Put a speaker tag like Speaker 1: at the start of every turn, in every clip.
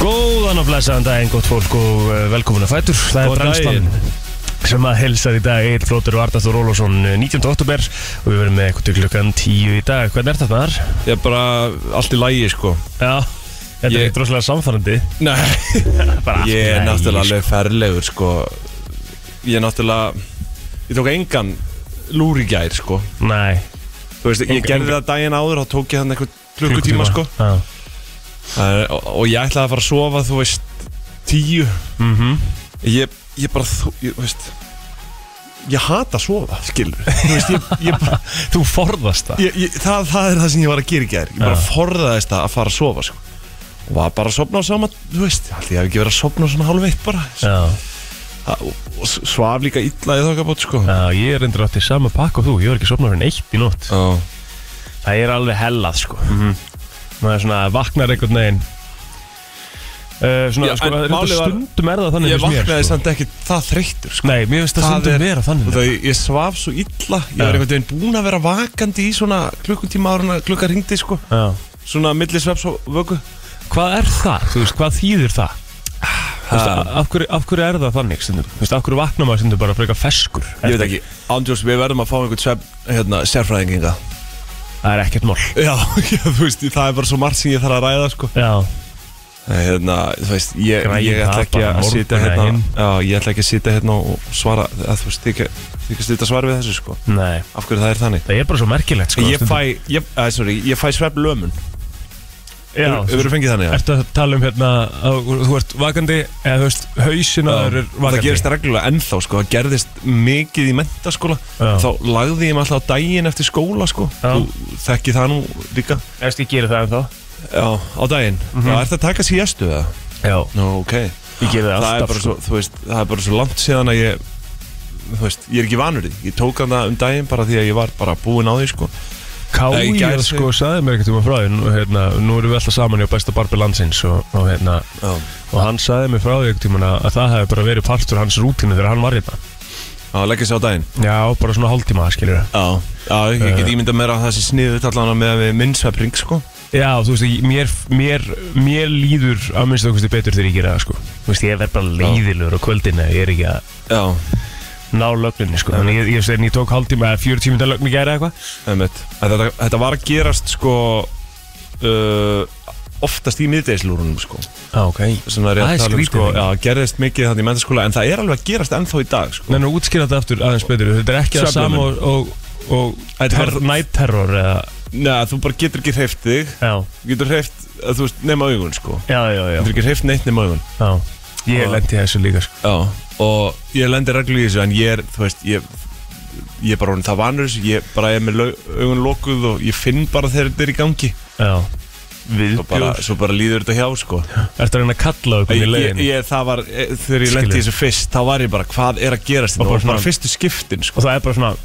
Speaker 1: Góðan og blessaðan daginn, gott fólk og eh, velkomin að fætur Það er
Speaker 2: Góðan
Speaker 1: brennslan sem að helsaði í dag Egil Flóter og Arnaþór Ólásson 19. oktober eh, og við verðum með eitthvað til klukkan 10 í dag Hvernig er þetta þar?
Speaker 2: Ég er bara allt í lægi sko
Speaker 1: Já, þetta er
Speaker 2: Ég-
Speaker 1: ekkert rosalega samfærandi
Speaker 2: Nei
Speaker 1: Bara allt í
Speaker 2: Ég er
Speaker 1: lagi,
Speaker 2: náttúrulega
Speaker 1: sko.
Speaker 2: alveg ferlegur sko Ég er náttúrulega Ég tók engan lúr í gær sko
Speaker 1: Nei,
Speaker 2: Þú veist, ég
Speaker 1: Engan-
Speaker 2: gerði það daginn áður Þá tók ég þannig eitthvað klukkutíma sko
Speaker 1: Já,
Speaker 2: Það er- og, og ég ætlaði að fara að sofa þú veist Tíu
Speaker 1: mhm
Speaker 2: Ég, ég bara, þú ég, þú veist Ég hata að sofa, skilur Þú veist, ég, ég bara
Speaker 1: Þú forðast það
Speaker 2: ég, ég, það, það er það sem ég var að gera í gær Ég bara
Speaker 1: Já.
Speaker 2: forðaðist það að fara að sofa sko. Og var bara að sopna á sama Þú veist, ég held ég hef ekki verið að sopna á svona hálf eitt bara
Speaker 1: Já,
Speaker 2: Það- og, og svaf líka illa í þokkabót sko.
Speaker 1: já, ég er endur átti sama pakk og þú Ég var ekki sopnað fyrir eitt í nótt
Speaker 2: Já. Mhm.
Speaker 1: Það er alveg hellað sko Maður svona vaknar einhvern veginn uh, Svona,
Speaker 2: Já,
Speaker 1: sko,
Speaker 2: en
Speaker 1: reyndar
Speaker 2: málið var-
Speaker 1: stundum er það þannig
Speaker 2: Ég
Speaker 1: finnst mér,
Speaker 2: vaknaði
Speaker 1: sko.
Speaker 2: samt ekki það þreyttur sko.
Speaker 1: Nei, mér finnst það
Speaker 2: Það
Speaker 1: stundum
Speaker 2: er-
Speaker 1: vera þannig
Speaker 2: Það, ég, ég svaf svo illa Ég
Speaker 1: Já.
Speaker 2: var einhvern veginn búin að vera vakandi í svona klukkutíma ára en að klukka ringdi sko.
Speaker 1: Já.
Speaker 2: Svona milli sveps og vöku
Speaker 1: Hvað er það? Þú veist, hvað þýðir það? Þú Veist, af, af, hverju, af hverju er það þannig stundum? Þú veist, af hverju vaknar maður stundum bara frekar feskur
Speaker 2: Ég veit ekki, Andjós, við verðum að fá einhvern svep, hérna, sérfræðinginga
Speaker 1: Það er ekkert mál
Speaker 2: Já, já, þú veist, það er bara svo margt sem ég þarf að ræða sko.
Speaker 1: Já,
Speaker 2: Nei, hérna, þú veist, ég,
Speaker 1: Græjum
Speaker 2: ég
Speaker 1: það
Speaker 2: ætla ekki
Speaker 1: bara
Speaker 2: að
Speaker 1: morguninn
Speaker 2: sitja hérna
Speaker 1: inn.
Speaker 2: Já, ég ætla ekki að sitja hérna og svara að þú veist, þykja, þykja slita svar við þessu sko
Speaker 1: nei,
Speaker 2: Af hverju það er þannig
Speaker 1: það er bara svo merkilegt sko,
Speaker 2: Ég
Speaker 1: stundum.
Speaker 2: fæ, ég, að, sorry, ég fæ svepp lömun
Speaker 1: Já,
Speaker 2: Þú eru fengið þannig, já
Speaker 1: Ertu að tala um hérna að þú ert vakandi eða þú veist hausin að þú er
Speaker 2: Það
Speaker 1: vakandi
Speaker 2: gerist reglulega ennþá sko, það gerðist mikið í mentaskóla
Speaker 1: Já.
Speaker 2: Þá lagði ég mig alltaf á daginn eftir skóla sko
Speaker 1: Já.
Speaker 2: Þú þekki það nú líka
Speaker 1: Erst ég gera það en þá?
Speaker 2: Já, á daginn Já, ertu að taka síðastu eða?
Speaker 1: Já,
Speaker 2: Nú, ok
Speaker 1: ég gera það
Speaker 2: það er
Speaker 1: alltaf sko.
Speaker 2: bara svo, þú veist, það er bara svo langt síðan að ég þú veist, ég er ekki vanur því ég tók hann það um daginn bara því að ég var bara búinn á því sko. Nei, í
Speaker 1: Kája
Speaker 2: gær-
Speaker 1: sko saði mér ekkert um að frá því nú, hérna, nú erum við alltaf saman hjá besta barbi landsins og, og, hérna,
Speaker 2: já,
Speaker 1: og hann saði mér frá því ekkert um að það hefði bara verið partur hans rútínu þegar hann var hérna
Speaker 2: að leggja sig á daginn
Speaker 1: Já, bara svona hálftíma skilur
Speaker 2: já, já ég
Speaker 1: Eh.
Speaker 2: get ímyndað mér að það sé sniðu allan með að við minnsvepring sko.
Speaker 1: Já, þú veist, ég- mér, mér, mér líður að minnst okkur betur þegar ég gera það sko Þú veist, ég verð bara leiðilegur á kvöldinu ef ég er ekki að
Speaker 2: já,
Speaker 1: ná lögninni sko Þannig ég, ég, ég, ég tók hálftíma eða 40 minnta lögn í gæri eitthvað
Speaker 2: einmitt þetta, þetta var að gerast sko uh, oftast í miðdegslúrunum sko.
Speaker 1: Já, Ah, ok
Speaker 2: sem það er
Speaker 1: Það er
Speaker 2: rétt tala um
Speaker 1: skrítið,
Speaker 2: sko,
Speaker 1: ekki?
Speaker 2: já, gerðist mikið þannig í mentaskóla en það er alveg að gerast ennþá í dag sko.
Speaker 1: Nei, nú útskýra þetta aftur aðeins betur Þetta er ekki það sama
Speaker 2: Svefnlaun.
Speaker 1: og, og, og
Speaker 2: Þetta
Speaker 1: ter,
Speaker 2: var-
Speaker 1: Night terror eða
Speaker 2: Nei, þú bara getur ekki hreift þig
Speaker 1: Já,
Speaker 2: þú getur hreift, þú veist, nema augun sko.
Speaker 1: já, já, já,
Speaker 2: getur ekki hreift neitt nema augun
Speaker 1: já. Ég
Speaker 2: Og-
Speaker 1: lendi í þessu líka sko.
Speaker 2: Já, og ég lendir reglu í þessu en ég er, þú veist, ég ég er bara orðin það vanur þessu, ég bara er með lau- augun lokuð og ég finn bara þegar þetta er í gangi
Speaker 1: Já
Speaker 2: svo bara,
Speaker 1: Viðbjór
Speaker 2: svo bara líður þetta hjá, sko
Speaker 1: Ertu að reyna að kalla okkur í
Speaker 2: ég, ég,
Speaker 1: leiðinni
Speaker 2: ég, það var, eh, þegar ég lendi í
Speaker 1: Skilur.
Speaker 2: þessu fyrst þá var ég bara, hvað er að gerast þetta
Speaker 1: Og bara
Speaker 2: og bara
Speaker 1: svona-
Speaker 2: fyrstu skiptin, sko Mm.
Speaker 1: Og það er bara svona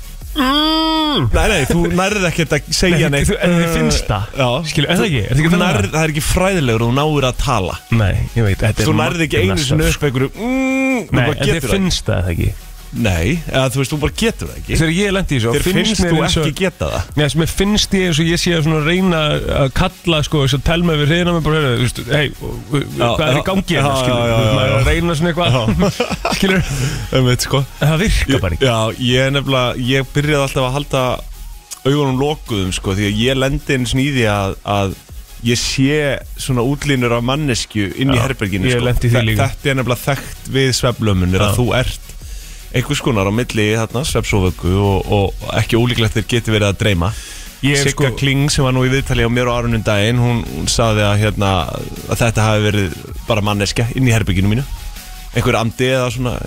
Speaker 2: Nei, nei, þú nærði ekkert að segja
Speaker 1: Nei,
Speaker 2: neitt
Speaker 1: þú- en þið finnst það?
Speaker 2: Já
Speaker 1: Skilur, er það ekki? Er það ekki
Speaker 2: Þú
Speaker 1: þannig að-
Speaker 2: nærð- Það er ekki fræðilegur, þú náður að tala
Speaker 1: Nei, ég veit þetta er
Speaker 2: Þú nærði ekki einu
Speaker 1: magnað
Speaker 2: sinni
Speaker 1: stöf.
Speaker 2: upp einhverju mm, Þú
Speaker 1: Nei,
Speaker 2: bara
Speaker 1: en þið
Speaker 2: getur það
Speaker 1: finnst það eða ekki
Speaker 2: ekki. Nei, eða þú veist, þú bara getur það ekki
Speaker 1: Þegar ég lendi í þessu
Speaker 2: Þér finnst
Speaker 1: mér
Speaker 2: þú
Speaker 1: eins og-
Speaker 2: ekki geta það
Speaker 1: Nei, sem ég finnst ég eins og ég sé að svona reyna að kalla sko, þess að telma við reyna mig bara, heyrðu, þú veist, hei, hvað er í
Speaker 2: já,
Speaker 1: gangi hérna,
Speaker 2: já,
Speaker 1: skilur,
Speaker 2: já,
Speaker 1: þú veist,
Speaker 2: já,
Speaker 1: maður er að reyna svona eitthvað, skilur,
Speaker 2: Um veit sko
Speaker 1: en það virka bara ekki.
Speaker 2: Já, ég er nefnilega, ég byrjaði alltaf að halda augunum lokuðum sko Því að ég lendi eins og í því að, að ég sé svona útlínur af mannesku inn í
Speaker 1: Já,
Speaker 2: herberginu
Speaker 1: ég
Speaker 2: sko.
Speaker 1: lenti í því
Speaker 2: Þe-
Speaker 1: líka.
Speaker 2: Þetta er nefnilega þekkt við sveflömmunir
Speaker 1: Já.
Speaker 2: að þú ert einhvers konar á milli þarna svefsóvöku og, og ekki ólíklegt þeir geti verið að dreyma
Speaker 1: Ég er
Speaker 2: Sigga
Speaker 1: sko-
Speaker 2: Kling sem var nú í viðtali á mér og Arunum daginn hún, hún saði að, hérna, að þetta hafi verið bara manneska inn í herbygginu mínu einhver andi eða svona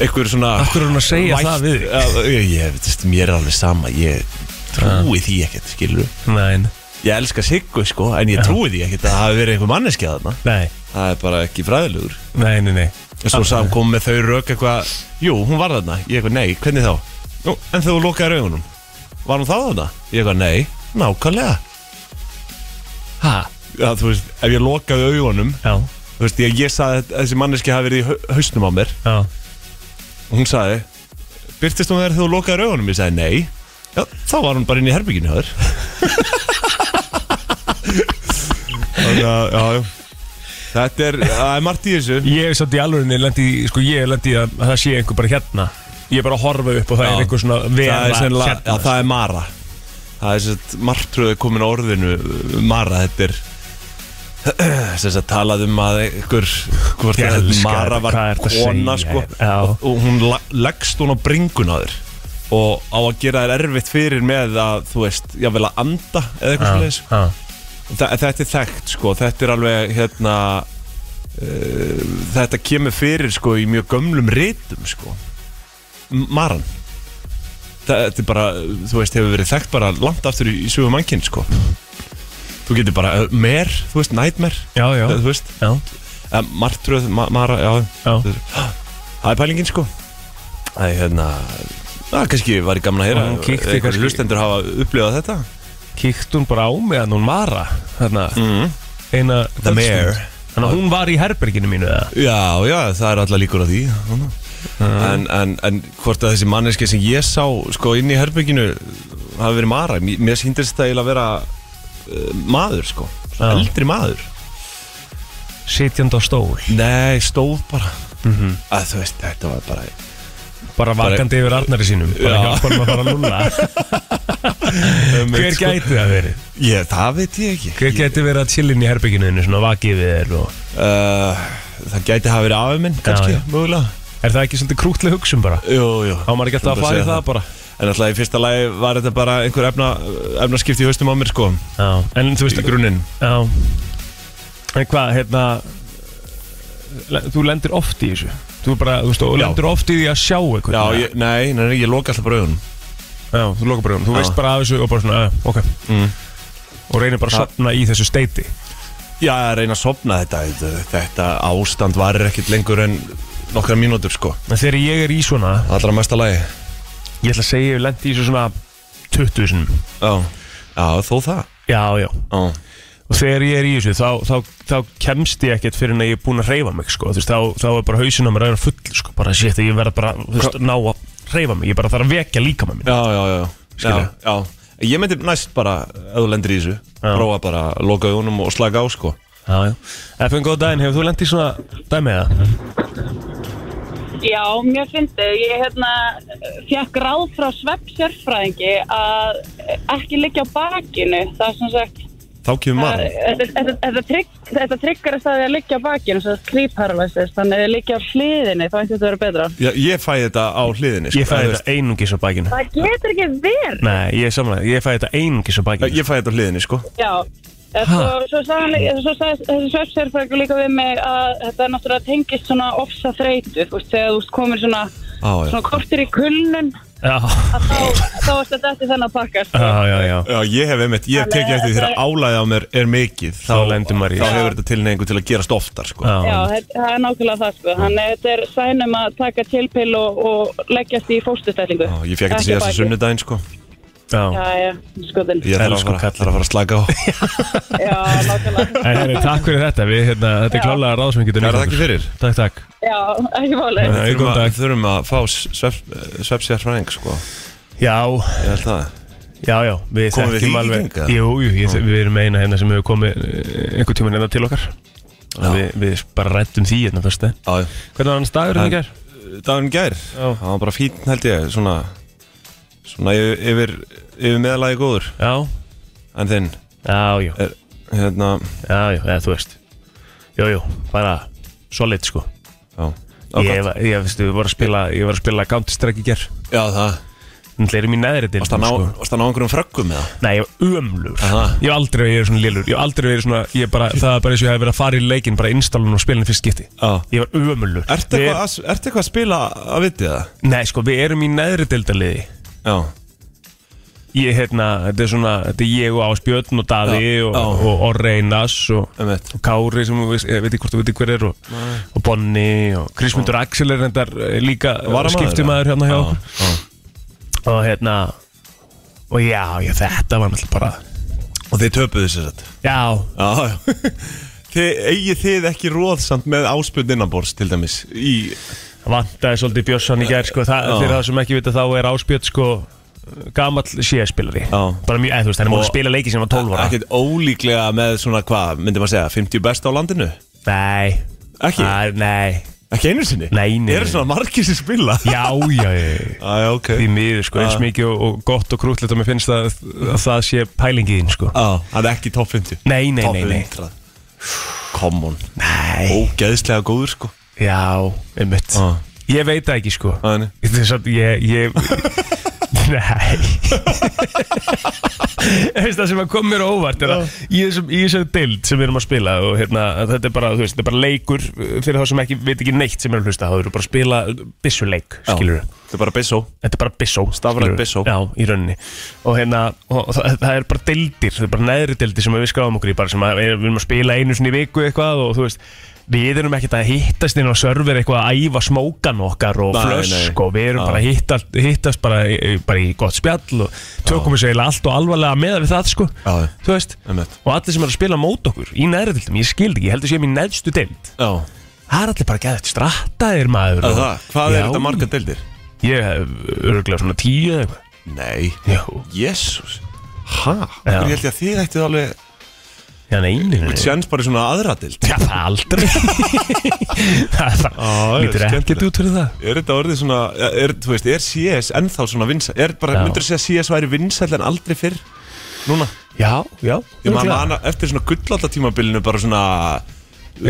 Speaker 2: einhver svona
Speaker 1: Af hverju er hún að segja það við þig?
Speaker 2: Já, ég, ég veit, veist, mér er alveg sama ég trúi því ekkert, skilur
Speaker 1: Nein,
Speaker 2: ég elska Siggu sko, en ég trúi því ekkert að það hafi verið einhver manneski þarna
Speaker 1: nei,
Speaker 2: það er bara ekki fræðilegur
Speaker 1: nei, nei, nei.
Speaker 2: En svo sagði hann kom með þau rauk eitthvað Jú, hún var þarna, ég eitthvað nei, hvernig þá? Jú, en þegar þú lokaði raugunum Var hún þá þarna? Ég eitthvað nei, nákvæmlega
Speaker 1: Ha?
Speaker 2: Já, þú veist, ef ég lokaði augunum
Speaker 1: Já,
Speaker 2: Þú veist, ég, ég sagði að þessi manneski hafi verið í hau- hausnum á mér
Speaker 1: já,
Speaker 2: Og hún sagði Byrtist hún þegar þú lokaði raugunum? Ég sagði nei Já, þá var hún bara inn í herbygginu höður Þannig að, já, já Þetta er, það er margt í þessu
Speaker 1: Ég er samt í alvörinni lendi, í- sko ég lendi í að að það sé einhver bara hérna Ég er bara að horfa upp og
Speaker 2: Já.
Speaker 1: það er einhver svona vera
Speaker 2: það er, sennilega,
Speaker 1: hérna
Speaker 2: já, það er Mara það er sett martröðu komin á orðinu uh, Mara, þetta er þess að talað um að ykkur, hvort
Speaker 1: Ég
Speaker 2: að
Speaker 1: elska
Speaker 2: Mara
Speaker 1: þetta,
Speaker 2: var
Speaker 1: hvað ertu að
Speaker 2: kona
Speaker 1: segja
Speaker 2: sko,
Speaker 1: hérna? Já.
Speaker 2: og, og hún la- leggst hún á bringun á þér og á að gera þér erfitt fyrir með að þú veist, ég vil að anda eða eitthvað svoleiðis Þa, þetta er þekkt sko, þetta er alveg hérna uh, þetta kemur fyrir sko í mjög gömlum ritum sko M- Maran Þa, þetta er bara, þú veist, hefur verið þekkt bara langt aftur í, í sögum mannkinn sko þú getur bara, uh, mer, þú veist, nightmare
Speaker 1: Já, já,
Speaker 2: þú veist,
Speaker 1: já,
Speaker 2: uh, martröð, ma mara, já
Speaker 1: já
Speaker 2: Þú- það er pælingin sko það er hérna Það kannski var í gamla að heyra
Speaker 1: Hún kíkti
Speaker 2: einhverjir
Speaker 1: kannski-
Speaker 2: hlustendur hafa upplifað þetta
Speaker 1: Kíkt hún bara á mig að hún Mara Þarna,
Speaker 2: mm.
Speaker 1: eina kvöldstund.
Speaker 2: mare.
Speaker 1: Þannig að hún var í herberginu mínu eða
Speaker 2: Já, já, það er alltaf líkur á því en, en, en hvort að þessi manneski sem ég sá sko inn í herbygginu hafi verið mara, mér mér sýndist það eiginlega að vera uh, maður sko
Speaker 1: Já.
Speaker 2: eldri maður
Speaker 1: Sitjandi á stól Mhm.
Speaker 2: Nei, stóð bara að þú veist, þetta var bara
Speaker 1: Bara vakandi yfir Arnari sínum Bara
Speaker 2: Já.
Speaker 1: hjálpa hann að fara að lúna Hver
Speaker 2: sko.
Speaker 1: gæti það verið?
Speaker 2: Ég, það veit ég ekki
Speaker 1: Hver
Speaker 2: Ég-
Speaker 1: gæti verið að chillin í herbygginu þínu svona vakið við þér og
Speaker 2: Uh, það gæti hafa verið afið minn, kannski,
Speaker 1: já.
Speaker 2: mögulega
Speaker 1: Er það ekki svolítið krútlega hugsun bara?
Speaker 2: Jú, jú
Speaker 1: Á maður ekki alltaf að fara í það bara
Speaker 2: En alltaf í fyrsta lagi var þetta bara einhver efna, efnaskipti í haustum á mér, sko
Speaker 1: Já, en þú
Speaker 2: Í
Speaker 1: veist
Speaker 2: grunninn
Speaker 1: Já En hvað, hérna le- Þú lendir oft í þessu Þú bara, þú veist, og
Speaker 2: Já.
Speaker 1: lendir oft í því að sjá eitthvað
Speaker 2: Já, ég, nei, nei, nei, ég loka alltaf bara augunum
Speaker 1: Já, þú lokar bara um Þú
Speaker 2: Já.
Speaker 1: veist bara af þessu og bara svona, uh, ok
Speaker 2: Mm.
Speaker 1: Og reynir bara að
Speaker 2: Já.
Speaker 1: sopna í þessu steiti
Speaker 2: Já, að reyna að sopna þetta, þetta Þetta ástand varir ekkit lengur en nokkra mínútur, sko
Speaker 1: En þegar ég er í svona
Speaker 2: Allra mesta lagi
Speaker 1: Ég ætla að segja, ég hef lent í þessu svona 20 sinum
Speaker 2: Já, já þó það
Speaker 1: Já, já
Speaker 2: Já,
Speaker 1: og þegar ég er í þessu þá, þá, þá kemst ég ekkert fyrir en að ég er búinn að reyfa mig sko. Þú veist, þá, þá er bara hausinn á mér aðeins full sko. bara sétt að ég verð bara þú veist, ná að reyfa mig, ég bara þarf að vekja líka með minn
Speaker 2: já, já, já. já,
Speaker 1: Skilurðu?
Speaker 2: já. Ég myndi næst bara, ef þú lendir í þessu Prófa bara að loka augunum og slaka á, sko
Speaker 1: já, já. FN góð daginn, hefur þú lendið svona dæmið það?
Speaker 3: Já, mjög fyndið. Ég hérna, fekk ráð frá sveppsjörfræðingi að ekki liggja á bakinu. Það er sem sagt,
Speaker 2: Þá kemur
Speaker 3: að-
Speaker 2: maður
Speaker 3: þetta- þetta- þetta trygg- þetta tryggar þess að því að liggja á bakinu, sem sagt kríparalysis, þannig að liggja á hliðinni, þá ætti þetta að vera betra.
Speaker 2: Já, ég fæ þetta á hliðinni, sko
Speaker 1: Ég fæði
Speaker 2: Þú veist,
Speaker 1: þetta einungis á bakinu
Speaker 3: Það getur ekki verið.
Speaker 1: Nei, ég er samanlega, ég fæði þetta einungis á bakinu
Speaker 2: Ég fæ þetta á hliðinni, sko
Speaker 3: Já, Eh, svo, svo, sagði, hann- svo sagði þessi sveppsjörfræðingu líka við mig að þetta er náttúrulega tengist svona ofsa þreytu, þú veist, þegar þú veist, komir svona,
Speaker 2: Á, já
Speaker 3: svona kortir í kulnun,
Speaker 1: Já,
Speaker 3: að þá, þá er þetta eftir þennan pakka. sko.
Speaker 1: já, já, já.
Speaker 2: Já, ég hef einmitt, ég hef
Speaker 3: Þannig
Speaker 2: tekið
Speaker 3: að
Speaker 2: eftir því þegar
Speaker 3: þetta-
Speaker 2: álæði á mér er mikið Þá,
Speaker 1: lendir maður í
Speaker 2: þá
Speaker 1: þessu.
Speaker 2: hefur þetta tilneyingu til að gerast oftar, sko
Speaker 1: Já.
Speaker 3: Já, þetta- það er nákvæmlega það sko. Þannig að þetta er sænum að taka tilpill og, og leggjast í fóstustællingu.
Speaker 2: Já, ég fekk þetta síðast að sunnudaginn sko
Speaker 1: já.
Speaker 3: Já, já, skoðin.
Speaker 2: Ég þarf að
Speaker 1: Elsku
Speaker 2: fara, þarf að, fara að slaka á Er
Speaker 3: Já, nákvæmlega.
Speaker 1: En herri, takk fyrir þetta, við, hérna, þetta er
Speaker 3: Já.
Speaker 1: klálega ráð sem við getum
Speaker 2: það
Speaker 1: nýtt
Speaker 2: ekki
Speaker 1: okkur.
Speaker 2: fyrir?
Speaker 1: Takk, takk
Speaker 3: Já, ekki máli.
Speaker 1: Nei.
Speaker 2: Þurfum að,
Speaker 1: góðan dag.
Speaker 2: þurfum að fá svepsjárfræðing sko
Speaker 1: Já,
Speaker 2: Ég held það
Speaker 1: Já, já, við
Speaker 2: Komum við
Speaker 1: þekkjum
Speaker 2: í
Speaker 1: alveg
Speaker 2: hringinga?
Speaker 1: Jú, jú, ég, við erum eina hérna sem hefur komið eh, einhver tíma hérna til okkar
Speaker 2: Já.
Speaker 1: við, við bara rættum því hérna fyrst Hvernig
Speaker 2: Já,
Speaker 1: var hans dagur
Speaker 2: En-
Speaker 1: þetta gær?
Speaker 2: Dagurinn í gær,
Speaker 1: Já.
Speaker 2: það var bara fín held ég Svona, svona yfir, yfir, yfir meðalagi góður
Speaker 1: Já,
Speaker 2: En þinn,
Speaker 1: já, já,
Speaker 2: er, hérna
Speaker 1: já, já, eða, þú veist Jú, jú, bara solid sko
Speaker 2: Já, okay.
Speaker 1: Ég, var- ég, veistu, ég var að spila, ég var að spila Counter Strike í gær
Speaker 2: já það
Speaker 1: Þannig erum í neðri til
Speaker 2: Varst að ná, varstu að ná einhverjum fröggum með það?
Speaker 1: Nei, ég var ömlur
Speaker 2: Aha.
Speaker 1: Ég hef aldrei verið svona lélur Ég hef aldrei verið svona ég bara, Það er bara eins og ég hef verið að fara í leikinn Bara installun og spilin fyrst skipti
Speaker 2: Já.
Speaker 1: Ég var ömlur
Speaker 2: Ertu eitthvað, að, ertu eitthvað að spila að vitið það?
Speaker 1: Nei, sko, við erum í neðri deildaliði
Speaker 2: Já,
Speaker 1: Ég, hérna, þetta er svona, þetta er ég og Ásbjörn og Daði
Speaker 2: Já,
Speaker 1: og,
Speaker 2: já.
Speaker 1: og Orri Einars og,
Speaker 2: um
Speaker 1: og Kári sem þú veist, ég veit ekki hvort þú veit ekki hver er og, og Bonni og Krismundur Axel er hendar líka skiptumæður hérna hjá okkur og hérna, og já, já, þetta var náttúrulega bara,
Speaker 2: Og þið töpuðu sér þetta
Speaker 1: já,
Speaker 2: Já, já Þið, eigið þið ekki róð samt með áspjönd innanborðs til dæmis í,
Speaker 1: vantaði svolítið Björnsson í gær, sko, það,
Speaker 2: Já.
Speaker 1: fyrir það sem ekki vita þá er Ásbjörn, sko, gamall CS-spilari,
Speaker 2: Já.
Speaker 1: bara mjög, eða þú veist, hann er múin
Speaker 2: Og-
Speaker 1: að spila leiki sem var 12 ára,
Speaker 2: ekkert ólíklega með svona hvað, myndi maður segja, 50 best á landinu?
Speaker 1: Nei
Speaker 2: Ekki?
Speaker 1: Æ, Nei
Speaker 2: Ekki einu sinni?
Speaker 1: Nei, nei,
Speaker 2: Eru
Speaker 1: nei.
Speaker 2: svona margir sem spila?
Speaker 1: Já, já, já
Speaker 2: Æ, ok
Speaker 1: Því miður, sko, eins
Speaker 2: Ah.
Speaker 1: mikið og, og gott og krútlegt og mér finnst að, að það sé pælingið þín, sko
Speaker 2: Á, Ah, hann er ekki top 50
Speaker 1: Nei, nei, nei, nei
Speaker 2: Top 100 Come on
Speaker 1: Nei,
Speaker 2: Ógeðslega góður sko
Speaker 1: já, einmitt
Speaker 2: Ah.
Speaker 1: Ég veit það ekki, sko
Speaker 2: Þannig
Speaker 1: Það er samt, ég, ég Nei Veist það sem að kom mér á óvart er að í þessum, í þessum dild sem við erum að spila og hérna, þetta er bara, þú veist, þetta er bara leikur uh, fyrir þá sem ekki, veit ekki neitt sem er að hlusta þá eru bara að spila byssuleik, skilur
Speaker 2: Þetta er bara Bissó
Speaker 1: Þetta er bara byssó
Speaker 2: Stafrænt
Speaker 1: skilurðu.
Speaker 2: byssó.
Speaker 1: Já, í rauninni Og hérna, og, og, það, það er bara deildir Það er bara neðri deildir sem við skráum okkur í bara sem að, við erum að spila einu sinni í viku eitthvað og þú veist Við erum ekkert að hittast inn á server eitthvað að æfa smókan okkar og
Speaker 2: Nei,
Speaker 1: flösk
Speaker 2: nei.
Speaker 1: og við erum
Speaker 2: Já.
Speaker 1: bara að hitta, hittast bara, í- bara í gott spjall og tökum þessu eiginlega allt og alvarlega meða við það sko
Speaker 2: Já, já.
Speaker 1: Þú veist,
Speaker 2: Einmitt.
Speaker 1: og allir sem eru að spila mót okkur í neðri deildum, ég skildi ekki, ég heldur sem í neðstu deild
Speaker 2: Já
Speaker 1: Það er allir bara gæðið strattaðir maður og-
Speaker 2: það, Hvað er
Speaker 1: Já.
Speaker 2: þetta marga deildir?
Speaker 1: Ég hef örgulega svona tíu eða eitthvað
Speaker 2: Nei
Speaker 1: Já,
Speaker 2: Jésús Hæ?
Speaker 1: Já.
Speaker 2: Hvernig held ég að þið ættið alveg
Speaker 1: Já, nei, nei, nei.
Speaker 2: Sjans bara í svona aðra deild
Speaker 1: Já, það aldrei Ah, Það er bara,
Speaker 2: það er
Speaker 1: lítur ekkert
Speaker 2: skemmtilegt.
Speaker 1: út fyrir það
Speaker 2: Er þetta orðið svona er, Þú veist, er CS ennþá svona vinsæl Er bara,
Speaker 1: Já.
Speaker 2: myndur þú segja að CS væri vinsæl en aldrei fyrr Núna
Speaker 1: Já, já
Speaker 2: Ég maður manna eftir svona gullalla tímabilinu bara svona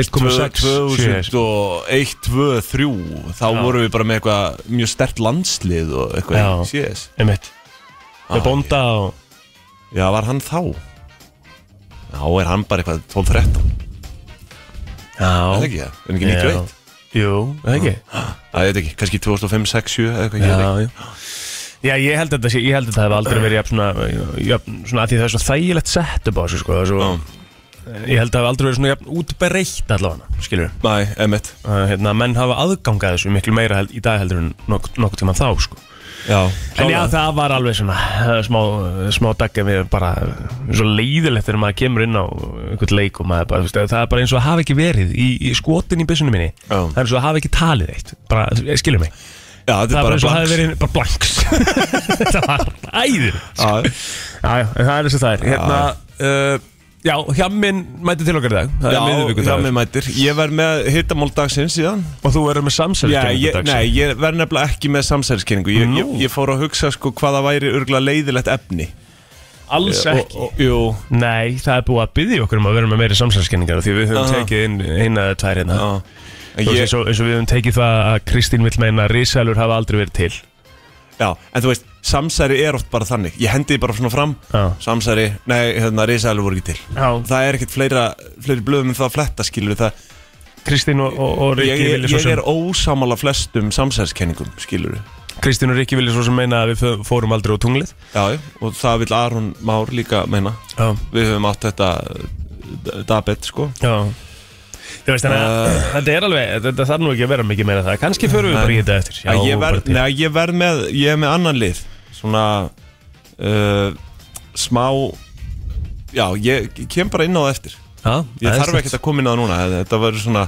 Speaker 1: 1,6
Speaker 2: 2001, 2, 3 Þá
Speaker 1: Já.
Speaker 2: vorum við bara með eitthvað mjög stert landslið og eitthvað í
Speaker 1: Já.
Speaker 2: CS
Speaker 1: Einmitt
Speaker 2: Ah,
Speaker 1: Með bónda og
Speaker 2: Já, var hann þá? Já, er hann bara eitthvað 12-13 Er það
Speaker 1: Já
Speaker 2: ekki það? Er hann ekki 91?
Speaker 1: Jú, er það ekki
Speaker 2: Æ, Ah, ég veit ekki, kannski 2005-06-7 eða eitthvað ég veit ekki.
Speaker 1: Já, já Já, ég held að þetta sé, ég held að það hef aldrei verið jafn svona, jafn, svona að því það er svo þægilegt sett upp á þessu, sko, það er svo, Eh, ég held að það hef aldrei verið svona jafn útbereitt allavega, skilur við,
Speaker 2: Næ, emitt
Speaker 1: hérna, menn hafa aðgangað þessu miklu meira held, í dag heldur en nok nokkuð tíma þá, sko.
Speaker 2: Já,
Speaker 1: En já,
Speaker 2: klálega.
Speaker 1: það var alveg svona eh, smá, smá dagg en við bara eh, svo leiðilegt þegar maður kemur inn á eh, einhvern leik og maður bara, þú veist, það er bara eins og að hafa ekki verið í, í skotin í byssunum minni
Speaker 2: Já.
Speaker 1: það er eins og að hafa ekki talið eitt bara, eh, skilur mig, það,
Speaker 2: já þetta
Speaker 1: er bara eins og að hafa
Speaker 2: blanks.
Speaker 1: verið bara blanks það var æðir já,
Speaker 2: Já,
Speaker 1: já, en það er þess að það er hérna, uh, já, hjamminn mæti til okkar í dag
Speaker 2: já,
Speaker 1: það er
Speaker 2: já, mér
Speaker 1: miðvíkudagur
Speaker 2: mætir Ég verð með hittamál dagsins síðan
Speaker 1: og þú verður með samsæli
Speaker 2: Já, ég, nei, ég verð nefnilega ekki með samsælskynningu ég, ég, ég fór að hugsa sko hvaða væri örgulega leiðilegt efni
Speaker 1: alls ekki
Speaker 2: og, og, Jú,
Speaker 1: Nei, það er búið að byggja okkur um að vera með meiri samsælskenningar því við höfum
Speaker 2: Aha.
Speaker 1: tekið inn eina eða tvær hérna
Speaker 2: á,
Speaker 1: Þú veist,
Speaker 2: ég,
Speaker 1: eins og, eins og við höfum tekið það að Kristín vill meina að risalur hafa aldrei verið til
Speaker 2: já, en þú veist samsæri er oft bara þannig, ég hendi því bara svona fram
Speaker 1: Já.
Speaker 2: samsæri, nei, hérna, risaðalur voru ekki til
Speaker 1: Já.
Speaker 2: það er ekkert fleira, fleiri blöðum en það að fletta skilur það,
Speaker 1: Kristín og, og, og
Speaker 2: ég,
Speaker 1: Rikki
Speaker 2: ég,
Speaker 1: vilja svo
Speaker 2: ég
Speaker 1: sem
Speaker 2: er ósamála flestum samsælskenningum skilur
Speaker 1: Kristín og Rikki vilja svo sem meina að við fö- fórum aldrei á tunglið
Speaker 2: já, já, og það vil Aron Már líka meina
Speaker 1: Já,
Speaker 2: við höfum átt þetta eh, dabet sko Eh,
Speaker 1: já Þú veist, þannig að
Speaker 2: Uh.
Speaker 1: þetta er alveg, Eh, þetta þarf nú ekki að vera mikið meira það Kannski förum við
Speaker 2: Nei.
Speaker 1: bara í þetta eftir
Speaker 2: Já, ég,
Speaker 1: bara
Speaker 2: verð,
Speaker 1: til.
Speaker 2: neða, ég verð með Ég er með annan lið Svona uh, Smá Já, ég ég kem bara inn á það eftir
Speaker 1: Já,
Speaker 2: Ég
Speaker 1: það er
Speaker 2: þarf
Speaker 1: slett.
Speaker 2: ekkert að koma inn á það núna Þetta verður svona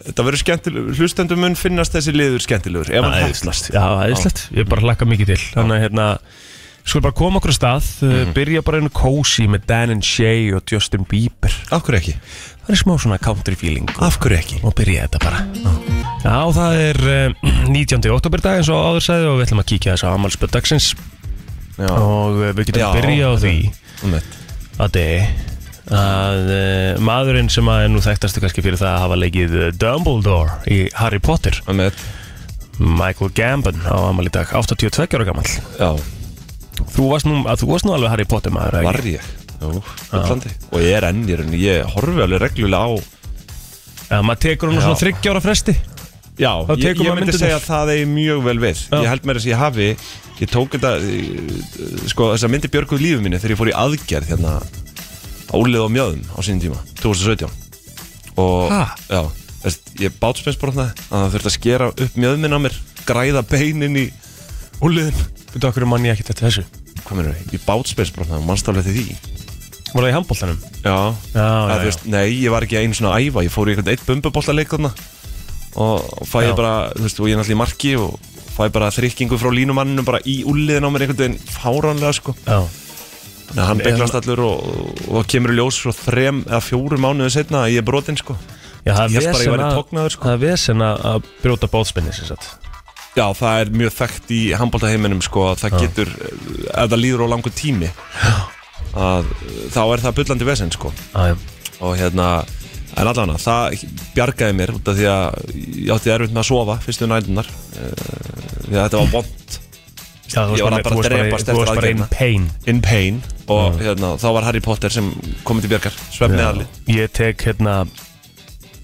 Speaker 2: Þetta verður skemmtilegur Hlustendum mun finnast þessi liður skemmtilegur Ef hann hefnast
Speaker 1: Já, aðeinslegt, ég bara hlakka mikið til Þannig að hérna, skulum bara koma okkur á stað
Speaker 2: Mhm.
Speaker 1: mm. Byrja bara einu kósi með Dan and Shay og Justin Bieber
Speaker 2: Af hverju ekki?
Speaker 1: Það er smá svona country feeling og-
Speaker 2: Af hverju ekki?
Speaker 1: og byrja þetta bara Já, það er uh, 19. oktober dag eins og áður sagði og við ætlum að kíkja þess að amalspöld dagsins
Speaker 2: Já,
Speaker 1: og uh, við getum
Speaker 2: Já,
Speaker 1: Já, byrja á því
Speaker 2: um þetta
Speaker 1: að þið að uh, maðurinn sem að er nú þekktastu kannski fyrir það að hafa leikið eh, Dumbledore í Harry Potter
Speaker 2: Um þetta
Speaker 1: Michael Gambon á amal í dag 82 ára gammal
Speaker 2: Já,
Speaker 1: Þú varst nú, að, þú varst nú alveg Harry Potter maður eða ekki?
Speaker 2: var ég Jú, öllandi Og ég er enn í rauninni Ég horfi alveg reglulega á
Speaker 1: Já, maður tekur hún
Speaker 2: Já.
Speaker 1: svona 30 ára fresti
Speaker 2: Já,
Speaker 1: Þá
Speaker 2: ég,
Speaker 1: tekur
Speaker 2: ég
Speaker 1: maður
Speaker 2: myndi
Speaker 1: myndirnar.
Speaker 2: segja að það eigi mjög vel við
Speaker 1: Já.
Speaker 2: Ég held mér að ég hafi Ég tók þetta eh, Sko, þess að myndi björguð lífið mínu Þegar ég fór í aðgerð hérna á Úlið og mjöðum á sínum tíma 2017 Og,
Speaker 1: Ha?
Speaker 2: já Þess, ég bátspennsbrotna að það þurfti að skera upp mjöðminn á mér Græða beinin í Úliðin
Speaker 1: Þú okkur mann ég ekkert eftir þessu
Speaker 2: Hvað meður við? Ég bátspennsbrotna og mannstaflega til því
Speaker 1: Var það í handbóltanum?
Speaker 2: Já,
Speaker 1: Já,
Speaker 2: Það,
Speaker 1: já,
Speaker 2: þú veist, Nei, ég var ekki einu svona að æfa Ég fór í einhvern eitt bumbubóltaleik þarna Og fæ
Speaker 1: Já.
Speaker 2: ég bara, þú veist, og ég er náttúrulega í marki Og fæ bara þrykkingu frá línumanninu Bara í úliðin á mér einhvern veginn fáránlega sko.
Speaker 1: Já,
Speaker 2: Þannig að hann
Speaker 1: En-
Speaker 2: bygglast allur og, og það kemur í ljós Svo þrem eða fjórum mánuðu setna Að ég er brotinn sko
Speaker 1: Já, það er
Speaker 2: Ég held bara að ég
Speaker 1: vesen
Speaker 2: væri
Speaker 1: að-
Speaker 2: tognaður, sko.
Speaker 1: það er vesen að að brjóta bóðspenni sem sagt
Speaker 2: Já, það er mjög þekkt í handbóltaheiminum sko að það getur, eh, ef það líður á langur tími að eh, þá er það bullandi vesend sko
Speaker 1: Já, já.
Speaker 2: og hérna en allan að það bjargaði mér út af því að ég átti erfitt með að sofa fyrstu nældunar því að þetta var vond
Speaker 1: Já, þú
Speaker 2: Ég
Speaker 1: varst
Speaker 2: var
Speaker 1: bara,
Speaker 2: bara að
Speaker 1: þú varst
Speaker 2: drepast
Speaker 1: bara,
Speaker 2: eftir
Speaker 1: þú varst bara in
Speaker 2: aðgerðina.
Speaker 1: pain
Speaker 2: in pain og hérna, þá var Harry Potter sem komið til bjargar svefnið allir
Speaker 1: Ég tek hérna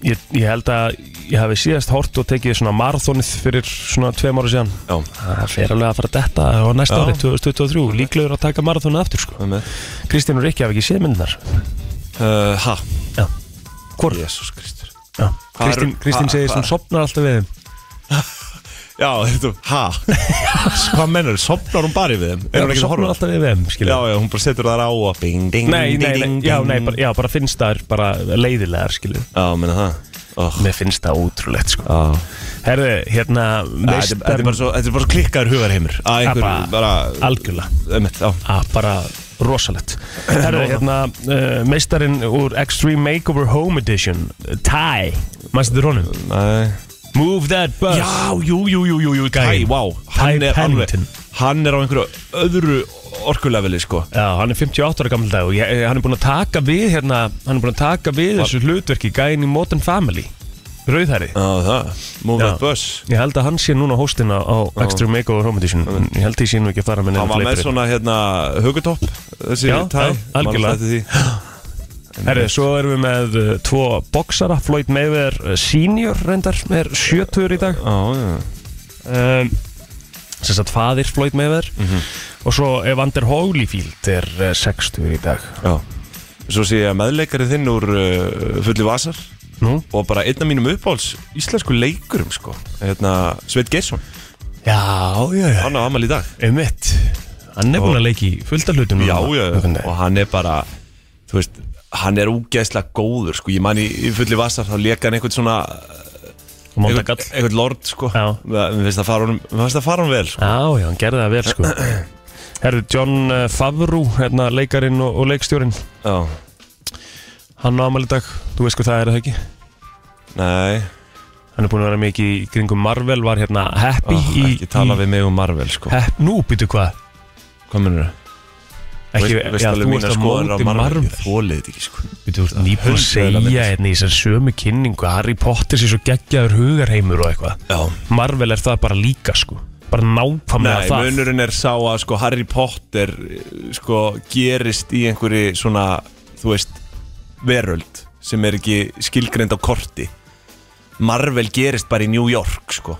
Speaker 1: ég, ég held að ég hafi síðast hort og tekið svona marathonið fyrir svona tveim ára síðan
Speaker 2: Já,
Speaker 1: Það fer alveg að fara að detta á næsta
Speaker 2: Já.
Speaker 1: ári 2023, líklegur að taka marathonið aftur sko.
Speaker 2: með með
Speaker 1: Kristín og Rikki hafa ekki séð myndnar
Speaker 2: uh, Ha,
Speaker 1: Já, hvort
Speaker 2: Jésús Kristur
Speaker 1: Já.
Speaker 2: Hvað
Speaker 1: Kristín,
Speaker 2: eru-
Speaker 1: Kristín
Speaker 2: hvað-
Speaker 1: segir sem
Speaker 2: hvað-
Speaker 1: sopnar alltaf við þeim
Speaker 2: Já, þetta, ha Hvað mennur, sopnar hún bara við þeim? Er hún ekki að
Speaker 1: Sofnar
Speaker 2: horfa?
Speaker 1: alltaf við þeim,
Speaker 2: Já,
Speaker 1: skilja
Speaker 2: já, hún bara setur það á og bing, ding,
Speaker 1: Nei,
Speaker 2: ding,
Speaker 1: nei, nei,
Speaker 2: ding,
Speaker 1: já,
Speaker 2: ding.
Speaker 1: nei, bara, já, bara finnst það er bara leiðilegar, skilju
Speaker 2: Já, menna það oh.
Speaker 1: Mér finnst það ótrúlegt, sko
Speaker 2: Já
Speaker 1: Herðu, hérna,
Speaker 2: Þetta er- þetta er
Speaker 1: meistar
Speaker 2: bara svo- þetta er bara svo klikkaður hugarheimur að einhver
Speaker 1: bara-
Speaker 2: bara
Speaker 1: Algjörlega
Speaker 2: einmitt, já.
Speaker 1: að bara rosalegt Herru, hérna, uh, meistarinn úr Extreme Makeover Home Edition Ty, mannstu þér honum?
Speaker 2: Nei.
Speaker 1: Move that bus
Speaker 2: Já, jú, jú, jú, jú, jú Ty,
Speaker 1: Gæinn.
Speaker 2: wow
Speaker 1: Ty
Speaker 2: Hann er alveg
Speaker 1: Pennington.
Speaker 2: Hann er á einhverju öðru orkuleveli, sko
Speaker 1: Já, hann er 58 ára gammal dag og ég, eh, hann er búinn að taka við hérna, hann er búinn að taka við þessu hlutverki gæinn í Modern Family Rauðhæri
Speaker 2: Já, það Move
Speaker 1: Já.
Speaker 2: that bus
Speaker 1: Ég held að hann sé núna hóstinn á á Extreme Makeover Home Edition Ég held því sé nú ekki að fara með
Speaker 2: Hann
Speaker 1: neina
Speaker 2: var með
Speaker 1: fleipur
Speaker 2: svona, hérna, hugutopp Þessi
Speaker 1: Já,
Speaker 2: Ty
Speaker 1: já, algjörlega.
Speaker 2: Man eftir því.
Speaker 1: Herru, svo erum við með uh, tvo boksara, Floyd Mayweather eh, senior reyndar, er 70 í dag
Speaker 2: Já, já
Speaker 1: um, sem sagt faðir Floyd Mayweather
Speaker 2: Mhm.
Speaker 1: og svo Evander Holyfield er uh, 60 í dag
Speaker 2: Já Svo sé ég að meðleikari þinn úr uh, fulli vasar
Speaker 1: Nú?
Speaker 2: Og bara einn af mínum uppáhalds íslensku leikurum, sko Hérna, Sveit Geirsson
Speaker 1: Já, já, já
Speaker 2: Hann á amal í dag
Speaker 1: Einmitt Hann er búinn að leiki í fullt af hlutum
Speaker 2: Já,
Speaker 1: núna.
Speaker 2: já, og hann er bara þú veist, hann er úgeðslega góður sko, ég man í, í fulli vassar þá leka hann einhvern svona
Speaker 1: Og Monda
Speaker 2: einhvern,
Speaker 1: Gall
Speaker 2: einhvern lord, sko
Speaker 1: Já.
Speaker 2: mér finnst það fara honum, mér finnst það fara honum vel sko.
Speaker 1: Já, já, hann gerði það vel sko Herru, John eh, Favreau, hérna leikarinn og, og leikstjórinn
Speaker 2: Já,
Speaker 1: Hann á amal í dag, þú veist hvað það er er það ekki
Speaker 2: nei
Speaker 1: Hann er búinn að vera mikið í kringum Marvel, var hérna Happy
Speaker 2: oh,
Speaker 1: í,
Speaker 2: ekki tala
Speaker 1: í,
Speaker 2: við mig um Marvel, sko
Speaker 1: Happ- Nú, býtu hvað
Speaker 2: hvað munur það?
Speaker 1: Ekki, já, þú veist að móti Marvel
Speaker 2: Ég þólið þetta ekki, sko
Speaker 1: Við þú ert nýbúin að
Speaker 2: Hundleiðinlega
Speaker 1: segja
Speaker 2: mynd.
Speaker 1: hérna í þessar sömu kynningu að Harry Potter sé svo geggjaður hugarheimur og eitthvað
Speaker 2: Já
Speaker 1: Marvel er það bara líka sko bara nákvæmlega
Speaker 2: Nei,
Speaker 1: það
Speaker 2: munurinn er sá að sko Harry Potter eh, sko gerist í einhverju svona, þú veist veröld sem er ekki skilgreind á korti Marvel gerist bara í New York sko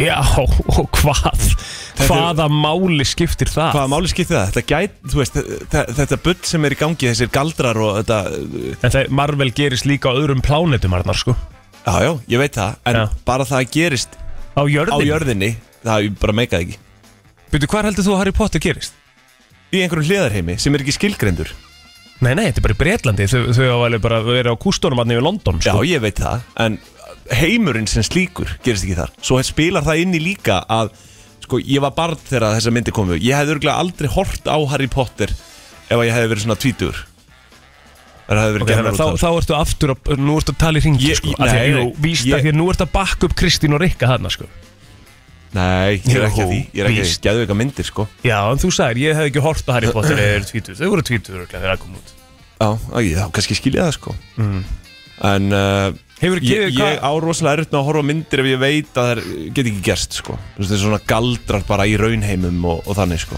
Speaker 1: Já, og hvað?
Speaker 2: er-
Speaker 1: Hvaða máli skiptir það?
Speaker 2: Hvaða máli skiptir það? Þetta gæt, þú veist, þe- þetta bull sem er í gangi, þessir galdrar og þetta eh,
Speaker 1: En það, Marvel gerist líka á öðrum plánetum Arnar sko
Speaker 2: Já, já, ég veit það, en
Speaker 1: Já.
Speaker 2: bara það að gerist
Speaker 1: Á
Speaker 2: á
Speaker 1: jörðin
Speaker 2: jörðinni, það er bara meikað ekki
Speaker 1: Byrju, hvað heldur þú að Harry Potter gerist?
Speaker 2: Í einhverjum hliðarheimi sem er ekki skilgreindur
Speaker 1: Nei, nei, þetta er bara í Breitlandi Þau, þau hafa alveg bara verið á kústónum hann yfir London
Speaker 2: Já,
Speaker 1: sko
Speaker 2: ég veit það, en heimurinn sem slíkur gerist ekki þar Svo spilar það inn í líka að, sko, ég var barn þegar þessa myndi komu Ég hefði örgulega aldrei hort á Harry Potter ef að ég hefði verið svona tvítur Það hefði verið
Speaker 1: Ok,
Speaker 2: okay,
Speaker 1: þannig að þá, þá ertu aftur að, nú ertu að tala í ringi
Speaker 2: Ég-
Speaker 1: sko,
Speaker 2: ég-
Speaker 1: af því að
Speaker 2: nei,
Speaker 1: jú,
Speaker 2: nei,
Speaker 1: víst
Speaker 2: ég-
Speaker 1: að því að nú ertu að bakka upp Kristín og Rikka hana sko
Speaker 2: Nei, ég er ekki að því, ég er ekki að því,
Speaker 1: Víst.
Speaker 2: geðu eitthvað myndir, sko
Speaker 1: Já, en þú sagðir, ég hef ekki hort á Harry Potter eða þeir eru tvítur, þau voru tvítur örugglega þegar það kom út
Speaker 2: Já, á, ég, þá kannski skilja það sko En uh,
Speaker 1: Mm. Hefur ekki
Speaker 2: ég, ég
Speaker 1: hvað-
Speaker 2: á rosalega erut með að horfa á myndir ef ég veit að það get ekki gerst sko Þú veist, Það er svona galdrar bara í raunheimum og, og þannig sko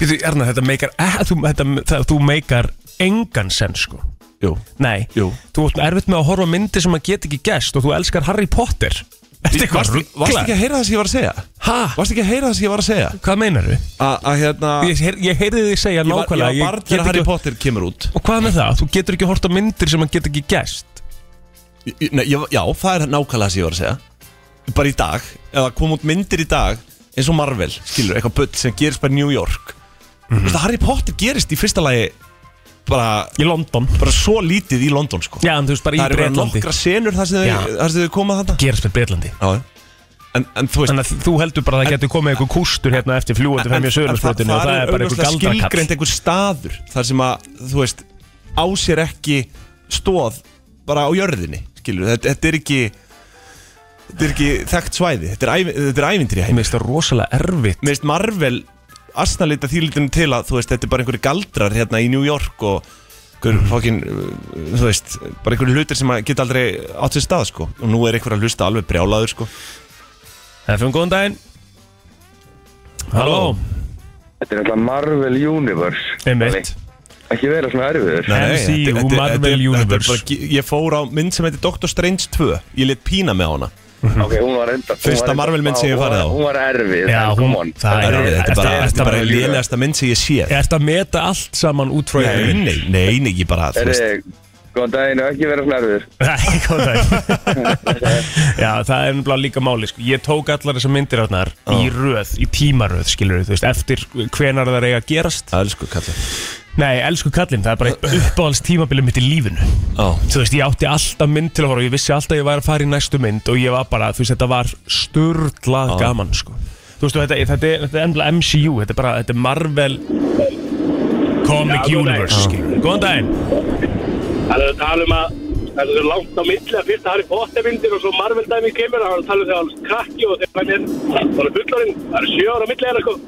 Speaker 1: Býtu, Erna, þetta meikar, eh, þú, þetta, það, þú meikar engan sen sko
Speaker 2: Jú,
Speaker 1: Nei,
Speaker 2: Jú.
Speaker 1: þú ert erfitt með að horfa á myndi sem að geta ekki gæst og þú elskar Harry Potter Ertu eitthvað
Speaker 2: Varstu- Varstu ekki
Speaker 1: rugglar?
Speaker 2: að heyra það sem ég var að segja?
Speaker 1: Ha?
Speaker 2: Varstu ekki að heyra það sem ég var að segja?
Speaker 1: Hvað meinar þú?
Speaker 2: A- Að hérna
Speaker 1: Ég, heyr- ég heyrði þig segja
Speaker 2: Ég var, ég
Speaker 1: nákvæmlega
Speaker 2: var barn þegar
Speaker 1: get
Speaker 2: Harry
Speaker 1: ekki-
Speaker 2: Potter kemur út
Speaker 1: Og hvað með það? Þú getur ekki hort á myndir sem að geta ekki gæst
Speaker 2: Ég- ég- Nei, ég, Já, það er nákvæmlega það sem ég var að segja Bara í dag, eða kom út myndir í dag eins og Marvel, skilur, eitthvað bull sem gerist bara í New York
Speaker 1: Mhm.
Speaker 2: Þú veist að Harry Potter gerist í fyrsta lagi bara
Speaker 1: Í London
Speaker 2: bara svo lítið í London sko
Speaker 1: Já, en þú veist bara í
Speaker 2: Það eru bara
Speaker 1: Breitlandi
Speaker 2: nokkra senur þar sem
Speaker 1: Já.
Speaker 2: þau- þar sem þau koma þarna
Speaker 1: Gerast með Breitlandi
Speaker 2: Já En, en þú veist
Speaker 1: Þannig að þú heldur bara að það getur komið einhver kústur hérna eftir fljúandi fram í söðunarsbrotinu og það er bara einhver
Speaker 2: skilgrend
Speaker 1: galdrakall
Speaker 2: einhver staður þar sem að þú veist á sér ekki stóð bara á jörðinni skilur, þetta, þetta er ekki þetta er ekki þekkt svæði þetta er, ævi- þetta er ævindri heim
Speaker 1: Mér finnst það rosalega erfitt
Speaker 2: Mér finnst Marvel asnalita þýlitinu til að þú veist, þetta er bara einhverju galdrar hérna í New York og
Speaker 1: Mhm.
Speaker 2: einhverju fokkin, uh, þú veist, bara einhverju hlutir sem að geta aldrei átt sér stað, sko og nú er einhver að hlusta alveg brjálaður, sko
Speaker 1: FM, góðan daginn Halló
Speaker 4: Þetta er náttúrulega Marvel Universe
Speaker 1: Einmitt
Speaker 4: Ekki vera svona erfiður
Speaker 1: Nei, MCU,
Speaker 2: þetta- þetta-
Speaker 1: Marvel
Speaker 2: þetta- þetta er
Speaker 1: Universe.
Speaker 2: bara ge- Ég fór á mynd sem heitir Doctor Strange 2 Ég lit pína með hana
Speaker 4: Ok, hún var enda hún
Speaker 2: Fyrsta
Speaker 4: var enda-
Speaker 2: Marvel-mynd sem
Speaker 4: hún
Speaker 2: ég
Speaker 4: var-
Speaker 2: farið á.
Speaker 4: Hún var erfið
Speaker 1: Já,
Speaker 4: en
Speaker 1: hún-
Speaker 4: come on.
Speaker 1: það
Speaker 2: Það er
Speaker 1: erfitt.
Speaker 2: alveg, þetta er
Speaker 1: Ertu-
Speaker 2: bara,
Speaker 1: ertu
Speaker 2: þetta er bara
Speaker 1: bara-
Speaker 2: lélegasta mynd sem ég sé
Speaker 1: Er þetta að meta allt saman út frá
Speaker 2: Nei,
Speaker 1: jörðinni?
Speaker 2: nei, nei, nei, ég bara, Ah, þú veist
Speaker 4: Herri, Góðan daginn, ekki vera svona erfiður
Speaker 1: Nei, góðan daginn Já, það er nefnilega líka máli sko. Ég tók allar þessar myndir átnar í röð, í tímaröð, skilur þú veist, eftir hvenar það eiga að gerast
Speaker 2: Elsku kallar
Speaker 1: Nei, elsku kallinn, það er bara eitt uppáhalds tímabilið mitt í lífinu
Speaker 2: Ó,
Speaker 1: Þú veist, ég átti alltaf mynd til að fara og ég vissi alltaf að ég væri að fara í næstu mynd og ég var bara, þú veist, þetta var sturglað gaman, sko Þú veist, og þetta, þetta, er- þetta er ennlega MCU, þetta er bara, þetta er Marvel Comic Universe, skilur Góðan daginn
Speaker 5: Það er að tala um að það er langt á milli að fyrst Harry Potter myndir og svo Marvel dæmi kemur það er að tala um þegar hann er krakki og þegar hann er bara fullorinn, það eru sjö ára milli þeirra sko.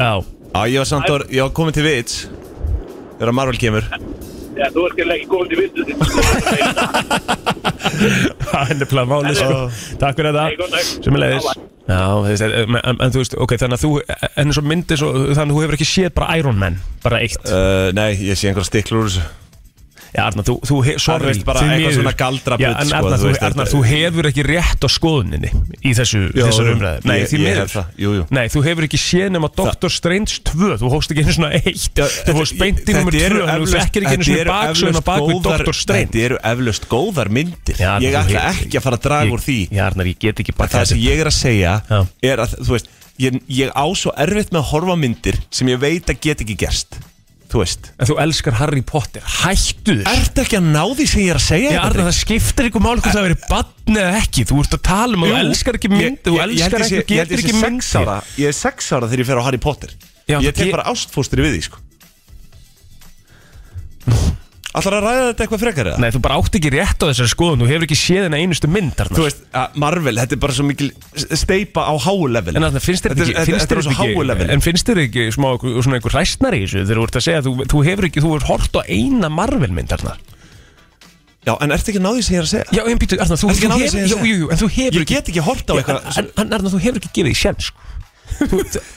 Speaker 1: Já,
Speaker 2: á, ég var samt orð, ég var komin til vits Þegar Marvel kemur
Speaker 5: Já, þú ert gerðilega ekki komin til vittu þetta.
Speaker 1: Það er nefnilega máli sko Takk fyrir
Speaker 5: Nei, góðan
Speaker 1: þetta
Speaker 5: dag.
Speaker 1: sem er leiðis Já, þú veist, en, en, en þú veist, ok, þannig að þú en svo myndi svo, þannig að þú hefur ekki séð bara Iron Man, bara eitt
Speaker 2: Uh, nei, ég sé einhverja stiklur úr þessu
Speaker 1: Já, Arnar, þú, þú he, sorry,
Speaker 2: veist, bara
Speaker 1: því
Speaker 2: eitthvað
Speaker 1: miður.
Speaker 2: svona galdrabull,
Speaker 1: Já, en
Speaker 2: sko,
Speaker 1: Arnar,
Speaker 2: þú
Speaker 1: þú,
Speaker 2: veist,
Speaker 1: Arnar,
Speaker 2: þetta-
Speaker 1: þú hefur ekki rétt á skoðuninni í þessu,
Speaker 2: Jú,
Speaker 1: þessu
Speaker 2: jú,
Speaker 1: umræðu Nei,
Speaker 2: ég-
Speaker 1: því
Speaker 2: ég
Speaker 1: miður.
Speaker 2: hef það, jú, jú.
Speaker 1: Nei, þú hefur ekki séð nema Doctor Strange 2 þú hófst ekki einu svona eitt þú hófst beint í nummer 2 þannig að þú þekkir ekki einu svona baksöðuna bak við Doctor Strange
Speaker 2: Þetta eru eflaust góðar myndir
Speaker 1: Já, Arnar,
Speaker 2: Ég
Speaker 1: þú
Speaker 2: ætla
Speaker 1: hefur-
Speaker 2: ekki að fara að draga
Speaker 1: Ég-
Speaker 2: úr því
Speaker 1: Já, Arnar, ég get ekki
Speaker 2: Það
Speaker 1: bara
Speaker 2: sem ég er að segja
Speaker 1: Já.
Speaker 2: er að, þú veist ég, ég á svo erfitt með að horfa á myndir sem ég veit að get ekki gerst Þú veist
Speaker 1: En þú elskar Harry Potter, hættu þér
Speaker 2: Ertu ekki að ná því sem ég er að segja?
Speaker 1: Já, Arna, það skiptir ykkur mál hvort það verið bann eða ekki Þú ert að tala um að þú elskar ekki mynd Þú elskar ekki, þú getur ekki mynd
Speaker 2: ára, Ég er sex ára þegar ég fer á Harry Potter
Speaker 1: Já,
Speaker 2: Ég
Speaker 1: það
Speaker 2: tek
Speaker 1: ge-
Speaker 2: bara ástfóstri við því sko. Ætlar að ræða þetta eitthvað frekar eða?
Speaker 1: Nei, þú bara átt ekki rétt á þessari skoðun Þú hefur ekki séð hennar einustu mynd
Speaker 2: Þú
Speaker 1: Arna
Speaker 2: veist, að Marvel, þetta er bara svo mikil steipa á háu level
Speaker 1: En Arna, finnst þér þetta
Speaker 2: Þetta
Speaker 1: ekki,
Speaker 2: er-
Speaker 1: finnst
Speaker 2: þetta
Speaker 1: þér
Speaker 2: er á svo
Speaker 1: þetta
Speaker 2: háu
Speaker 1: ekki
Speaker 2: level
Speaker 1: En finnst þér ekki smá einhver- svona einhver hræstnar í þessu Þegar þú ert að segja að þú, þú hefur ekki, þú hefur hort á eina Marvel mynd Arna
Speaker 2: Já, en ertu ekki að ná því sem ég er að segja?
Speaker 1: Já, en býtu, Arna, þú,
Speaker 2: Ertu ekki
Speaker 1: þú
Speaker 2: að ná því
Speaker 1: hefur
Speaker 2: sem ég
Speaker 1: Jú,
Speaker 2: segi?
Speaker 1: jú, jú, en þú hefur
Speaker 2: Ég get ekki hort á
Speaker 1: Já,
Speaker 2: eitthvað
Speaker 1: en- en Arna, þú hefur ekki gefið sko. því sjens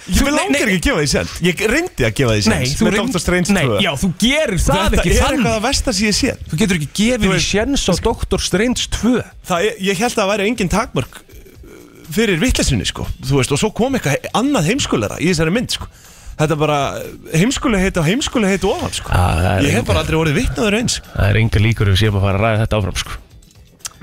Speaker 2: Ég langar ekki að gefa því sent Ég reyndi að gefa því
Speaker 1: Nei,
Speaker 2: sent
Speaker 1: þú
Speaker 2: Með
Speaker 1: reynd-
Speaker 2: Dr. Strange 2
Speaker 1: Nei, já, þú gerir það
Speaker 2: Þetta
Speaker 1: ekki
Speaker 2: er
Speaker 1: þannig.
Speaker 2: eitthvað að versta sem ég sé
Speaker 1: Þú getur ekki gefið því sjens á Dr. Strange 2
Speaker 2: Það, er- ég held að það væri engin takmörk uh, Fyrir vittlesinni, sko Þú veist, og svo kom eitthvað he- annað heimskulera Í þessari mynd, sko Þetta er bara heimskule heiti og heimskule heiti ofan, sko
Speaker 1: Ah, það er
Speaker 2: Ég hef
Speaker 1: engin-
Speaker 2: bara aldrei orðið vittnaður eins
Speaker 1: Það er enga líkur ef við séum að fara að ræða þetta áfram sko.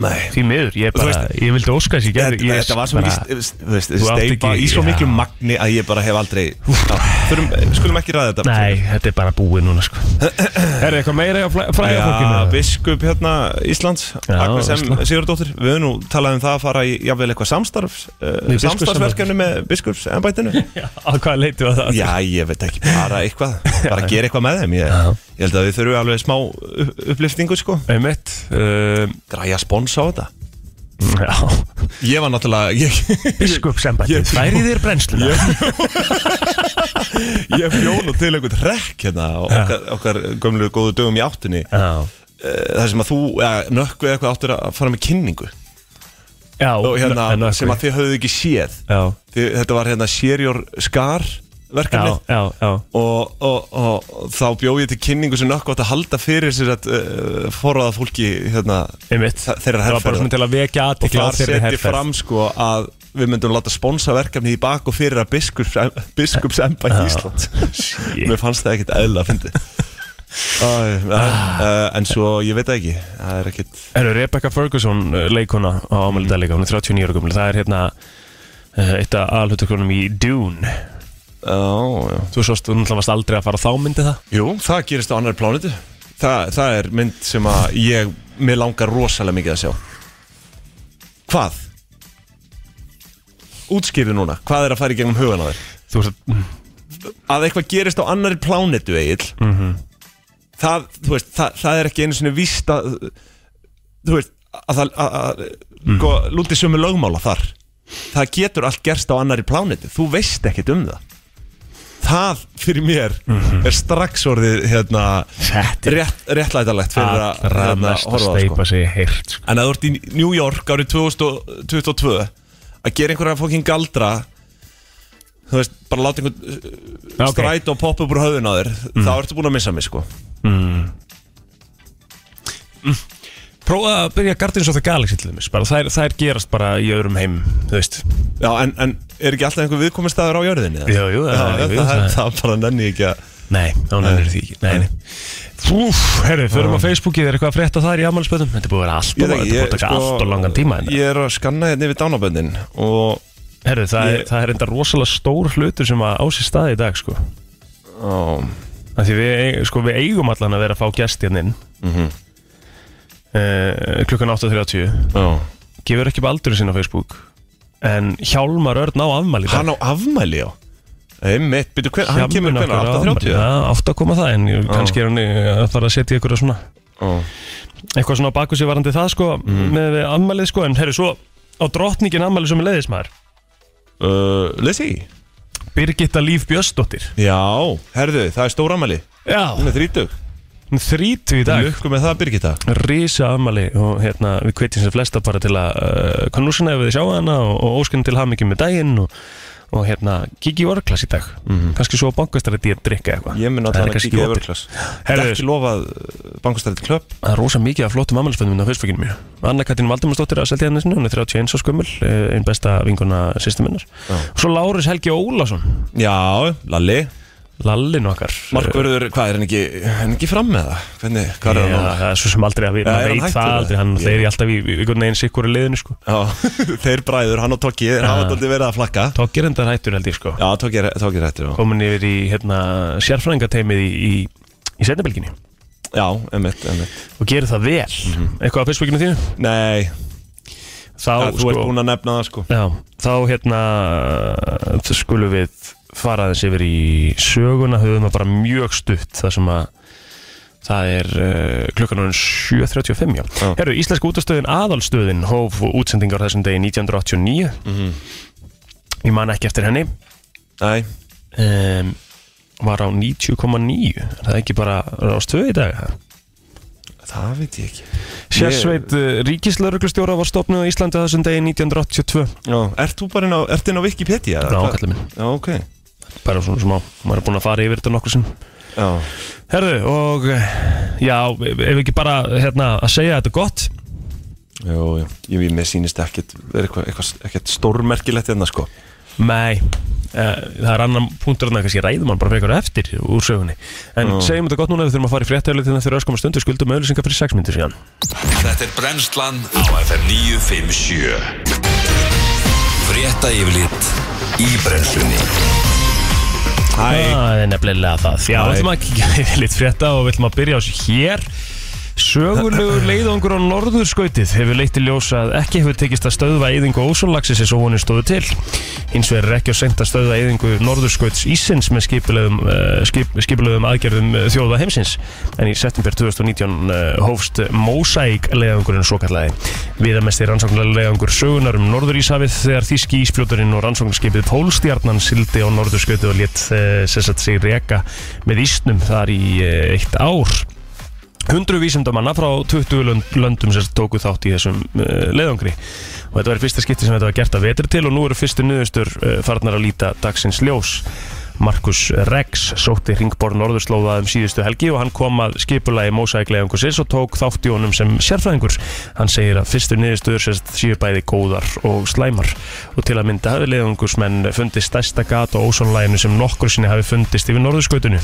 Speaker 2: Nei
Speaker 1: Því miður, ég,
Speaker 2: Þú
Speaker 1: bara,
Speaker 2: veist-
Speaker 1: ég vildi óska þess ég gerði
Speaker 2: Þetta,
Speaker 1: ég
Speaker 2: þetta var svo
Speaker 1: bara-
Speaker 2: mikið st- þú veist,
Speaker 1: Þú átt
Speaker 2: steipa
Speaker 1: ekki-
Speaker 2: í svo
Speaker 1: já.
Speaker 2: miklu magni að ég bara hef aldrei já, þurfum, Skulum ekki ræða þetta
Speaker 1: Nei, þetta er bara búið núna sko. Er það eitthvað meira að fræða fólkinu?
Speaker 2: Já, biskup hérna Íslands
Speaker 1: Já,
Speaker 2: Agnes M.
Speaker 1: Ísland.
Speaker 2: Sigurdóttir Við höfum nú talað um það að fara í jafnvel eitthvað samstarf uh,
Speaker 1: Í
Speaker 2: Samstarfsverkefni með biskups embættinu
Speaker 1: Já, Á hvað leitu að það?
Speaker 2: Já, ég veit ekki, bara eitthvað Bara gera eitthvað með þeim Ég, ég held að við þurfum alveg smá upp- uppliftingu sko
Speaker 1: Einmitt um,
Speaker 2: Græja spons á þetta
Speaker 1: Já,
Speaker 2: Ég var náttúrulega Ég,
Speaker 1: biskupsembættið Færið þér brennsluna
Speaker 2: ég fjónu til einhvern rekk hérna á okkar, okkar gömlu góðu dögum í áttunni
Speaker 1: Já,
Speaker 2: Það sem að þú, ja, nökku eða eitthvað áttur að fara með kynningu
Speaker 1: já
Speaker 2: Og hérna,
Speaker 1: en- en-
Speaker 2: sem að þið höfðu ekki séð
Speaker 1: Já,
Speaker 2: þið, Þetta var hérna Sérjór Skar
Speaker 1: já,
Speaker 2: verkefnið
Speaker 1: já, já
Speaker 2: og, og, og, þá bjóð ég til kynningu sem nökku átt að halda fyrir sér að uh, forraða fólki hérna,
Speaker 1: Einmitt
Speaker 2: þa- þeirra
Speaker 1: Það var bara
Speaker 2: herrferðar.
Speaker 1: svona til að vekja
Speaker 2: og
Speaker 1: aðtikla á
Speaker 2: þar
Speaker 1: þeirri
Speaker 2: seti
Speaker 1: herrferð
Speaker 2: fram sko að við myndum láta sponsa verkefni í bak og fyrir að biskups, biskups emba í Ísland mér fannst það ekkit eðla að fyndi eh, en svo ég veit það ekki það er ekkit
Speaker 1: Herru, Rebecca Ferguson, uh, leikona á ámæli dag
Speaker 2: Mm.
Speaker 1: líka, hún er 39 ára gömul, það er hérna uh, eitt af aðalhutuklunum í Dune.
Speaker 2: ó, já.
Speaker 1: Þú sást, þú náttúrulega varst aldrei að fara á þá myndi það.
Speaker 2: jú, það gerist á annar plánutu Þa, það er mynd sem að ég mér langar rosalega mikið að sjá hvað? útskýrðu núna, hvað er að fara í gegnum hugan á þér?
Speaker 1: Þú veist, mm,
Speaker 2: að eitthvað gerist á annari
Speaker 1: Mhm.
Speaker 2: plánetu Egil það, þú veist, það, það er ekki einu svona víst að þú veist að það að- að-
Speaker 1: Mm.
Speaker 2: sko, lúti sömu lögmála þar það getur allt gerst á annari plánetu þú veist ekkert um það það fyrir mér
Speaker 1: Mhm.
Speaker 2: er strax orðið hérna,
Speaker 1: Þetta er
Speaker 2: rétt, réttlætalegt fyrir að
Speaker 1: allra
Speaker 2: hérna,
Speaker 1: mest að
Speaker 2: horfa á sko.
Speaker 1: steipa sig heilt
Speaker 2: En að þú ert í New York árið 2022 að gera einhverja fokkin galdra þú veist, bara láta einhvern okay. stræt og poppa upp úr höfðun á þér
Speaker 1: Mm.
Speaker 2: þá ertu búin að missa mig sko
Speaker 1: Prófa að byrja Guardians of the Galaxy til þeimis bara, þær, þær gerast bara í öðrum heim Þú veist
Speaker 2: Já, en, en er ekki alltaf einhver viðkominn staður á jörðinni? eða?
Speaker 1: Jú, jú,
Speaker 2: Já,
Speaker 1: það-
Speaker 2: það,
Speaker 1: jú,
Speaker 2: það,
Speaker 1: það-
Speaker 2: það bara nenni ég ekki að
Speaker 1: Nei, þá nefnir því ekki Nei, nei Úf, herru, förum á Facebookið, er eitthvað að frétta þar í afmælisböðum? Þetta er búið að vera allt
Speaker 2: Ég
Speaker 1: og
Speaker 2: veit
Speaker 1: þetta
Speaker 2: ekki, ég-
Speaker 1: er búið að taka
Speaker 2: sko,
Speaker 1: allt og langan tíma hérna.
Speaker 2: Ég er að skanna hérna yfir dánaböndin og
Speaker 1: Herru, það,
Speaker 2: ég-
Speaker 1: er, það er enda rosalega stór hlutur sem að á sér staði í dag, sko
Speaker 2: ó,
Speaker 1: Af Því við, eig- sko, við eigum allan að vera að fá gest hérna inn uh, klukkan 8.30
Speaker 2: ó.
Speaker 1: Gefur ekki upp aldurinn sinna á Facebook En Hjálmar Örn á afmæli í dag.
Speaker 2: Hann á afmæli já Einmitt, byrju, hver, hann
Speaker 1: Hjálmur
Speaker 2: kemur hvernig?
Speaker 1: okkar á afmæli.
Speaker 2: 8.30?
Speaker 1: Já, 8 koma það, en ég- kannski er hann í- að fara að setja ykkur svona
Speaker 2: Ó.
Speaker 1: eitthvað svona á baku sér varandi það sko
Speaker 2: Mm.
Speaker 1: með afmælið sko, en herru, svo á drottningin afmælið sem er leiðismæður
Speaker 2: Uh, Lesi?
Speaker 1: Birgitta Líf Björnsdóttir
Speaker 2: Já, herðu, það er stór afmæli
Speaker 1: Já,
Speaker 2: Hún er þrítug
Speaker 1: hún er þrítu í dag
Speaker 2: Lukku með það Birgitta
Speaker 1: Rísa afmæli og hérna við kveitjum sem flesta bara til að uh, kannúsina ef við sjá hana og, og óskinn til hamingjum með daginn og, og hérna kikið í orklass í dag kannski svo bankastar að ég drikka eitthvað
Speaker 2: Mhm. Ég mun
Speaker 1: Það er
Speaker 2: alltaf að
Speaker 1: kannski
Speaker 2: kíkja
Speaker 1: opið.
Speaker 2: yfirklass Það er
Speaker 1: Herðu,
Speaker 2: ekki lofað uh, bankastæðið klöpp
Speaker 1: það er rosa mikið af flottum afmælisföndum minn á Facebookinu mínu. Anna Katrín Valdimarsdóttir að selja henni sinni, hún er 31 á skömmul, einn eh, besta vinguna sýstum minnar. Og svo Lárus Helgi Ólásson,
Speaker 2: Já, Lalli
Speaker 1: lallin okkar.
Speaker 2: Markverður, hvað er hann ekki, hann ekki fram með það? Hvernig, hvað er
Speaker 1: Já,
Speaker 2: hann núna?
Speaker 1: það er svo sem aldrei að við,
Speaker 2: Já, er
Speaker 1: maður
Speaker 2: hann
Speaker 1: veit
Speaker 2: hættur
Speaker 1: það
Speaker 2: eða?
Speaker 1: aldrei, hann
Speaker 2: Ég-
Speaker 1: þeir í alltaf í í einhvern veginn sikkur í liðinu sko.
Speaker 2: Já, þeir bræður, hann og Tóki, þeir hafa alltaf verið að flakka
Speaker 1: Tókir endar hættur held Ah. ég sko,
Speaker 2: Já, Tóki er, Tóki er hættur já.
Speaker 1: komin yfir í hérna, sérfræðingateimið í, í, í setnabelginni
Speaker 2: Já, emitt, emitt
Speaker 1: og gerir það vel. Eitthvað á Facebookinu þínu?
Speaker 2: Nei,
Speaker 1: Þá,
Speaker 2: það, þú ert búin að nefna það sko
Speaker 1: Já, þá hérna þá skulum við fara aðeins yfir í söguna höfum það bara mjög stutt það sem að það er uh, klukkan orðin 7.35 já.
Speaker 2: Já.
Speaker 1: Herru, Íslenska útastöðin aðalstöðin hóf útsendingar þessum degi 1989 ég man ekki eftir henni
Speaker 2: Nei,
Speaker 1: um, var á 90,9 er það ekki bara rástöð í dag það?
Speaker 2: það veit ég ekki
Speaker 1: Sérsveit uh, ríkislauruglustjóra var stopnuð á Íslandi á þessum degi 1982
Speaker 2: Já, ert þú bara inn á, ert inn á Wikipedia? eða
Speaker 1: Já,
Speaker 2: hvað?
Speaker 1: kallið minn.
Speaker 2: Já, ok
Speaker 1: bara svona smá, maður er búin að fara yfir þetta nokkur sem
Speaker 2: Já,
Speaker 1: Herðu, og eh, já, ef ekki bara hérna, að segja þetta gott
Speaker 2: já, já Ég, ég mér sýnist ekkert, er eitthvað, eitthvað, ekkert stórmerkilegt hérna sko
Speaker 1: Nei, uh, það er annan punktur en það kannski ræðum hann bara frekar á eftir úr sögunni En segjum þetta gott núna við þurfum að fara í fréttæli þegar þeir öskama stundu skuldum auðlýsingar fyrir 6 myndir síðan
Speaker 6: Þetta er brennslan á FM 957 Frétta yfirlit í brennslunni
Speaker 2: Æ,
Speaker 1: Það er nefnilega það Já, við ætlum að kíkja lit frétta og við ætlum að byrja á þessu hér Sögulegur leiðangur á norðurskautið hefur leitt í ljós að ekki hefur tekist að stöðva eyðingu ósólaxis eins og honum stóðu til. Hins vegar er ekki á seint að stöðva eyðingu norðurskauts ísins með skipulegum, uh, skip, skipulegum aðgerðum eh, þjóða heimsins. En í september 2019 uh, hófst Mosaic leiðangurinn svo kallaði. Viðamesti rannsóknlega leiðangur sögunar um norðuríshafið þegar þíski íspjóturinn og rannsóknarskipið Pólstjarnan sildi á norðurskautið og létt uh, sig reka með ísnum þar í uh, eitt ár. Hundru vísindamanna frá 20 lönd- löndum sem tóku þátt í þessum uh, leiðangri og þetta var í fyrsta skipti sem þetta var gert að vetri til og nú eru fyrstu niðurstur uh, farnar að líta dagsins ljós. Markus Rex sótti ringbor norðurslóða um síðustu helgi og hann kom að skipulagi mósækleiðangursins og tók þátt í honum sem sérfræðingur. Hann segir að fyrstu niðurstöður sérst séu bæði góðar og slæmar og til að mynda hafi leiðangursmenn fundist stærsta gat á ósónlæginu sem nokkur sinni hafi fundist yfir norðurskautinu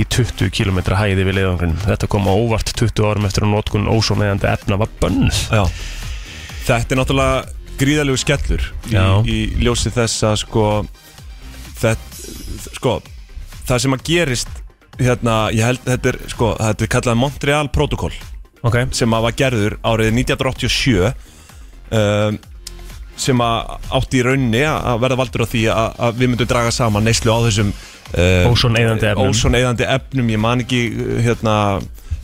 Speaker 1: í 20 km hæði við leiðangrinum. Þetta kom á óvart 20 árum eftir að notkun ósónleigandi efna var bönnuð.
Speaker 2: Já. Þetta er náttúrulega gríðalegu skellur í,
Speaker 1: Já.
Speaker 2: í ljósi þess að sko, þetta, sko það sem að gerist hérna, ég held þetta er sko, þetta er kallað Montreal Protocol
Speaker 1: Okay.
Speaker 2: sem að var gerður árið 1987 um, sem að átti í raunni að verða valdur á því að, að við myndum draga saman neyslu á þessum um,
Speaker 1: Ósoneyðandi efnum.
Speaker 2: ósoneyðandi efnum, ég man ekki hérna,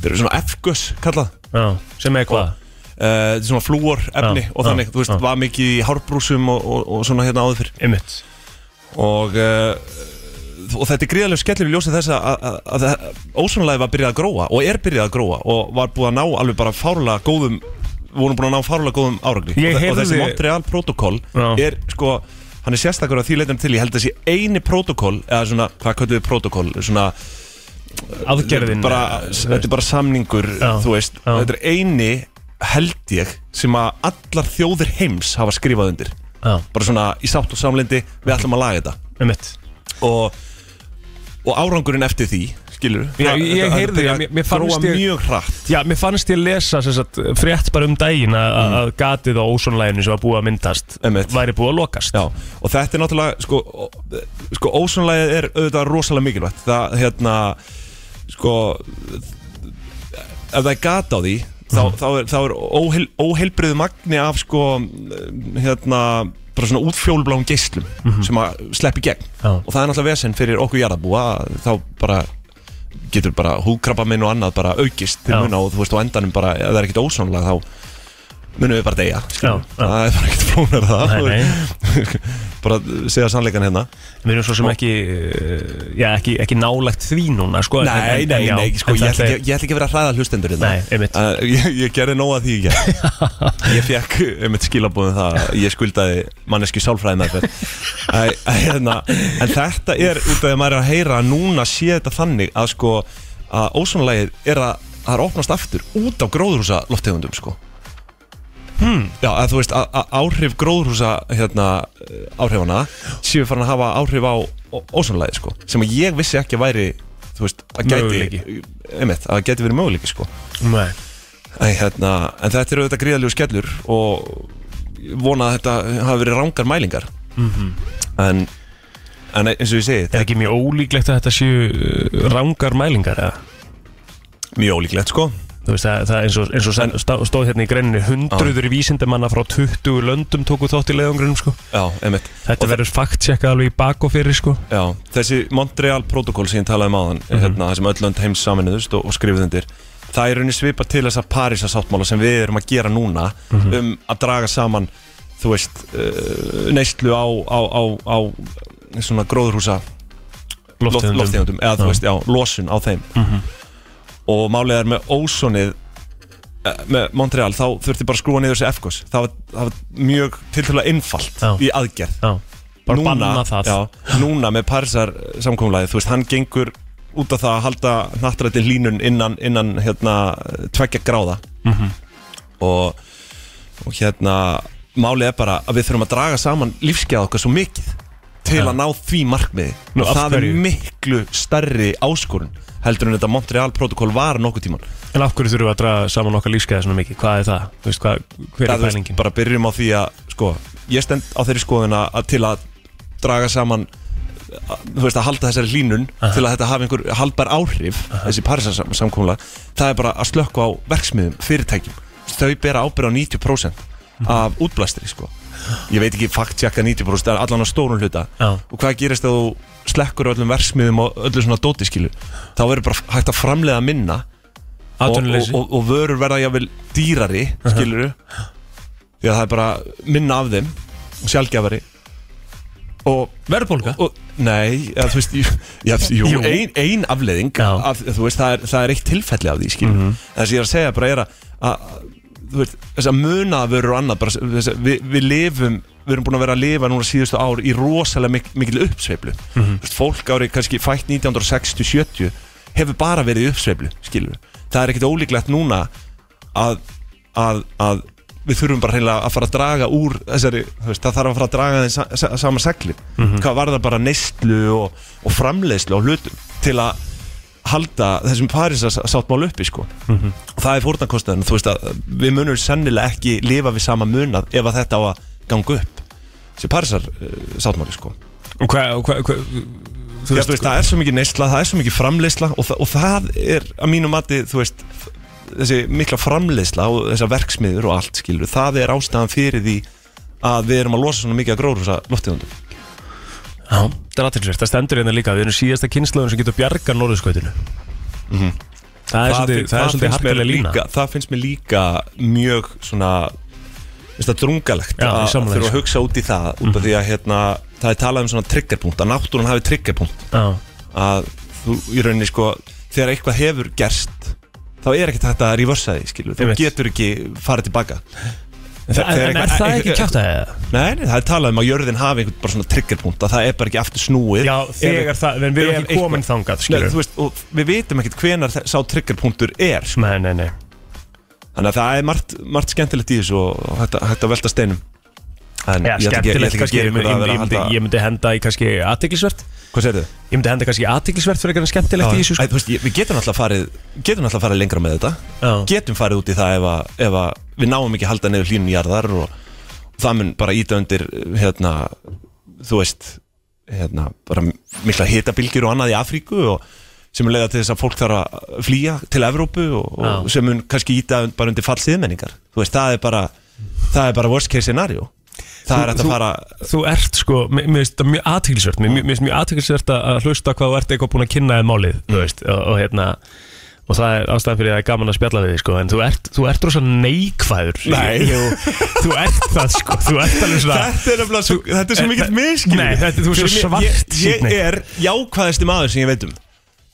Speaker 2: þeir eru svona F-gus kallað
Speaker 1: Já, sem er hvað?
Speaker 2: uh, svona flúor efni
Speaker 1: Já,
Speaker 2: og þannig,
Speaker 1: já,
Speaker 2: þú veist,
Speaker 1: já.
Speaker 2: var mikið í hárbrúsum og, og, og svona hérna áður fyrr
Speaker 1: Einmitt
Speaker 2: og, uh, og þetta er gríðarlega skellur í ljósi þess að, að, að, að ósvonlega var byrjað að gróa og er byrjað að gróa og var búið að ná alveg bara fárlega góðum vorum búin að ná fárlega góðum áragni og,
Speaker 1: Ég
Speaker 2: þe- og
Speaker 1: heyrði-
Speaker 2: þessi Montreal protokoll
Speaker 1: Já.
Speaker 2: er sko hann er sérstakur að því leitum til ég held að sé eini protokoll eða svona, hvað kölluðu protokoll svona,
Speaker 1: Aðgerðin
Speaker 2: bara, þetta er bara samningur
Speaker 1: Já.
Speaker 2: þú veist,
Speaker 1: Já.
Speaker 2: þetta er eini held ég sem að allar þjóðir heims hafa skrifað undir
Speaker 1: Já,
Speaker 2: bara svona í sátt og samlindi við ætlum að laga þetta
Speaker 1: einmitt
Speaker 2: og, og árangurinn eftir því skilur
Speaker 1: Já, ég heyrði, mér- mér fannst ég-
Speaker 2: mjög hratt
Speaker 1: Já, mér fannst ég lesa sem sagt, frétt bara um daginn að- að að gatið á ósónlæginu sem var búið að myndast
Speaker 2: Mm. Einmitt.
Speaker 1: væri búið að lokast
Speaker 2: Já, og þetta er náttúrulega sko, ó- sko ósónlega er auðvitað rosalega mikilvægt það hérna sko ef það er gata á því þá,
Speaker 1: Mhm.
Speaker 2: þá er, þá er óheil, óheilbriðu magni af sko hérna bara svona útfjólbláum geislum
Speaker 1: Mhm.
Speaker 2: sem að sleppi gegn
Speaker 1: Já.
Speaker 2: og það er náttúrulega vesend fyrir okkur jarðabúa að þá bara getur bara húkrabba minn og annað bara aukist til
Speaker 1: Já.
Speaker 2: muna og þú veist á endanum bara ef það er ekkit ósónlega þá munum við bara deyja skilur.
Speaker 1: Já, já.
Speaker 2: það er bara ekkit flónar það
Speaker 1: Nei, nei.
Speaker 2: bara segja sannleikan hérna
Speaker 1: Við erum svo sem ekki, eh, já, ekki, ekki nálægt því núna sko, en- en-
Speaker 2: Nei,
Speaker 1: en-
Speaker 2: nei,
Speaker 1: já,
Speaker 2: nei, sko,
Speaker 1: en
Speaker 2: ég
Speaker 1: þetta
Speaker 2: ætla
Speaker 1: er-
Speaker 2: ekki, ég ætla ekki að vera að hræða hlustendur hérna
Speaker 1: Nei, einmitt.
Speaker 2: Uh, ég, ég gerði nóg að því ekki Ég fekk einmitt skilabúðum það að Ég skuldaði manneski sálfræði með þetta hérna, En þetta er út af því að maður er að heyra að Núna sé þetta þannig að sko Að ósónlegið er að Það er að opnast aftur út af gróðurhúsa lofttegundum sko Hmm. Já, að þú veist, að, að áhrif gróðrúsa hérna, eh, áhrifana séu farin að hafa áhrif á ósónlega, sko, sem að ég vissi ekki að væri þú veist, að gæti
Speaker 1: Möguleiki.
Speaker 2: einmitt, að gæti verið möguleiki, sko
Speaker 1: Nei.
Speaker 2: Æ, hérna, en þetta eru auðvitað gríðalegu skellur og ég vona að þetta hafi verið rangar mælingar
Speaker 1: Mhm.
Speaker 2: en, en eins og ég segi, þetta
Speaker 1: Mm. Er ekki mjög ólíklegt að þetta séu eh, rangar mælingar eða?
Speaker 2: er mjög ólíklegt, sko
Speaker 1: Þú veist, það, það eins og, eins og en, stá, stóð hérna í greinni hundruður vísindamanna frá 20 löndum tóku þátt í leiðangrunum sko.
Speaker 2: Já, einmitt
Speaker 1: Þetta verður faktsekka alveg í bak og fyrir sko.
Speaker 2: Já, þessi Montreal Protocol sem ég talaði um áðan,
Speaker 1: Mhm.
Speaker 2: hérna, það sem öll lönd heims saminuðust og, og skrifuð undir það er rauninni svipa til þessa Parísa sáttmála sem við erum að gera núna
Speaker 1: Mhm.
Speaker 2: um að draga saman þú veist, uh, neyslu á, á, á, á svona gróðurhúsa
Speaker 1: Lofttegundum.
Speaker 2: lofttegundum eða þú
Speaker 1: Já. Mhm.
Speaker 2: veist, já, losun á þeim og málið er með ósonið eh, með Montreal þá þurfti bara að skrúa niður þessi FGOS það var, það var mjög tiltölulega einfalt
Speaker 1: Já.
Speaker 2: í aðgerð
Speaker 1: Já. Bara banna það
Speaker 2: já, núna með Parísar samkómulagið, þú veist, hann gengur út af það að halda nattrætti línun innan, innan hérna, tvekja gráða
Speaker 1: Mhm.
Speaker 2: og, og hérna málið er bara að við þurfum að draga saman lífskeið okkar svo mikið til að ná því markmiði
Speaker 1: Nú,
Speaker 2: og
Speaker 1: af
Speaker 2: það er
Speaker 1: hverju?
Speaker 2: miklu stærri áskorun heldur en þetta Montreal protokoll var nokkuð tíman
Speaker 1: En af hverju þurfum við að draga saman okkar lífskeiða svona mikið? Hvað er það? Þú veist, hvað, hver er pælingin?
Speaker 2: bara byrjum á því að sko, ég stend á þeirri skoðuna að, til að draga saman að, þú veist að halda þessari hlínun til að þetta hafi einhver haldbar áhrif þessi parisarsamkóla það er bara að slökka á verksmiðum, fyrirtækjum þau bera ábyrð á 90%
Speaker 1: Mhm.
Speaker 2: af útblæstri sko ég veit ekki fakt jakka 90% það er allan á stórun hluta
Speaker 1: Já.
Speaker 2: og hvað gerist að þú slekkur á öllum verksmiðum og öllu svona dótiskilu þá verður bara hægt að framleiða minna og,
Speaker 1: Atvinnuleysi?
Speaker 2: og, og, og vörur verða jáfnvel dýrari skiluru því að það er bara minna af þeim og sjálfgjafari og,
Speaker 1: Verðbólga?
Speaker 2: og nei, ja, þú veist jú, já, jú,
Speaker 1: Jú.
Speaker 2: Ein, ein afleðing
Speaker 1: Já. Mhm.
Speaker 2: af, þú veist, það, er, það er eitt tilfelli af því skilur mm þess að ég er að segja bara er að, að þú veist, þess að munavörur og annað bara, þess að við, við lifum við erum búin að vera að lifa núna síðustu ár í rosalega mik mikil uppsveiflu þú veist, fólk árið kannski fætt 1960-70 hefur bara verið í uppsveiflu skilur, það er ekkit ólíklegt núna að, að, að við þurfum bara hreinlega að fara að draga úr þessari, þú veist, það þarf að fara að draga þeim sa sa saman segli, hvað var það bara neyslu og, og framleiðslu og hlutum til að halda þessum parinsasáttmál uppi sko. og það er fórnankostnaðin þú veist að við munum sennilega ekki lifa við sama munað ef að þetta á að ganga upp þessi parinsasáttmáli sko.
Speaker 1: Og hvað, og hvað, hvað Þú
Speaker 2: Já, þú veist, það er svo mikið neysla, það er svo mikið framleiðsla og, það- og það er að mínu mati þú veist, þessi mikla framleiðsla og þessar verksmiður og allt skilur það er ástæðan fyrir því að við erum að losa svona mikið að gróðrúsa loftegundum
Speaker 1: Já, það er aðtilsvært, það stendur hérna líka Við erum síðasta kynslaðun sem getur bjarga norðurskautinu Það er svolítið,
Speaker 2: Mhm. fin-
Speaker 1: það er
Speaker 2: finnst
Speaker 1: svolítið
Speaker 2: mér
Speaker 1: harkalega lína
Speaker 2: líka, Það finnst mér líka mjög svona Veist það drungalegt
Speaker 1: Já,
Speaker 2: að
Speaker 1: ég sammála Mhm.
Speaker 2: þurfa
Speaker 1: þér,
Speaker 2: að hugsa út í það út af því að hérna, það er talað um svona triggerpunkt að náttúrun hafi triggerpunkt
Speaker 1: Já,
Speaker 2: að þú í rauninni sko þegar eitthvað hefur gerst þá er ekkert hægt að reversa því skilur þú
Speaker 1: Einmitt.
Speaker 2: getur ekki farið tilbaka
Speaker 1: En en er það ekki kjátt að
Speaker 2: Nei, nei, það er talað um að jörðin hafi einhvern bara svona triggerpunkt að það er bara ekki aftur snúið
Speaker 1: Já,
Speaker 2: Ef-
Speaker 1: þegar það, en við erum
Speaker 2: ef
Speaker 1: ekki komin
Speaker 2: eitthvað-
Speaker 1: þangað,
Speaker 2: Nei,
Speaker 1: skilur
Speaker 2: þú veist, og við vitum ekkert hvenar þe- sá triggerpunktur er sko.
Speaker 1: Nei, nei, nei
Speaker 2: Þannig að það er margt, margt skemmtilegt í þessu og og hægt, að- hægt að velta steinum en ég
Speaker 1: Já,
Speaker 2: ætla ekki- ég ætla
Speaker 1: skemmtilegt
Speaker 2: ekki að
Speaker 1: kannski,
Speaker 2: gera
Speaker 1: ég myndi,
Speaker 2: ykkur
Speaker 1: ég
Speaker 2: að vera að
Speaker 1: myndi,
Speaker 2: halda
Speaker 1: ég myndi henda í kannski aðtiklisvert
Speaker 2: Hvað segir þau?
Speaker 1: Ég myndi henda kannski aðtiklisvert fyrir eitthvað skemmtilegt í þessu sko.
Speaker 2: Við getum alltaf farið, getum alltaf farið lengra með þetta
Speaker 1: Já.
Speaker 2: Getum farið út í það ef, að, ef að við náum ekki að halda neyður hlínum jarðar og, og það mun bara íta undir hérna, þú veist hérna, bara mikla hitabilgjur og annað í Afríku og sem mun leiða til þess að fólk þarf að flýja til Evrópu og, og
Speaker 1: Já.
Speaker 2: sem mun kannski íta und- bara undir fall siðmenningar þú veist, það er bara, það er bara worst case scenario það er hægt að
Speaker 1: þú-
Speaker 2: fara
Speaker 1: Þú ert sko, mér mér finnst það mjög aðtiklisvert Mér mér finnst mjög aðtiklisvert að hlusta hvað þú ert eitthvað búin að kynna eða málið
Speaker 2: Mm.
Speaker 1: Þú veist, og, og hérna Og það er ástæðan fyrir að það er gaman að spjalla við því sko En þú ert, þú ert rosa neikvæður
Speaker 2: Nei.
Speaker 1: Jú, Þú ert það sko, þú ert alveg svona
Speaker 2: Þetta er nefnilega svo, þetta er svo
Speaker 1: Þetta-
Speaker 2: mikill miskil
Speaker 1: Eh, Nei, þetta- þú ert svo
Speaker 2: Ég,
Speaker 1: svartsýnn.
Speaker 2: ég er jákvæðasti maður sem ég veit um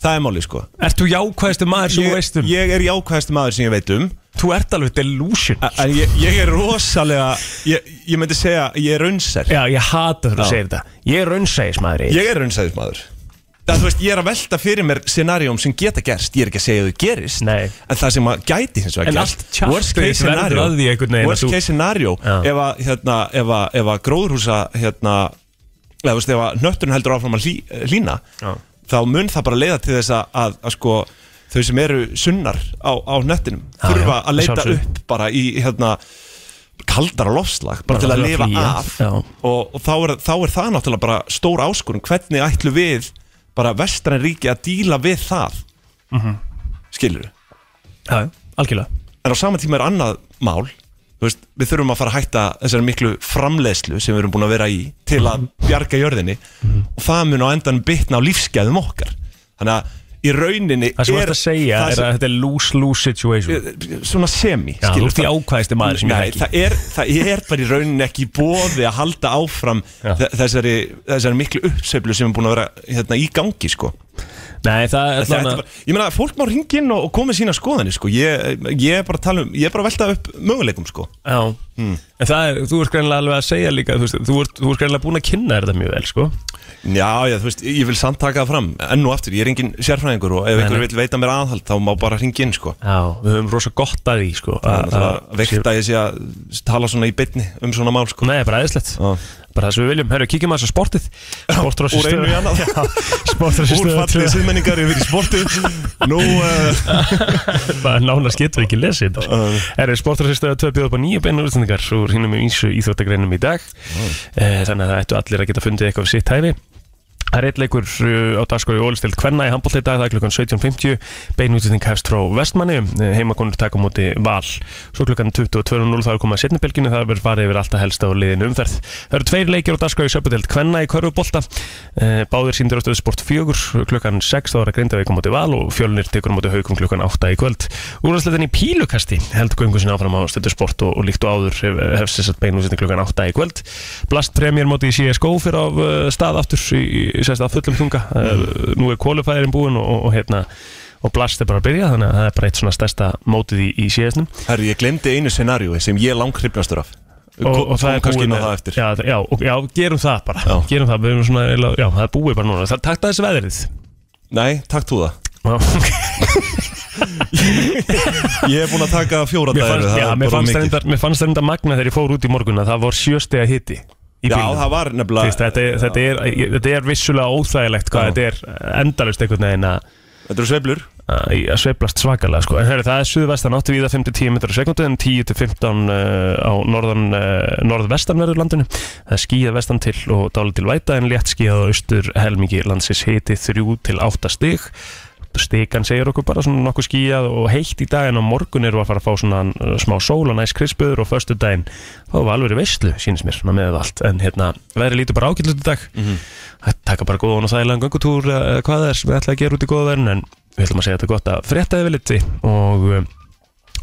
Speaker 2: Það er málið sko
Speaker 1: Ert þú jákvæðasti maður sem þú veist um?
Speaker 2: ég er jákvæðasti maður sem ég veit um
Speaker 1: Þú ert alveg delusion
Speaker 2: En ég, ég er rosalega ég, ég myndi segja, ég er raunsær
Speaker 1: Já, ég hata þegar
Speaker 2: Já.
Speaker 1: þú segir þetta Ég er raunsæðis maður
Speaker 2: Ég er raunsæðis maður Það, þú veist, ég er að velta fyrir mér scenarium sem geta gerst Ég er ekki að segja að þau gerist
Speaker 1: Nei.
Speaker 2: En það sem að gæti hins vegar
Speaker 1: En
Speaker 2: gerst
Speaker 1: allt tjattið
Speaker 2: Worst case
Speaker 1: verður
Speaker 2: scenario
Speaker 1: að því einhvern veginn að
Speaker 2: Worst
Speaker 1: þú-
Speaker 2: case scenario
Speaker 1: Já.
Speaker 2: Ef að, hérna, ef að, ef að gróðurhúsa hérna, eða, þú veist, ef að nötturinn heldur áfram að hlí, lína
Speaker 1: Já.
Speaker 2: Þá mun það bara leiða til þess að, að, að sko, Þau sem eru sunnar á, á nöttinum
Speaker 1: Já,
Speaker 2: Þurfa
Speaker 1: já,
Speaker 2: að leita
Speaker 1: sjálfsögðu.
Speaker 2: upp bara í hérna, kaldara lofslag bara
Speaker 1: Bara
Speaker 2: til að
Speaker 1: til að
Speaker 2: lifa
Speaker 1: flýja,
Speaker 2: af
Speaker 1: já.
Speaker 2: og, og þá, er, þá er það náttúrulega bara stór áskorun hvernig ætlu við bara vestræn ríki að díla við það mm
Speaker 1: Mhm.
Speaker 2: skilur
Speaker 1: Já, algjörlega
Speaker 2: en á sama tíma er annað mál þú veist, við þurfum að fara að hætta þessari miklu framleiðslu sem við erum búin að vera í til
Speaker 1: Mhm.
Speaker 2: að bjarga jörðinni og það mun á endan bitna á lífsgæðum okkar þannig að í rauninni
Speaker 1: Það sem þú ert að segja
Speaker 2: það
Speaker 1: er
Speaker 2: sem- Eh,
Speaker 1: að þetta er lose-lose situation
Speaker 2: svona semi
Speaker 1: Já,
Speaker 2: skilur.
Speaker 1: þú ert í ákvæðasti maður sem ég
Speaker 2: Nei,
Speaker 1: þekki.
Speaker 2: það er, það er bara í rauninni ekki bóði að halda áfram
Speaker 1: Já.
Speaker 2: þe- þessari, þessari miklu uppseflu sem er búin að vera hérna, í gangi sko.
Speaker 1: Nei, það er
Speaker 2: Þetta er
Speaker 1: þannig
Speaker 2: bara, ég meina, fólk má ringa inn og, og koma með sína skoðanir sko. ég, ég er bara að tala um, ég er bara að velta upp möguleikum sko.
Speaker 1: Já, en það er, þú ert greinlega alveg að segja líka Þú, veist, þú ert, þú ert greinlega búin að kynna þér þetta mjög vel, sko
Speaker 2: Já, já, þú veist, ég vil samt taka það fram enn og aftur, ég er engin sérfræðingur og ef
Speaker 1: Nei,
Speaker 2: einhver
Speaker 1: nei.
Speaker 2: vil veita mér aðhald þá má bara ringa inn sko.
Speaker 1: Já, við höfum rosa gott að því, sko
Speaker 2: Það er náttúrulega
Speaker 1: að-
Speaker 2: veikt að ég sé að tala svona í bytni um svona mál sko.
Speaker 1: Nei, bara eðislegt
Speaker 2: Já.
Speaker 1: Bara það sem við viljum, herru, kíkjum að þess að sportið Sportrási
Speaker 2: úr einu í annað.
Speaker 1: Sportrási
Speaker 2: Úr fallið
Speaker 1: stöðu
Speaker 2: síðmenningar yfir í sportið Nú, uh,
Speaker 1: Nána skiptum við ekki lesið Herru, sportrási stöðu tvö bjóða upp á nýju beinu útsendingar Svo hínum við íssu íþróttagreinum í dag Eh, Þannig að það ættu allir að geta fundið eitthvað við sitt hæfi Það er eitt leikur uh, á dagskóri Ólistild Kvenna í handbólti dag, það er klukkan 17.50 beinututning hefst frá Vestmanni eh, heimakonur taka á móti val svo klukkan 22.00 það er komað setnibelginu það verður farið yfir alltaf helsta og liðin umferð Það eru tveir leikir á dagskóri Söpudeld Kvenna í körfubólta Eh, báðir síndir á stöðu sport 4 klukkan 6 þá er að grinda veikum móti val og fjölnir tekur á móti haukum klukkan 8 í kvöld Úrvarsleitin í pílukasti heldur göngu sinna áfram á stöðu sport og, og líkt og áður hef- hefst þess að beinu sinni klukkan 8 í kvöld Blast Premier móti í CSGO fyrir á uh, stað aftur í, í sérst að fullum þunga uh, nú er kvalifæðirinn búin og, og, og hérna og Blast er bara að byrja þannig að það er bara eitt svona stærsta mótið í, í CS-num
Speaker 2: herru, ég glemdi einu scenaríu sem ég er langkrypnastur af
Speaker 1: og, og það er
Speaker 2: kannski
Speaker 1: búið
Speaker 2: inn á
Speaker 1: með-
Speaker 2: það eftir
Speaker 1: já, það- já, og, já, gerum það bara
Speaker 2: Já.
Speaker 1: gerum það, við erum svona, eiginlega- já, það er búið bara núna það takta þessi veðrið
Speaker 2: Nei, takk þú það
Speaker 1: Já, ok.
Speaker 2: Ég er búin að taka fjóra
Speaker 1: Mér
Speaker 2: dagir
Speaker 1: fannst, já, mér fannst, reyndar, mér fannst reyndar magna þegar ég fór út í morgun að það var sjöstega hitti í
Speaker 2: Já,
Speaker 1: bílnum.
Speaker 2: það var
Speaker 1: Þú veist,
Speaker 2: nefnilega
Speaker 1: þetta, er- þetta, er, ég- þetta er vissulega óþægilegt hvað
Speaker 2: Já.
Speaker 1: þetta er endalust einhvern veginn að
Speaker 2: Þetta eru sveiflur
Speaker 1: að að sveiflast svakalega sko. en herri, það er suðvestan átti víða 5-10 metrar á sekundu en 10-15 uh, á norðan, uh, norðvestanverður landinu það er skíða vestan til og dálit til væta en létt skíða á austur helmingi landsins hiti 3-8 stig stikan segir okkur bara svona nokkuð skíjað og heitt í dag en á morgun erum við að fara að fá svona uh, smá sól og næst krispöður og förstu daginn þá var alveg veistlu sínist mér svona með allt en hérna veðri lítur bara
Speaker 2: Mhm.
Speaker 1: ágætlut í dag það taka bara góðan og þægilegan göngutúr eða eða hvað það er sem við ætlaði að gera út í góða verðin en við ætlum að segja þetta gott að frétta yfir liti og um,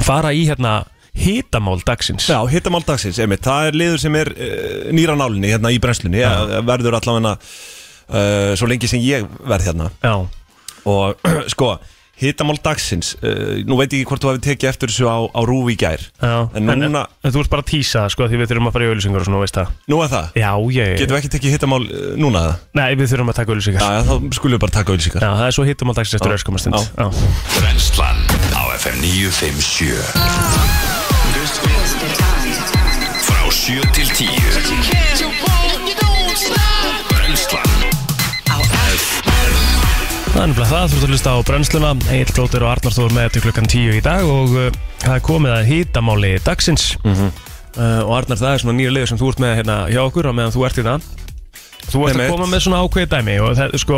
Speaker 1: fara í hérna hitamál dagsins
Speaker 2: Já, hittamál dagsins, einmitt, það er liður sem er uh, nýra nálinni hérna í brennslunni ja. verður allavega uh, svo lengi sem ég verð hérna
Speaker 1: Já,
Speaker 2: og sko, hittamál dagsins uh, nú veit ég ekki hvort þú hefði tekið eftir þessu á, á rúf í gær
Speaker 1: já
Speaker 2: en núna,
Speaker 1: en, þú ert bara að tísa það, sko því við þurfum að fara í auðlýsingar og svona, veist það
Speaker 2: nú er það
Speaker 1: Já, ég
Speaker 2: getum við ekki tekið hittamál uh, núna það?
Speaker 1: Nei, við þurfum að taka auðlýsingar
Speaker 2: Já,
Speaker 1: já.
Speaker 2: já, þá skulum við bara taka auðlýsingar
Speaker 1: það er svo hitamál dagsins eftir
Speaker 2: Já.
Speaker 1: öskumastund
Speaker 2: Já.
Speaker 1: Já,
Speaker 6: Brennslan á FM 957 Frá 7 til 10 Brennslan
Speaker 1: það er nefnilega það, þú ert að hlusta á brennsluna Egil Flóter og Arnar Þór með til klukkan 10 í dag og uh, það er komið að hitamáli dagsins
Speaker 2: Mhm.
Speaker 1: uh, og Arnar, það er svona nýja liður sem þú ert með hérna hjá okkur á meðan þú ert í það Þú ert að
Speaker 2: Einmitt.
Speaker 1: koma með svona ákveðið dæmi og það, sko,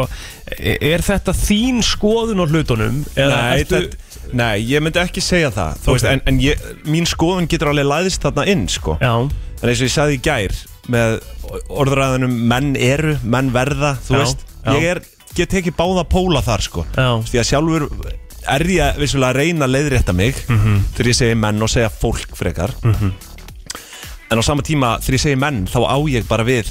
Speaker 1: er þetta þín skoðun á hlutunum? eða
Speaker 2: Nei,
Speaker 1: ertu-
Speaker 2: þetta, nei, ég myndi ekki segja það Þú veist,
Speaker 1: Ok.
Speaker 2: en, en ég, mín skoðun getur alveg læðist þarna inn, sko
Speaker 1: Já,
Speaker 2: En eins og ég sagði í gær með orðræðanum menn eru, menn verða, þú
Speaker 1: Já,
Speaker 2: veist
Speaker 1: já.
Speaker 2: Ég er, get ekki báða póla þar sko
Speaker 1: Já.
Speaker 2: Því að sjálfur er ég vissulega að reyna að leiðrétta mig
Speaker 1: Mhm.
Speaker 2: Þegar ég segi menn og segja fólk frekar En á sama tíma þegar ég segi menn þá á ég bara við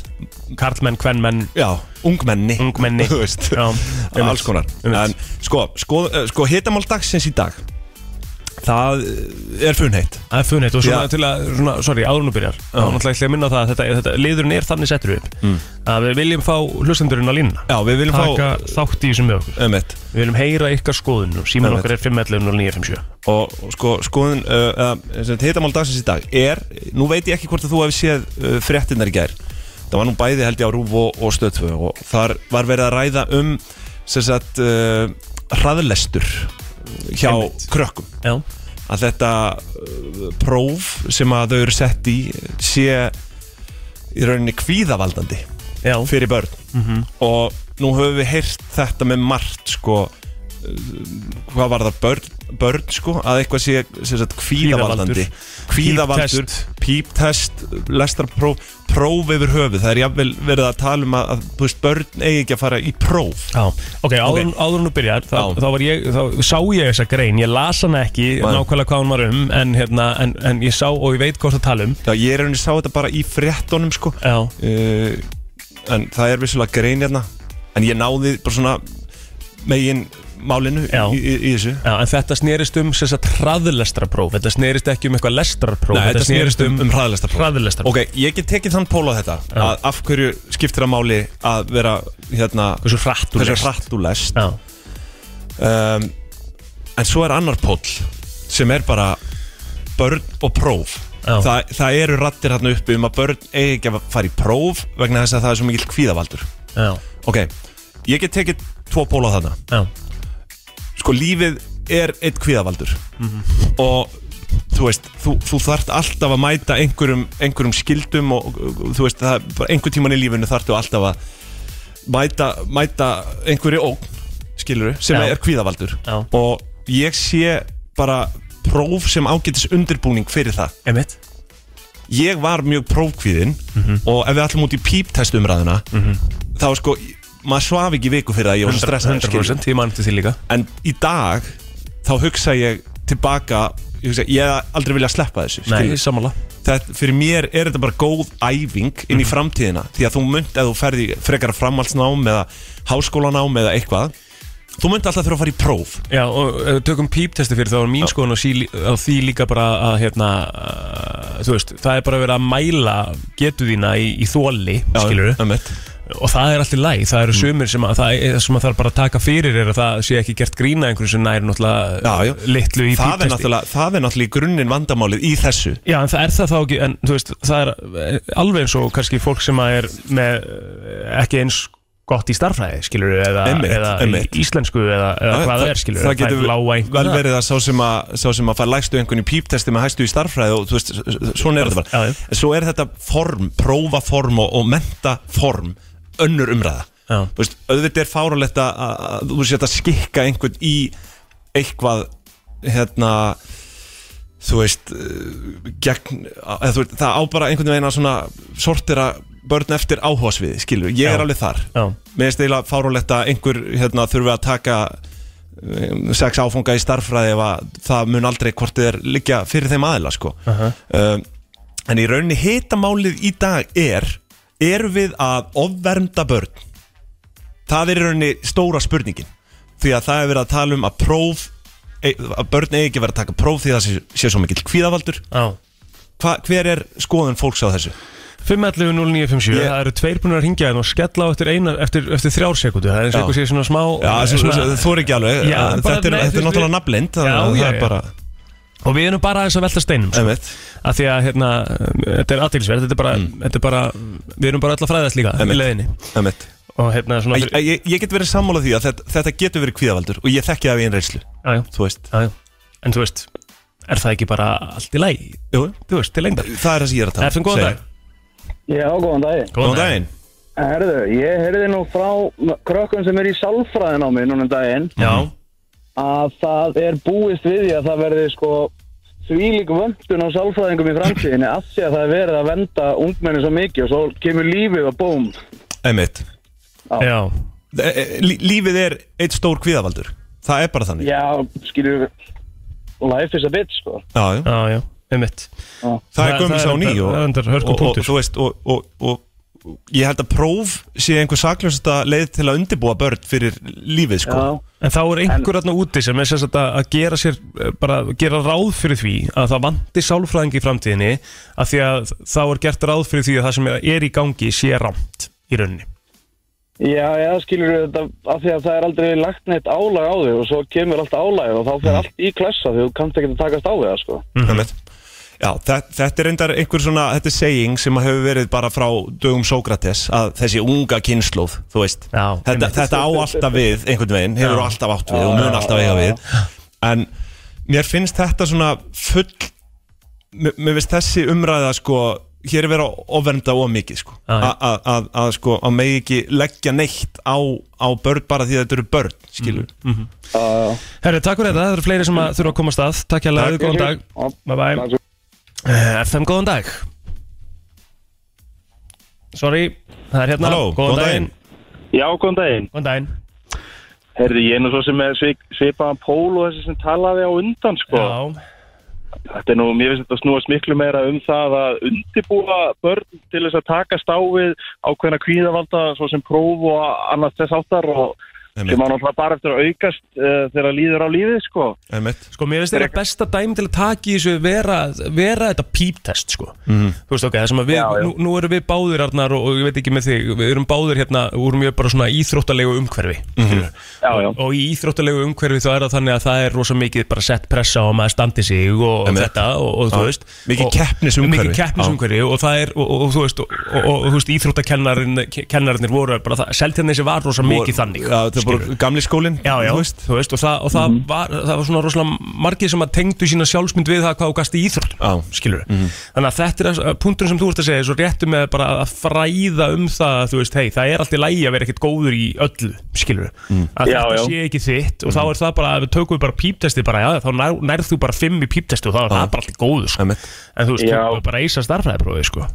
Speaker 1: karlmenn, kvennmenn
Speaker 2: Já, ungmenni
Speaker 1: Ungmenni.
Speaker 2: Þú veist,
Speaker 1: Já, einmitt.
Speaker 2: alls konar
Speaker 1: Einmitt.
Speaker 2: En sko, sko, eh, sko hitamál dagsins í dag Það eh, er funheit
Speaker 1: Það er funnitt og svona
Speaker 2: Já.
Speaker 1: til að, svona, sorry, áðurinn og byrjar þá er náttúrulega ætla ég að minna á það að þetta, þetta liðurinn er þannig settur upp að við viljum fá hlustendurinn á línuna
Speaker 2: Mm. Já, við viljum
Speaker 1: taka
Speaker 2: fá
Speaker 1: þátt í þessum með okkur
Speaker 2: Ömmett
Speaker 1: við viljum heyra ykkar skoðunum síman
Speaker 2: Einmitt.
Speaker 1: okkar er 511 0957
Speaker 2: Um og og sko, skoðun uh, uh, heitamál dagsins í dag er nú veit ég ekki hvort að þú hefði séð uh, fréttinnar í gær það var nú bæði held ég á Rúf og, og Stöðtvö og þar var verið að ræða um sem sagt uh, hraðlestur hjá krökkum
Speaker 1: Já,
Speaker 2: að þetta uh, próf sem að þau eru sett í sé í rauninni kvíðavaldandi
Speaker 1: já, Mhm.
Speaker 2: fyrir börn og nú höfum við heyrt þetta með margt sko uh, hvað var það börn, börn sko að eitthvað sé sem sagt, kvíðavaldandi kvíðavaldur, píptest lestarpróf, próf yfir höfuð það er jafnvel verið að tala um að, að þú veist, börn eigi ekki að fara í próf
Speaker 1: já Ok, áðurinn áður og byrjar þá,
Speaker 2: Já.
Speaker 1: þá, var ég, þá sá ég þessa grein ég las hana ekki
Speaker 2: Nei.
Speaker 1: nákvæmlega hvað hún var um en, hérna, en, en ég sá og ég veit hvort það tala um
Speaker 2: Já, ég er rauninni sá þetta bara í fréttonum sko
Speaker 1: Já,
Speaker 2: uh, en það er vissulega grein hérna en ég náði bara svona megin málinu í,
Speaker 1: Já.
Speaker 2: í, í þessu
Speaker 1: já en þetta snerist um sem sagt hraðlestrapróf þetta snerist ekki um eitthvað lestrapróf
Speaker 2: Nei, þetta snerist um, um hraðlestarpróf
Speaker 1: hraðlestrapróf
Speaker 2: Ok, ég get tekið þann pól á þetta
Speaker 1: Já.
Speaker 2: að af hverju skiptir það máli að vera hérna,
Speaker 1: Hversu hratt þú
Speaker 2: hversu
Speaker 1: lest.
Speaker 2: hratt þú lest
Speaker 1: Já,
Speaker 2: um, en svo er annar pól sem er bara börn og próf
Speaker 1: Já.
Speaker 2: Þa, það eru rattir hérna uppi um að börn eigi ekki að fara í próf vegna þess að það er svo mikill kvíðavaldur
Speaker 1: já,
Speaker 2: ok, ég get tekið tvo pól á þarna
Speaker 1: já
Speaker 2: sko lífið er eitt kvíðavaldur og þú veist, þú, þú þarft alltaf að mæta einhverjum, einhverjum skildum og, og, og þú veist, það, er bara einhver tíman í lífinu þarftu alltaf að mæta, mæta einhverju ógn skiluru, sem
Speaker 1: Já.
Speaker 2: er kvíðavaldur
Speaker 1: Já.
Speaker 2: og ég sé bara próf sem ágætis undirbúning fyrir það
Speaker 1: Emmett
Speaker 2: ég var mjög prófkvíðinn
Speaker 1: Mhm.
Speaker 2: og ef við ætlum út í píptestumræðuna þá sko, maður svaf ekki í viku fyrir það ég var svo stressaður, skilurðu.
Speaker 1: 100% ég mann til því líka
Speaker 2: En í dag þá hugsa ég tilbaka Ég, hugsa, ég hef aldrei vilja sleppa þessu skilur.
Speaker 1: samanlega
Speaker 2: þetta, Fyrir mér er þetta bara góð æfing inn í
Speaker 1: Mhm.
Speaker 2: framtíðina Því að þú munt ef þú ferði frekar framhaldsnám eða háskólanám eða eitthvað Þú munt alltaf þurfa að fara í próf
Speaker 1: Já, og ef við tökum píptesti fyrir þá er mín skoðun á, sí, á því líka bara að hérna, uh, þú veist, það er bara verið að mæla getu þína í, í þóli, skilur
Speaker 2: Já, einmitt. Mm.
Speaker 1: og það er allt í læg, það eru sömur sem að það er, sem að það er bara að taka fyrir er að það sé ekki gert grína einhverju sem næri náttúrulega
Speaker 2: Já, já.
Speaker 1: litlu
Speaker 2: það,
Speaker 1: í
Speaker 2: er
Speaker 1: píptesti
Speaker 2: náttúrulega- það er náttúrulega í grunninn vandamálið í þessu
Speaker 1: Já, en það er það þá ekki, en þú veist, það er eh, alveg eins og kannski fólk sem að er með eh, ekki eins gott í starfræði, skilur eða,
Speaker 2: Einmitt,
Speaker 1: eða í
Speaker 2: einmitt.
Speaker 1: íslensku, eða, eða
Speaker 2: Já,
Speaker 1: hvað það er, skilur
Speaker 2: Það getur
Speaker 1: lága
Speaker 2: vel verið að sá sem að, sá sem að fara lægstu einhvern í píptesti með hæstu í starffræði og þú veist, s- s- svona er þetta bara
Speaker 1: Já, já.
Speaker 2: En Svo er þetta form, prófaform og, og mentaform önnur umræða
Speaker 1: Já.
Speaker 2: Þú veist, auðvitað er fáralegt að, að, að þú sétt að skikka einhvern í eitthvað hérna þú veist eh, gegn, að, þú veist, það á bara einhvern veginn að svona sortira börn eftir áhugasviði, skilur, ég
Speaker 1: Já.
Speaker 2: er alveg þar
Speaker 1: Já.
Speaker 2: mér er stila fárúlegt að einhver hérna, þurfi að taka um, sex áfanga í starffræði ef að það mun aldrei hvort þið er liggja fyrir þeim aðila sko. um, en í rauninni hitamálið í dag er er við að ofvermda börn það er í rauninni stóra spurningin því að það er verið að tala um að próf e- að börn eigi ekki verið að taka próf því að það sé, sé svo mikill kvíðavaldur
Speaker 1: Já.
Speaker 2: Hva, hver er skoðun fólks á þessu?
Speaker 1: 511 0957,
Speaker 2: Ég-
Speaker 1: það eru tveir búin að ringja og skella á eftir, eina, eftir, eftir þrjár sekundu það er eins og
Speaker 2: Já.
Speaker 1: eitthvað sé svona smá
Speaker 2: Já, þessu,
Speaker 1: svona,
Speaker 2: þessu, þú er ekki alveg
Speaker 1: Já,
Speaker 2: þetta,
Speaker 1: bara-
Speaker 2: er,
Speaker 1: nei,
Speaker 2: þetta
Speaker 1: þú-
Speaker 2: er náttúrulega nafnblind þannig
Speaker 1: Já,
Speaker 2: að
Speaker 1: já,
Speaker 2: það
Speaker 1: já.
Speaker 2: er bara,
Speaker 1: og við erum bara aðeins að velta steinum sko.
Speaker 2: einmitt Mm.
Speaker 1: að því að hérna, um, þetta er aðtilsverð þetta, er bara- þetta er bara, við erum bara alltaf fræðast líka
Speaker 2: Einmitt.
Speaker 1: í leiðinni
Speaker 2: einmitt
Speaker 1: og hérna svona
Speaker 2: Æ, æ, ég, ég get verið sammála því að þetta, þetta getur verið kvíðavaldur og ég þekki það af einn reynslu,
Speaker 1: já, já,
Speaker 2: þú veist
Speaker 1: já, já. en þú veist, er það ekki bara allt í læg,
Speaker 2: Jú,
Speaker 1: þú veist, til lengdar
Speaker 2: það er það sem ég er að tala
Speaker 1: Efum, góðan
Speaker 2: Segðu.
Speaker 1: dag
Speaker 7: Já, góðan daginn.
Speaker 2: Góðan daginn
Speaker 7: Herðu, ég heyrði nú frá krökkum sem er í sálfræðin á mig núna um daginn
Speaker 1: Já,
Speaker 2: Mhm.
Speaker 7: að það er búist við því að það verði sko þvílík vöndun á sálfræðingum í framtíðinni af því að það er verið að venda ungmenni svo mikið og svo kemur lífið og búm.
Speaker 2: einmitt
Speaker 1: já,
Speaker 2: E- e- lí- Lífið er eitt stór kvíðavaldur Það er bara þannig
Speaker 7: Já, skilju, life is a bitch sko.
Speaker 2: Já, já.
Speaker 1: já, já, um mitt
Speaker 2: Það er
Speaker 1: Það-
Speaker 2: gömur
Speaker 1: það
Speaker 2: sá
Speaker 1: er
Speaker 2: ný
Speaker 1: enda-
Speaker 2: og,
Speaker 1: það er enda hörku
Speaker 2: og, og,
Speaker 1: punktur.
Speaker 2: þú veist, og, og, og, og ég held að próf sé einhver sakljósasta leið til að undibúa börn fyrir lífið sko.
Speaker 7: Já,
Speaker 1: En þá er einhver þarna úti sem er sem sagt að, að gera sér, eh, bara gera ráð fyrir því að það vandi sálfræðing í framtíðinni að því að þá er gert ráð fyrir því að það sem er í gangi sé rámt í rauninni.
Speaker 7: já, já skilju, þetta af því að það er aldrei lagt neitt álag á þig og svo kemur allt álagið og þá fer allt í klessa því þú kannst ekki að takast á við það sko.
Speaker 1: Mhm.
Speaker 2: mm Já, þe- þetta er reyndar einhver svona, þetta er saying sem hefur verið bara frá dögum Sókrates að þessi unga kynnslóð, þú veist
Speaker 1: Já,
Speaker 2: þetta,
Speaker 1: einmitt.
Speaker 2: þetta á alltaf við einhvern veginn, hefur
Speaker 1: Já.
Speaker 2: alltaf átt við og mun alltaf eiga við en mér finnst þetta svona full mér mér finnst þessi umræða sko hér er verið að ofernda of mikið sko
Speaker 1: Já, já.
Speaker 2: A- a- að að, sko, að megi ekki leggja neitt á, á börn bara því að þetta eru börn, skilur
Speaker 1: Mhm,
Speaker 7: Já, já.
Speaker 1: Herri, takk fyrir þetta, það eru fleiri sem að þurfa að komast að. Takk hjá leiðu, góðan dag.
Speaker 7: Já,
Speaker 1: Bye bye.
Speaker 7: takk.
Speaker 1: Eh, FM, góðan dag. Sorry, það er hérna.
Speaker 2: Halló, góðan daginn.
Speaker 8: Já, góðan daginn.
Speaker 1: Góðan daginn.
Speaker 8: Herði, ég er nú svo sem er svip, svipaðan pól og þessi sem talaði á undan, sko.
Speaker 1: Já,
Speaker 8: Þetta er nú, mér finnst þetta að snúast miklu meira um það að undibúa börn til þess að takast á við ákveðna kvíðavalda, svo sem próf og annars þess áttar og
Speaker 2: Einmitt.
Speaker 8: sem á náttúrulega bara eftir að aukast uh, þegar líður á lífið, sko.
Speaker 2: Einmitt.
Speaker 1: Sko, mér finnst þetta besta dæmi til að taka í þessu vera, vera þetta píptest, sko.
Speaker 2: Mhm,
Speaker 1: Þú veist, ok, það sem að við, Nú, nú erum við báðir, Arnar, og, og ég veit ekki með þig, við erum báðir hérna, úr mjög bara svona íþróttalegu umhverfi.
Speaker 8: Já, já.
Speaker 1: Og í íþróttalegu umhverfi þá er það þannig að það er rosa mikið bara sett pressa og maður standi sig og
Speaker 2: Einmitt.
Speaker 1: þetta og, og þú
Speaker 2: Já.
Speaker 1: veist.
Speaker 2: Mikið
Speaker 1: og-
Speaker 2: keppnisumhverfi.
Speaker 1: Mikið keppnisumhverfi og það er, og, og, og þú veist, og, og, og, og þú veist, íþróttakennarinnir voru bara það, seltjarnir sem var rosa mikið þannig.
Speaker 2: Já, þetta er
Speaker 1: skilurðu.
Speaker 2: bara gamli skólinn
Speaker 1: Já, já,
Speaker 2: þú
Speaker 1: þú
Speaker 2: veist. Mhm.
Speaker 1: veist, og, það, og það, var, það var svona rosalega margir sem að tengdu sína sjálfsmynd við það hvað þú gast í íþrótt
Speaker 2: Já.
Speaker 1: skilur
Speaker 2: Mhm.
Speaker 1: þannig að þetta er að- punkturinn sem þú ert að segja svo réttu með bara að fræða um það að þú veist, hei, það er allt í lægi að vera ekkert góður í öllu, skilur að
Speaker 8: Já,
Speaker 1: þetta
Speaker 8: já.
Speaker 1: sé ekki þitt og þá er það bara að við tökum við bara píptesti bara, já, þá nær, nærð þú bara fimm í píptesti og þá er það bara allt í góðu, sko
Speaker 2: Einmitt.
Speaker 1: en þú veist,
Speaker 8: Já.
Speaker 1: tökum við bara eisa starfræðiprófi, sko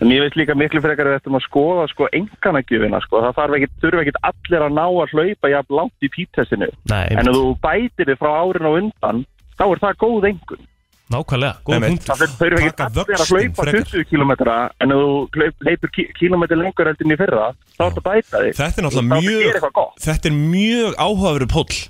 Speaker 8: En ég veist líka miklu frekar að þetta maður skoða, sko, enganagjöfina, sko. Það þarf ekki, þurfa ekki allir að ná að hlaupa jafn langt í pítessinu. En
Speaker 1: Nei, einmitt.
Speaker 8: ef þú bætir þið frá árin og undan, þá er það góð engun.
Speaker 1: nákvæmlega, góð
Speaker 2: Einmitt.
Speaker 1: punktur
Speaker 8: Það fer- þau eru ekki
Speaker 2: Taka
Speaker 8: allir að
Speaker 2: vöxtinn
Speaker 8: hlaupa
Speaker 2: frekar.
Speaker 8: 20 km en ef þú hlaup- hleypur ki- kílómetri lengur heldur en í fyrra, þá ertu að bæta þig.
Speaker 2: Þetta er náttúrulega
Speaker 8: Þá ertu að gera eitthvað
Speaker 2: mjög
Speaker 8: gott.
Speaker 2: Þetta er mjög áhugaveru póll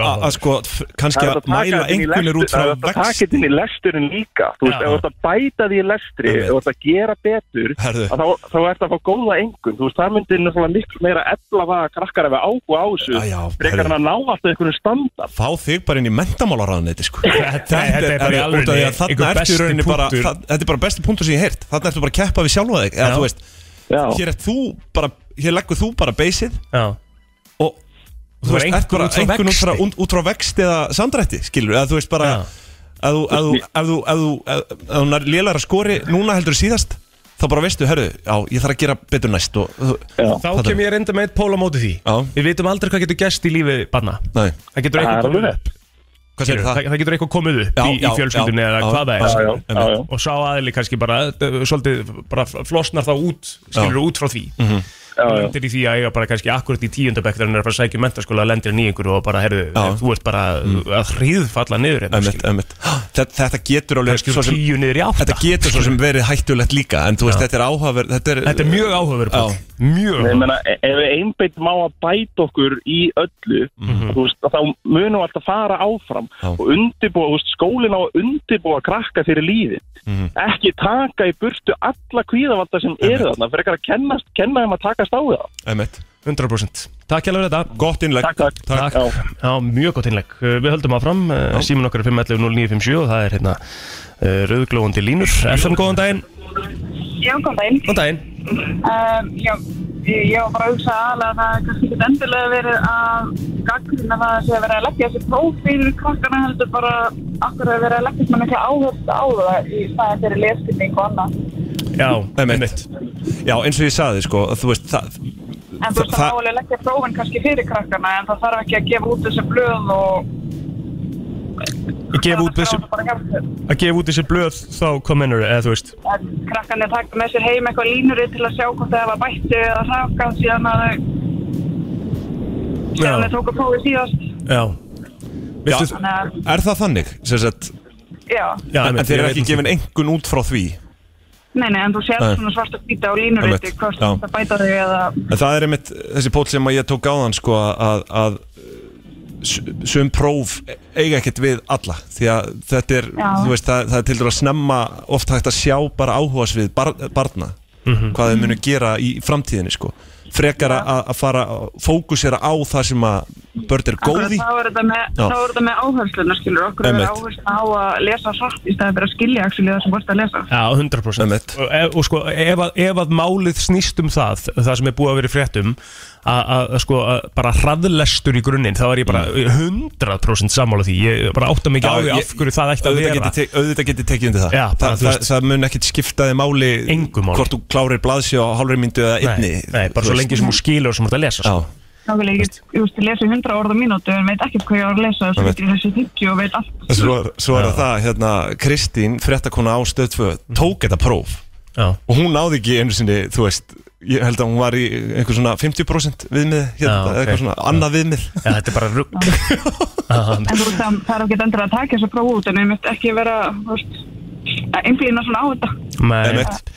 Speaker 2: að
Speaker 1: áhugaverð.
Speaker 2: að sko f- kannski
Speaker 8: Það er
Speaker 2: að
Speaker 8: hægt taka
Speaker 2: mæla
Speaker 8: þetta inn í
Speaker 2: einhvernir út
Speaker 8: lestur- það
Speaker 2: frá
Speaker 8: er hægt að taka
Speaker 2: vext
Speaker 8: þetta inn í lesturinn líka. Þú veist,
Speaker 1: Já.
Speaker 8: ef þú ert að bæta því í lestri
Speaker 2: Einmitt.
Speaker 8: og þú ert að gera betur, að
Speaker 2: Herðu.
Speaker 8: þá, þá ert að fá góða engun. Þú veist, það myndir náttúrulega miklu meira ella að krakkar ef við áhuga á þessu,
Speaker 2: Já, já,
Speaker 8: frekar
Speaker 2: herðu.
Speaker 8: en að ná alltaf einhvern standard.
Speaker 2: Fá þig bara inn í mentamálaráðuneti sko
Speaker 1: Þetta er- þetta er bara
Speaker 2: út af því
Speaker 1: í alvörunni
Speaker 2: að Þarna
Speaker 1: einhver
Speaker 2: ertu í
Speaker 1: besti
Speaker 2: rauninni bara
Speaker 1: punktur.
Speaker 2: það- Þetta er bara besti punktur sem ég heirt Þarna ertu bara að keppa við sjálfa þig
Speaker 1: Já.
Speaker 2: Eða þú veist,
Speaker 8: Já.
Speaker 2: hér er þú bara Hér leggur þú bara beisið
Speaker 1: Já.
Speaker 2: Og
Speaker 1: Þú
Speaker 2: þú
Speaker 1: er
Speaker 2: veist, ert
Speaker 1: einhver
Speaker 2: bara
Speaker 1: út frá
Speaker 2: einhvern út frá-
Speaker 1: vexti.
Speaker 2: út- út frá vext eða samdrætti Skilur, eða þú veist bara
Speaker 1: Já.
Speaker 2: Ef þú- ef þú- ef þú- ef þú- ef- ef hún er lélæra skori Núna heldur síðast Þá bara veistu, herru, já, ég þarf að gera betur næst og,
Speaker 1: Þá kem ég reynda með eitt pól á móti því
Speaker 2: Já.
Speaker 1: Við vitum aldrei hvað getur gerst í lífi barna
Speaker 2: Nei,
Speaker 1: Það getur eitthvað
Speaker 8: Það er
Speaker 1: komið
Speaker 8: alveg
Speaker 1: upp
Speaker 2: hvað
Speaker 1: Skilur,
Speaker 2: segir
Speaker 1: það,
Speaker 2: það?
Speaker 1: það getur eitthvað komið upp
Speaker 2: Já,
Speaker 1: í,
Speaker 2: já,
Speaker 1: í fjölskyldunni
Speaker 2: já,
Speaker 1: eða
Speaker 2: já,
Speaker 1: hvað það
Speaker 2: já,
Speaker 8: Já,
Speaker 1: er
Speaker 8: já, já, já.
Speaker 1: eh, og sá aðili kannski bara uh, svolítið bara flosnar þá út skilur
Speaker 2: Já.
Speaker 1: út frá því
Speaker 8: Já, já.
Speaker 1: lendir í því að eiga bara kannski akkurat í tíundabæk þegar hann er að fara að sækja um mentaskóla lendir hann í einhverju og bara, herðu,
Speaker 2: Já.
Speaker 1: þú ert bara að hríðfalla niður hérna,
Speaker 2: Einmitt,
Speaker 1: skilur.
Speaker 2: einmitt. Þetta, þetta getur alveg
Speaker 1: Kannski úr tíu niður í átta
Speaker 2: Þetta getur svo sem verið hættulegt líka En þú veist, þetta er áhugaverð Þetta er,
Speaker 1: Þetta er mjög áhugaverð
Speaker 2: Já.
Speaker 1: Páll. Mjög
Speaker 8: Ég
Speaker 1: áhugaverð
Speaker 8: meina, e- ef við einbeitt má að bæta okkur í öllu,
Speaker 1: Mhm.
Speaker 8: þú veist, að þá munum við alltaf fara áfram
Speaker 2: Já.
Speaker 8: og undirbúa, þú veist, skólin á að undirbúa krakka fyrir lífið.
Speaker 2: Mhm.
Speaker 8: Ekki taka í burtu alla kvíðavaldar sem eru þarna, fyrir ekki að kennast, kenna þeim að takast á það.
Speaker 2: einmitt.
Speaker 1: 100% Takk hérlega fyrir þetta
Speaker 2: Gott innlegg
Speaker 8: Takk, takk.
Speaker 1: Takk,
Speaker 8: Já.
Speaker 1: já, mjög gott innlegg Uh, Við höldum áfram, uh, símin okkar er 511-0957 og það er hérna uh, rauðglóðandi línur FM, góðan daginn
Speaker 9: Já, kom það inn.
Speaker 1: Góðan daginn
Speaker 9: Um, já, ég ég var bara að hugsa aðalega að það er kannski ekki endilega verið að gaggrina það sé að vera að leggja þessi próf fyrir krakkana heldur bara akkur að vera að leggja svona mikla áherslu á það í staðin fyrir leskinning og annað.
Speaker 1: Já,
Speaker 2: Einmitt. Já, eins og ég saði sko að Þú veist, það,
Speaker 9: En þú veist
Speaker 2: Þa-
Speaker 9: það máli að leggja prófin kannski fyrir krakkana en það þarf ekki að gefa út þessi blöð og
Speaker 1: Að gefa út þessi,
Speaker 9: Það bara hjá þér.
Speaker 1: að gefa út þessi blöð þá kominur, eða þú veist
Speaker 9: En krakkan er takt með sér heim eitthvað línuri til að sjá hvort það var bættu eða hrakað síðan að þau
Speaker 1: Já.
Speaker 9: síðan þau tóku prófið síðast.
Speaker 1: Já,
Speaker 2: já,
Speaker 9: Þannig að,
Speaker 2: Er það þannig? Sem Sagt,
Speaker 9: já.
Speaker 1: já
Speaker 2: en, en
Speaker 1: einmitt,
Speaker 2: þeir
Speaker 1: ég
Speaker 2: eru
Speaker 1: veit
Speaker 2: ekki
Speaker 1: um
Speaker 2: gefin engun út frá því
Speaker 9: Nei, nei, en þú sér
Speaker 2: Nei.
Speaker 9: svona svart að býta á línurétti
Speaker 2: Einmitt,
Speaker 9: hvort
Speaker 2: já.
Speaker 9: það bæta þig eða
Speaker 2: En það er einmitt þessi pól sem að ég tók áðan sko að, að s- sum próf eiga ekkert við alla því að þetta er,
Speaker 9: Já.
Speaker 2: þú veist, það, það er til dæra snemma oft hægt að sjá bara áhugasvið bar, barna,
Speaker 1: Mhm.
Speaker 2: hvað þau munu gera í framtíðinni sko frekar að að fara að fókusera á það sem að börn er
Speaker 9: Akkurat,
Speaker 2: góð í
Speaker 9: þá er þetta með,
Speaker 2: Já.
Speaker 9: þá er þetta með áhersluna skilur okkur er
Speaker 2: Einmitt.
Speaker 9: áhersla á að lesa satt í staðið fyrir að skilja actually, það sem vorst að lesa
Speaker 1: Já, 100%
Speaker 2: Einmitt.
Speaker 1: og, e- og sko, ef að, ef að málið snýst um það það sem er búið að vera í fréttum að, að, að sko, að bara hraðlestur í grunninn þá er ég bara 100% sammála því ég bara átta mig ekki á
Speaker 2: Mm. Já,
Speaker 1: því
Speaker 2: ég-
Speaker 1: af hverju það ætti að
Speaker 2: auðvitað
Speaker 1: vera
Speaker 2: geti, te- auðvitað geti tekið undir það
Speaker 1: Já, bara,
Speaker 2: það,
Speaker 1: þú
Speaker 2: það,
Speaker 1: veist-
Speaker 2: það mun ekkit skiptaði máli
Speaker 1: Engu máli.
Speaker 2: hvort þú klárir blaðsjó á hálfri myndu eða einni
Speaker 1: nei, nei, bara
Speaker 2: þú
Speaker 1: svo
Speaker 2: veist.
Speaker 1: lengi sem þú skilur sem þú ert að lesa
Speaker 2: Já,
Speaker 1: sko.
Speaker 9: Nákvæmlega, ég get, ég veist, ég lesi 100 orð á mínútu en veit ekkert hvað ég var að lesa svo
Speaker 2: Einmitt.
Speaker 9: veit ég þessi hyggi og veit allt
Speaker 2: Svo, er- svo er það, hérna, Kristín, fréttakona á stöðtvö, tók þetta próf
Speaker 1: Já,
Speaker 2: og hún náði ekki einu sinni, þú veist, ég held að hún var í einhver svona 50% viðmið, hérna, eða
Speaker 1: Já, ok.
Speaker 2: eitthvað svona, annað viðmið.
Speaker 1: Já, þetta er bara rugg
Speaker 9: en þú veist það það er ekki endur að taka þessu próf út en ég mynd ekki vera þú veist, að einblýna svona á þetta
Speaker 1: Nei.
Speaker 2: Einmitt.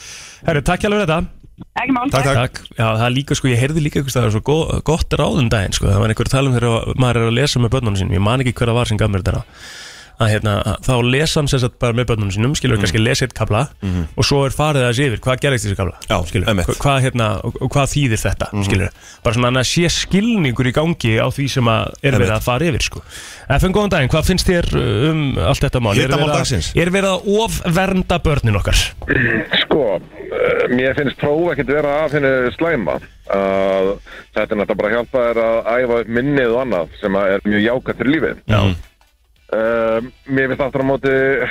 Speaker 1: Herru, takk hjá fyrir þetta
Speaker 9: ekki mál
Speaker 2: Takk, takk.
Speaker 1: Takk. Já, það er líka, sko, ég heyrði líka einhvers staðar svo go gott ráðum daginn, sko, það var einhver að tala um þegar maður er að lesa með börnunum sínum, ég man ekki hver að var sem gaf mér þetta ráð. að hérna, að þá lesa hann sem sagt bara með börnunum sínum,
Speaker 2: Mhm.
Speaker 1: skilur kannski lesa eitt kabla og svo er farið aðeins yfir, hvað gerðist í þessu kabla,
Speaker 2: Já,
Speaker 1: skilur,
Speaker 2: einmitt. Mhm.
Speaker 1: hva- hvað hérna, og, og hvað þýðir þetta, skilur, bara svona hann að sé skilningur í gangi á því sem að er verið
Speaker 2: Einmitt.
Speaker 1: að fara yfir, sko. FN, góðan daginn, hvað finnst þér um allt þetta mál? Er
Speaker 2: Hitamál
Speaker 1: verið að-
Speaker 2: dagsins.
Speaker 1: Er verið að ofvernda börnin okkar?
Speaker 4: Sko, eh, mér finnst próf ekkert vera af henni slæma. Uh, þetta er náttúrulega bara að hjálpa þér að æfa upp minnið og annað sem að er mjög jákvæmt fyrir lífið.
Speaker 1: Já.
Speaker 4: Uh, mér finnst aftur á móti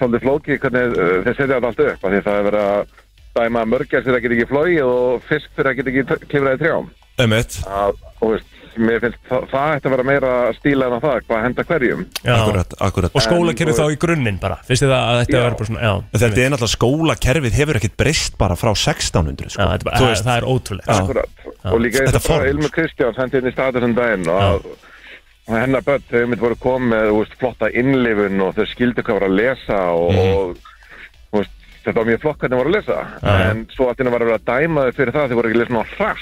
Speaker 4: svolítið flóki hvernig uh, þeir setja þetta allt upp af því það er verið að dæma mörgjar fyrir að geta ekki flóið og fisk fyrir að geta ekki klifraði trjám.
Speaker 2: Ömmett,
Speaker 4: Að, og veist, mér finnst það, það ætti að vera meira stíla en að það, hvað henda hverjum.
Speaker 1: Já.
Speaker 2: akkurat, akkurat.
Speaker 1: Og skólakerfið
Speaker 4: En,
Speaker 1: þá
Speaker 4: og-
Speaker 1: í grunninn bara Finnst þið það að þetta
Speaker 4: Já.
Speaker 1: verður bara svona Já,
Speaker 2: Þetta er náttúrulega skólakerfið hefur ekkert breyst bara frá 1600,
Speaker 1: Já,
Speaker 2: sko.
Speaker 1: þetta er bara,
Speaker 2: Þú
Speaker 1: það,
Speaker 2: veist,
Speaker 1: það er ótrúlegt
Speaker 2: Já.
Speaker 1: sko.
Speaker 4: Akkurat. Og líka eins
Speaker 2: Þetta
Speaker 4: og bara
Speaker 2: form. sko.
Speaker 4: Ilmur Kristján sendi inn í statusum daginn og að og hennar börn, þau mitt voru komið með þú veist, flotta innlifun og þau skildu hvað var að lesa og,
Speaker 2: Mhm.
Speaker 4: og þú veist, þetta var mjög flott hvernig voru að lesa en svo allt innan var að vera að dæma þau fyrir það þau voru ekki að lesa náttúrulega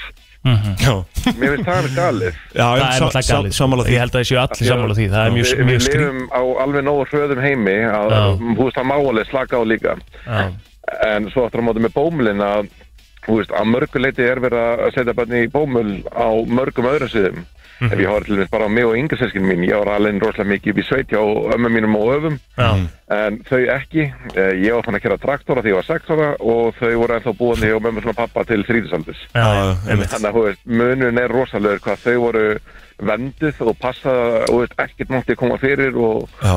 Speaker 4: hratt
Speaker 2: já,
Speaker 4: mér finnst það með galið
Speaker 2: já,
Speaker 1: Mhm. Það
Speaker 2: já,
Speaker 1: er
Speaker 2: sam-
Speaker 1: náttúrulega
Speaker 2: sam-
Speaker 1: galið sko.
Speaker 2: sammála því.
Speaker 1: Ég held að þessi allir sammála því Það er mjög,
Speaker 4: við,
Speaker 1: mjög
Speaker 4: við
Speaker 1: skrýt
Speaker 4: lifum á alveg nógu hröðum heimi að,
Speaker 1: Já.
Speaker 4: þú veist, það má alveg slaka á líka
Speaker 1: Já.
Speaker 4: en svo aftur á móti með bómulin að þú veist, að mörgu leiti er verið að setja bönni í bómul á mörgum öðrum sviðum ef ég horf til þess bara á mig og yngaselskinu mín ég var alveg rosalega mikið upp í sveitja og ömmu mínum og öfum
Speaker 1: Já.
Speaker 4: en þau ekki, Eh, ég var fann að kera traktora því ég var 6 ára og þau voru ennþá búandi hjá mömmu svona pappa til 30-saldus
Speaker 2: Já,
Speaker 1: Já, já,
Speaker 2: einmitt.
Speaker 1: einmitt.
Speaker 4: þannig að þú veist, munun er rosalegur hvað þau voru vendið og passað og veist, ekkert mátti koma fyrir og
Speaker 2: Já.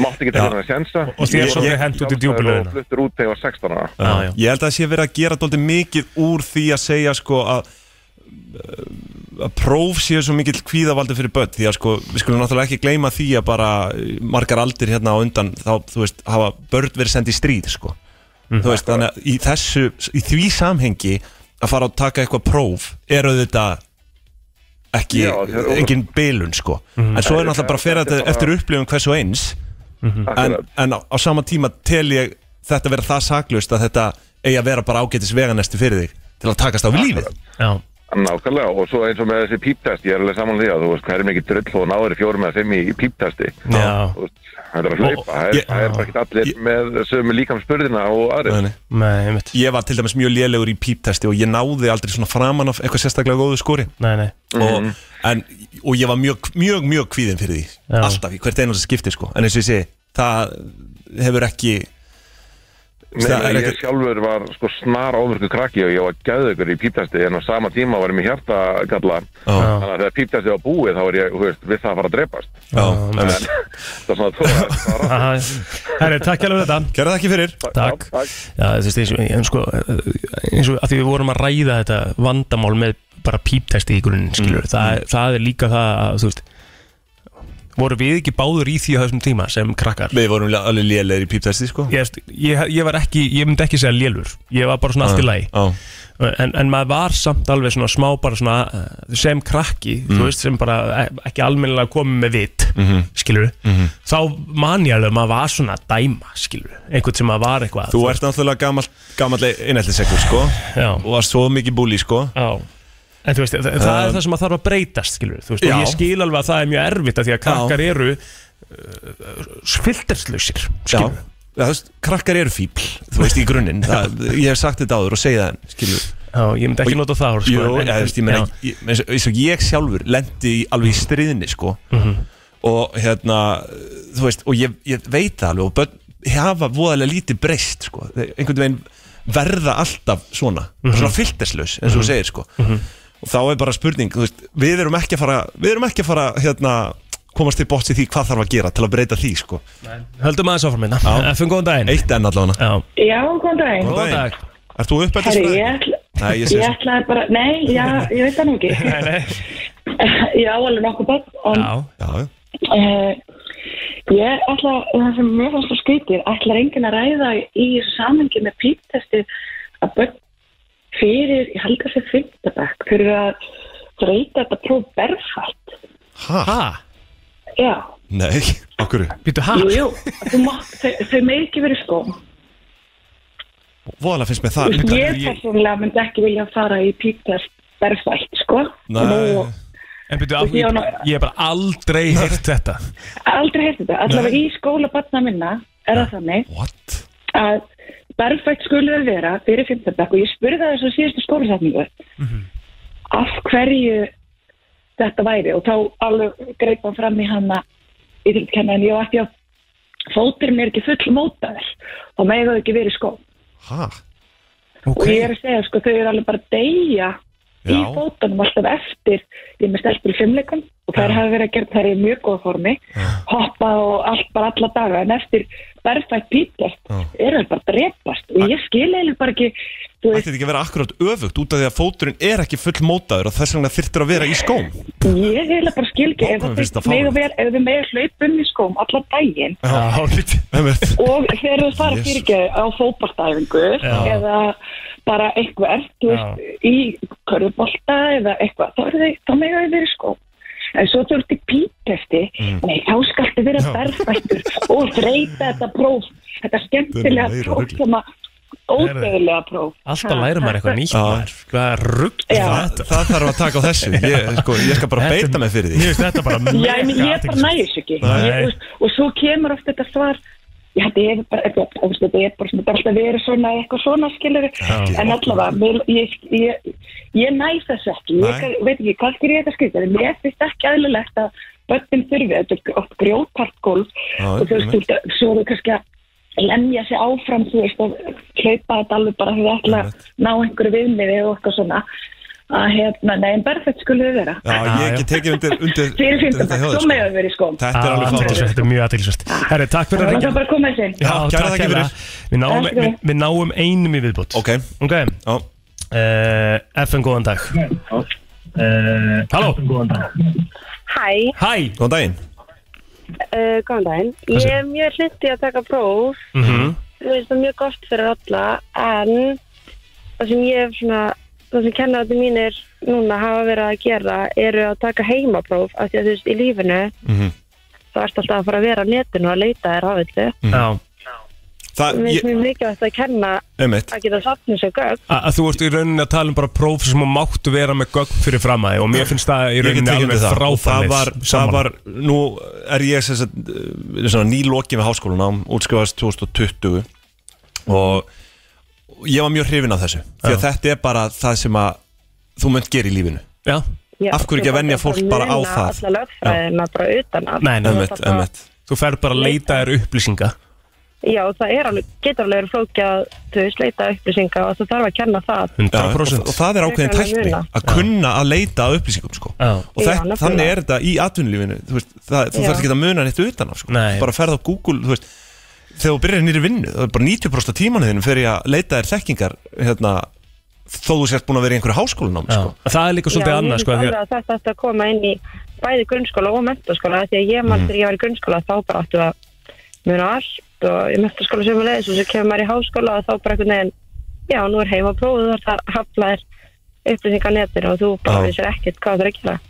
Speaker 4: mátti ekki
Speaker 2: Já.
Speaker 4: taka það sjensa
Speaker 1: Og þér svo þau hent út í djúpu laugina.
Speaker 4: og fluttur út þegar ég var 16 ára
Speaker 1: Já, já.
Speaker 2: Ég held að það sé verið að gera dóldi mikið úr því að segja sko að eh, að próf séu svo mikill kvíðavaldi fyrir börn því að sko við skulum náttúrulega ekki gleyma því að bara eh, margar aldir hérna á undan þá þú veist
Speaker 1: Mhm.
Speaker 2: hafa börn verið sendið í stríð sko þú veist þannig að í þessu í því samhengi að fara að taka eitthvað próf er auðvitað ekki,
Speaker 4: Já, það er-
Speaker 2: engin bilun sko
Speaker 1: Mhm.
Speaker 2: en svo er náttúrulega bara að fyrra þetta eftir upplifun hvers og eins Mhm. en,
Speaker 4: Akkurat.
Speaker 2: en á, á sama tíma tel ég þetta vera það saklaust að þetta eigi að vera bara ágætis veganesti fyrir þig til að takast á við lífið
Speaker 1: já,
Speaker 4: Nákvæmlega, og svo eins og með þessi píptest, ég er alveg saman því að þú veist, það er mikið drull og náður fjórum eða fimm í í píptesti.
Speaker 1: já,
Speaker 4: Þú veist, Það er að hlaupa, það er-
Speaker 2: ég-
Speaker 4: það er bara ekki allir
Speaker 2: ég-
Speaker 4: með sömu líkamspörðina og aðrir.
Speaker 2: Nei, nei.
Speaker 1: nei, einmitt
Speaker 2: ég var til dæmis mjög lélegur í píptesti og ég náði aldrei svona framan af eitthvað sérstaklega góðu skori
Speaker 1: Nei, nei, Mhm.
Speaker 2: og, en, og ég var mjög, mjög, mjög kvíðin fyrir því
Speaker 1: Já.
Speaker 2: alltaf, í hvert einhvers skipti sko en eins og ég segi, það hefur ekki
Speaker 4: Nei,
Speaker 2: Það er
Speaker 4: ég
Speaker 2: ekkert-
Speaker 4: sjálfur var sko snar ámörku krakki og ég var gæðugur í píptesti en á sama tíma var ég með hjartagalla
Speaker 2: Já.
Speaker 4: þannig að þegar píptesti var búið þá var ég, þú veist, við það að fara að drepast
Speaker 2: já, einmitt.
Speaker 4: það er svona tóra
Speaker 1: Aha. herri, takk alveg fyrir þetta
Speaker 2: gerða það ekki fyrir
Speaker 1: Takk. Já, þú veist, eins og, en sko, eh, eins og að því við vorum að ræða þetta vandamál með bara píptesti í grunninn,
Speaker 2: Mm.
Speaker 1: skilur, það, það er líka það að, þú veist, voru við ekki báður í því á þessum tíma sem krakkar?
Speaker 2: við vorum le- alveg lélegir í píptesti sko
Speaker 1: Ég, veist, ég, ég var ekki, ég myndi ekki segja lélur, ég var bara svona allt í lagi,
Speaker 2: Já.
Speaker 1: en, en maður var samt alveg svona smá bara svona eh, sem krakki,
Speaker 2: Mm.
Speaker 1: þú veist, sem bara eh, ekki almennilega komið með vit, mm
Speaker 2: Mhm.
Speaker 1: -hmm. skilur, þá man ég alveg að maður var svona að dæma, skilur, einhvern sem maður var eitthvað.
Speaker 2: þú ert náttúrulega gamall, gamall einheltisekkur sko
Speaker 1: Já.
Speaker 2: og varst svo mikið búli sko
Speaker 1: Já En þú veist, það, það er það sem að þarf að breytast, skilur Þú veist,
Speaker 2: Um. Já.
Speaker 1: og ég skil alveg að það er mjög erfitt að Því að krakkar eru uh, Filterslausir,
Speaker 2: Já.
Speaker 1: skilur
Speaker 2: Já, þú veist, krakkar eru fíbl þú veist í grunninn, það, ég hef sagt þetta áður og segið það en skilur
Speaker 1: Já, ég myndi ekki nota það orð,
Speaker 2: Jú,
Speaker 1: sko,
Speaker 2: eða, þú veist, ég meina, ég- eins og- eins og ég sjálfur lendi í, alveg í stríðinni sko.
Speaker 1: Mhm.
Speaker 2: og hérna þú veist, og ég, ég veit það alveg og börn hafa voðalega lítið breyst sko. Þeir- einhvern veginn verða alltaf svona,
Speaker 1: Mhm.
Speaker 2: svona filterslaus eins og þú segir sko. og þá er bara spurning, þú veist, við erum ekki að fara við erum ekki að fara, hérna komast til bótsi því hvað þarf að gera til að breyta því sko.
Speaker 1: já. Höldum aðeins áfram minna Fum góðan daginn
Speaker 2: eitt enn allavega
Speaker 1: Já,
Speaker 9: Já, góðan daginn.
Speaker 1: góðan
Speaker 2: daginn.
Speaker 1: dag
Speaker 2: Ert þú
Speaker 9: Herri, ég,
Speaker 2: uppeldisfræðingur?
Speaker 9: ætla,
Speaker 2: Nei, ég sé
Speaker 9: ég ætlaði bara, nei, já, ég veit það nú ekki. ég á alveg nokkuð börn, en
Speaker 1: Já,
Speaker 2: Já,
Speaker 9: uh, ég ætla, það sem mér fannst að skýtir, ætlar enginn að ræða í samengi með píptesti að börn fyrir, ég held að sé fyrndabæk, fyrir að breyta þetta próf berfætt.
Speaker 1: ha,
Speaker 9: Já,
Speaker 2: nei, okkur
Speaker 1: býttu ha
Speaker 9: jú, jú, þú mátt, þau, þau með ekki verið skóm.
Speaker 2: Voðalega finnst mér það
Speaker 9: Ég persónulega myndi ekki vilja fara í píptest berfætt, sko.
Speaker 2: Nei.
Speaker 9: Nú,
Speaker 1: En býttu,
Speaker 9: Ég
Speaker 1: ég,
Speaker 9: á nú-
Speaker 1: ég hef bara aldrei heyrt þetta
Speaker 9: Aldrei heyrti þetta. Allavega í skóla batna minna er það þannig
Speaker 2: What?
Speaker 9: að berfætt skulle það vera fyrir 15. bekk og ég spurði það þessu síðustu skólasætningu af hverju þetta væri og þá alveg greip hann fram í hana í þetta kennan ég á ekki að fóturinn er ekki full mótaður og megðu ekki verið skó
Speaker 2: Hæ?
Speaker 1: Ok,
Speaker 9: og ég er að segja sko þau eru alveg bara að deyja í
Speaker 2: Já.
Speaker 9: fótunum alltaf eftir ég er með stelpur í fimmleikum og þær hafa verið að gera þær í mjög góða formi hoppa og allt bara alla daga en eftir berfætt pítast
Speaker 2: Já.
Speaker 9: eru þær bara að drepast og ég skil eiginlega bara ekki þú
Speaker 2: Ætti
Speaker 9: veist,
Speaker 2: þetta ekki að vera akkurát öfugt út af því að fóturinn er ekki full mótaður og þess vegna þyrftir að vera í skóm
Speaker 9: ég eiginlega bara skil ekki ef
Speaker 2: Vá, mér finnst það
Speaker 9: það mega
Speaker 2: fáránlegt.
Speaker 9: vel, ef þið mega hlaupum í skóm alla daginn
Speaker 2: Já, lítið Einmitt.
Speaker 9: og þegar þú fara
Speaker 2: Jesus.
Speaker 9: fyrir ekki á fótballtæfingu eða bara eitthvað þú veist, í körðubolta eða eitthvað, þá, eru þau- þá mega þau verið skó en svo þú ert í píptesti nei, þá skaltu vera berfættur og þreita þetta próf þetta skemmtilega
Speaker 2: meira
Speaker 9: próf
Speaker 2: rugl.
Speaker 9: sem að ódegilega próf
Speaker 1: alltaf læra maður eitthvað nýtt
Speaker 2: Já.
Speaker 1: maður Hvað rugg
Speaker 9: Já.
Speaker 2: það, það þarf að taka á þessu Ég, sko, ég skal bara beita mig fyrir
Speaker 1: Mér
Speaker 2: því
Speaker 1: finnst þetta bara
Speaker 9: Já, en ég
Speaker 1: mega
Speaker 9: bara
Speaker 1: athyglisvert.
Speaker 9: næ þessu ekki
Speaker 1: Nei.
Speaker 9: ég, þú veist, Og svo kemur oft þetta svar Já, þetta er bara, þetta er- þú veist, þetta er bara, svona- þetta er alltaf verið svona, eitthvað svona skilur En allavega, mér, ég, ég, ég næ þessu ekki Ég
Speaker 2: Nei.
Speaker 9: veit ekki, hvað gerir ég þetta skrið En mér finnst ekki aðlilegt að börnin þurfi Þetta er oft grjótart gólf
Speaker 2: Já,
Speaker 9: Og þú veist, þú veist, svo eru kannski að lemja sig áfram, þú veist, að hlaupa þetta alveg bara Þegar ætla að ná einhverju viðmiði og eitthvað svona Að hérna, nei, en bara þetta skulle þau vera
Speaker 2: Já, ég
Speaker 1: Já, já.
Speaker 2: ekki tekið undir, undir,
Speaker 9: Fyrir
Speaker 2: undir þetta hjá
Speaker 9: 15.
Speaker 2: þér,
Speaker 9: Svo
Speaker 2: sko.
Speaker 9: meðan verið skóm
Speaker 2: Þetta er
Speaker 1: Já,
Speaker 2: alveg
Speaker 1: athyglisvert,
Speaker 2: fárið
Speaker 1: Þetta er mjög aðtilsvært Herri, takk fyrir að
Speaker 9: Það
Speaker 1: ringja
Speaker 9: er bara að koma þessi.
Speaker 1: Já,
Speaker 2: Já,
Speaker 1: kæra
Speaker 2: kæra
Speaker 1: þakki
Speaker 2: þakkir
Speaker 1: fyrir Við náum,
Speaker 9: Takk
Speaker 1: við,
Speaker 9: fyrir.
Speaker 1: við náum einum í viðbútt
Speaker 2: Ok,
Speaker 1: Ok
Speaker 2: já,
Speaker 1: uh, FN, góðan dag uh, Halló
Speaker 10: Hæ,
Speaker 1: Hæ
Speaker 2: góðan daginn
Speaker 10: uh, góðan daginn. Ég er mjög hluti að taka próf.
Speaker 1: Mhm.
Speaker 10: Mér finnst það mjög gott fyrir alla, en það sem ég hef svona það sem kennararnir mínir núna hafa verið að gera eru að taka heimapróf af því að þú veist, í lífinu
Speaker 2: Mhm,
Speaker 10: þá ertu alltaf að fara að vera á netinu og að leita þér ávillu.
Speaker 1: Já
Speaker 2: mhm. Það,
Speaker 10: Mér finnst
Speaker 2: Ah, ég,
Speaker 10: mjög mikilvægt að kenna
Speaker 1: Einmitt.
Speaker 10: að geta safnið sér gögn.
Speaker 1: A- að þú ert í rauninni að tala um bara próf sem þú máttu vera með gögn fyrir framæði og mér finnst það í
Speaker 2: Ég get
Speaker 1: rauninni
Speaker 2: tekið
Speaker 1: alveg
Speaker 2: undir það. Og það
Speaker 1: frábæmis
Speaker 2: var, það var, nú er ég sem sagt, eh, svona, nýlokið með háskólanám, útskrifaðist 2020 og ég var mjög hrifin af þessu því að þetta er bara það sem að þú munt gera í lífinu
Speaker 1: Já.
Speaker 10: Já,
Speaker 2: Af hverju ekki að venja fólk bara á það?
Speaker 10: Alla lögfræðina bara utan að
Speaker 1: Nei, nei,
Speaker 10: Þú þarft að-
Speaker 1: Þú ferð bara að leita þér upplýsinga
Speaker 10: Já, það er alveg, getur alveg verið flókið að þú veist leita upplýsinga og það þarf að kenna það
Speaker 1: 100%.
Speaker 2: og, og það er ákveðin
Speaker 10: Frekar en að
Speaker 2: tækni
Speaker 10: muna.
Speaker 2: að kunna að leita að upplýsingum sko. og
Speaker 10: Já,
Speaker 2: það,
Speaker 10: nefnilega.
Speaker 2: þannig er þetta í atvinnulífinu þú, veist, það, þú
Speaker 10: Já.
Speaker 2: þarf ekki að muna neitt utan á sko.
Speaker 1: Nei.
Speaker 2: bara ferð á Google þú veist, þegar þú byrjar nýri vinnu það er bara 90% af tímanuðinu fyrir ég að leita þér þekkingar hérna, þó þú sért búin að vera í einhverju háskólanám sko.
Speaker 1: það er líka sko,
Speaker 10: Já, ég finnst alveg að þetta ætti að koma inn í bæði grunnskóla og mentaskóla af því að ég mann
Speaker 2: Mhm.
Speaker 10: þegar ég var í grunnskóla þá bara áttu að muna allt og í mentaskóla sem við leiðis og svo kemur maður í háskóla og þá bara einhvern veginn já, nú er heima prófið þar það haflaðir upplýsingar á netinu og þú bara
Speaker 1: Já.
Speaker 10: vissir ekkert hvað það er að gera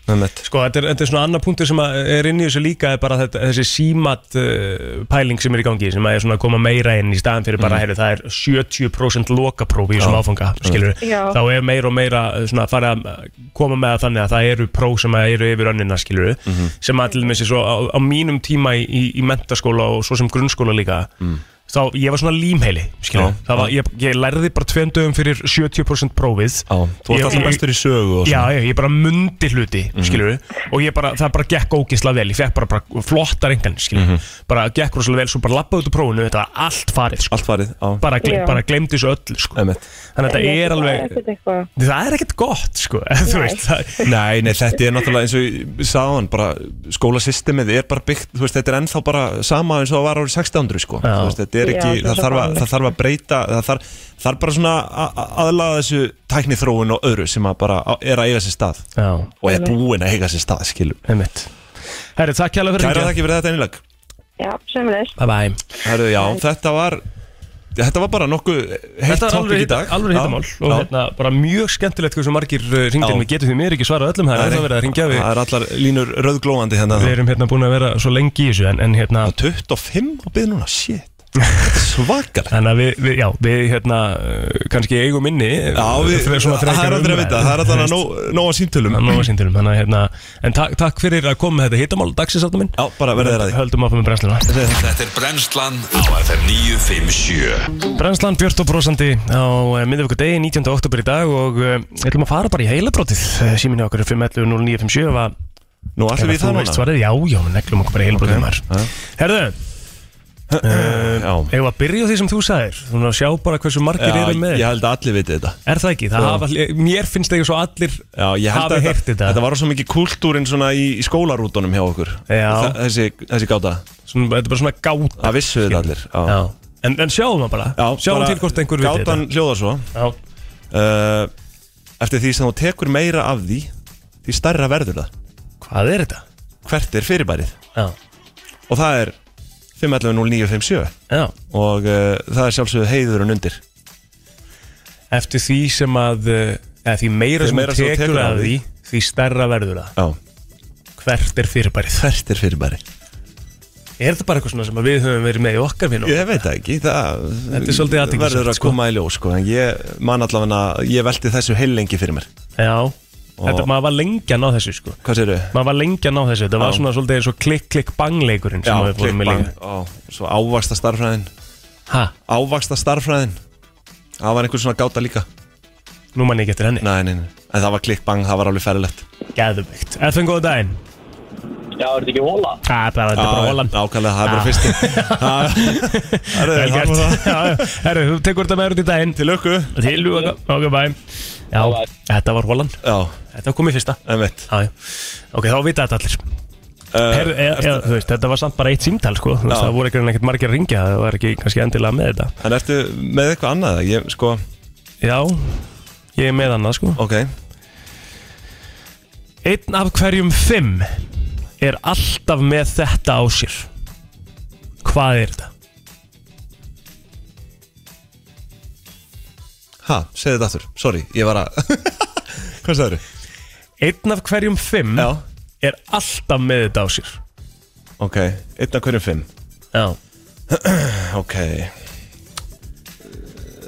Speaker 1: Sko, þetta er, þetta er svona annað punktur sem að er inn í þessu líka er bara þetta, þessi símat uh, pæling sem er í gangi sem að er svona að koma meira inn í staðan fyrir bara, mm. það er 70% lokaprófi í svona áfanga, skilur
Speaker 2: Já.
Speaker 1: þá er meira og meira uh, svona farið að uh, koma með það þannig að það eru próf sem að eru yfir önnina, skilur
Speaker 2: Mm. Mhm.
Speaker 1: sem að til dæmis er svo á, á mínum tíma í, í, í mentaskóla og svo sem grunnskóla líka
Speaker 2: Mm.
Speaker 1: þá ég var svona límheili skilur,
Speaker 2: Já.
Speaker 1: það var, ég, ég lærði bara tveim dögum fyrir 70% prófið
Speaker 2: Já, þú varst alltaf bestur í sögu og
Speaker 1: Já,
Speaker 2: svona. Mhm.
Speaker 1: já, ég bara mundi hluti, mm og ég bara, það bara gekk ógisla vel, ég fekk bara, bara flottar engan, skilur,
Speaker 2: Mhm.
Speaker 1: bara gekk rosalega vel, svo bara lappaði út úr prófinu, þetta var allt farið, sko.
Speaker 2: Allt farið, á.
Speaker 1: Bara,
Speaker 10: Já.
Speaker 1: glem, bara glemdi þessu öllu, sko.
Speaker 2: Einmitt.
Speaker 1: Þannig að þetta
Speaker 10: Ég
Speaker 1: er
Speaker 10: bara
Speaker 1: alveg,
Speaker 10: ekkert eitthvað-
Speaker 1: það er ekkert gott, sko, þú veist, það,
Speaker 2: Nei, nei, þetta er náttúrulega eins og ég sagði hann bara skólasystemið er bara byggt þú veist, þetta er ennþá bara sama eins og það var árið 1600 sko,
Speaker 1: Já.
Speaker 2: þú veist, þetta er
Speaker 1: Já,
Speaker 2: ekki
Speaker 1: þetta er
Speaker 2: það,
Speaker 1: svo
Speaker 2: þarf að,
Speaker 1: gamalt.
Speaker 2: það þarf að breyta það þarf, þarf bara svona a- a- aðlaga þessu tækni þróun og öðru sem að bara á- er að eiga sér stað
Speaker 1: Já.
Speaker 2: og er búin að eiga sér stað, skilum
Speaker 1: Einmitt. Herri, takk hjá fyrir
Speaker 2: Kæra
Speaker 1: hringið.
Speaker 2: þakki fyrir þetta einnilag
Speaker 10: Já, sömulegis
Speaker 1: Bye bye
Speaker 2: Herru, já, þetta var Þetta var bara nokkuð heitt
Speaker 1: Þetta var
Speaker 2: tópik
Speaker 1: alveg,
Speaker 2: í dag
Speaker 1: alveg
Speaker 2: Já,
Speaker 1: hittamál og
Speaker 2: já.
Speaker 1: hérna, bara mjög skemmtilegt hversu margir
Speaker 2: Já.
Speaker 1: ringdinn við getum því mér ekki svarað öllum það er ennþá verið að ringja við
Speaker 2: Það er allar línur rauðglóandi hérna
Speaker 1: við erum hérna búin að vera svo lengi í þessu en, en hérna
Speaker 2: 25 á byrð núna, shit svakar
Speaker 1: þannig að við, við, já, við hérna uh, kannski eigum inni uh,
Speaker 2: Já, við- það er aldrei að vita, það er allan að nóg- nóg að síntölum
Speaker 1: um, nóg að síntölum, þannig að hérna en takk, takk fyrir að koma með þetta hittamál dagsinsáttum minn
Speaker 2: já, bara verðið að því
Speaker 1: höldum áfram með brennsluna
Speaker 6: Þetta er Brennslan á FM 957
Speaker 1: Brennslan Björn og brosandi á eh, miðvöku degi 19. oktober í dag og eh, við ætlum að fara bara í Eh, heilabrótið síminni okkar er 511 0957 ef að-
Speaker 2: Nú ætlum
Speaker 1: ef
Speaker 2: við
Speaker 1: að
Speaker 2: það
Speaker 1: þú
Speaker 2: núna?
Speaker 1: veist svarið, já, já, neglum okkur bara í heilabrótið maður Herðu
Speaker 2: Eh,
Speaker 1: uh, Ef að byrja á því sem þú sagðir þú ná að sjá bara hversu margir
Speaker 2: Já,
Speaker 1: eru með
Speaker 2: ég held að allir viti þetta
Speaker 1: Er það ekki? Það
Speaker 2: Já.
Speaker 1: hafa, mér finnst það ekki svo allir
Speaker 2: Já, ég held
Speaker 1: hafi
Speaker 2: að
Speaker 1: heyrt þetta
Speaker 2: þetta var svo mikið kultúrin svona í, í skólarútonum hjá okkur
Speaker 1: Já.
Speaker 2: Þa- þessi, þessi gáta
Speaker 1: svona, Þetta er bara svona gáta
Speaker 2: Það vissu þetta allir Já,
Speaker 1: En, en sjáum það bara
Speaker 2: Já,
Speaker 1: Sjáum
Speaker 2: bara
Speaker 1: til hvort einhver viti
Speaker 2: Gátan hljóðar svo
Speaker 1: Já.
Speaker 2: uh, Eftir því sem þú tekur meira af því því stærra verður það
Speaker 1: Hvað er þetta?
Speaker 2: Hvert er fyrirbærið?
Speaker 1: Já.
Speaker 2: Og það er 511-0957
Speaker 1: Já.
Speaker 2: Og uh, það er sjálfsögðu heiðurinn undir
Speaker 1: Eftir því sem að eh, eða því meira
Speaker 2: Því
Speaker 1: sem
Speaker 2: meira
Speaker 1: þú tekur að því því stærra verður það
Speaker 2: Já
Speaker 1: Hvert er fyrirbærið?
Speaker 2: Hvert er fyrirbæri?
Speaker 1: Er þetta bara eitthvað svona sem að við höfum verið með í okkar vinum?
Speaker 2: Ég veit það ekki, það
Speaker 1: Þetta er svolítið athyglisvert,
Speaker 2: verður að
Speaker 1: sko.
Speaker 2: koma í ljós sko. En ég man allavega að ég velti þessu heil lengi fyrir mér
Speaker 1: Já Þetta, maður var lengi að ná þessu sko
Speaker 2: Hvað sérðu?
Speaker 1: Maður var lengi að ná þessu Þetta var
Speaker 2: Já.
Speaker 1: svona svolítið eins og klikk-klikk-bang-leikurinn sem við fórum með lengi
Speaker 2: á, Svo ávaksta starfræðin
Speaker 1: Ha?
Speaker 2: Ávaksta starfræðin Það var einhver svona gáta líka
Speaker 1: Nú mann ég getur henni
Speaker 2: Nei, nei, nei En það var klikk bang, það var alveg ferrilegt
Speaker 1: Gæðumvikt FN, góðan daginn
Speaker 5: Já, er þetta ekki hóla?
Speaker 1: Ha, bara, Þetta er bara Holland
Speaker 2: Ákvæmlega, það er bara
Speaker 1: Já.
Speaker 2: fyrsti Það er það
Speaker 1: Vel
Speaker 2: var
Speaker 1: gert
Speaker 2: það.
Speaker 1: Já, já. Herru, þú tekur þetta með út í daginn
Speaker 2: Til ökku
Speaker 1: Til og ok, bæ Já, þetta var Holland
Speaker 2: Já,
Speaker 1: Þetta var komið fyrsta
Speaker 2: einmitt
Speaker 1: Já, já Ok, þá vita þetta allir
Speaker 2: uh,
Speaker 1: Herru, e, e, þú veist, þetta var samt bara eitt símtal sko Þú veist,
Speaker 2: Já.
Speaker 1: Það voru ekkert ekkert margir að ringja Það var ekki kannski endilega með þetta
Speaker 2: En ertu með eitthvað annað? Ég, sko,
Speaker 1: Já, ég er með annað sko
Speaker 2: ok
Speaker 1: Einn af hverjum fimm er alltaf með þetta á sér Hvað er þetta?
Speaker 2: Hæ, segðu þetta aftur, sorry, ég var að Hvað sagður?
Speaker 1: Einn af hverjum fimm Já. er alltaf með þetta á sér
Speaker 2: Ok, einn af hverjum fimm
Speaker 1: Já
Speaker 2: Ok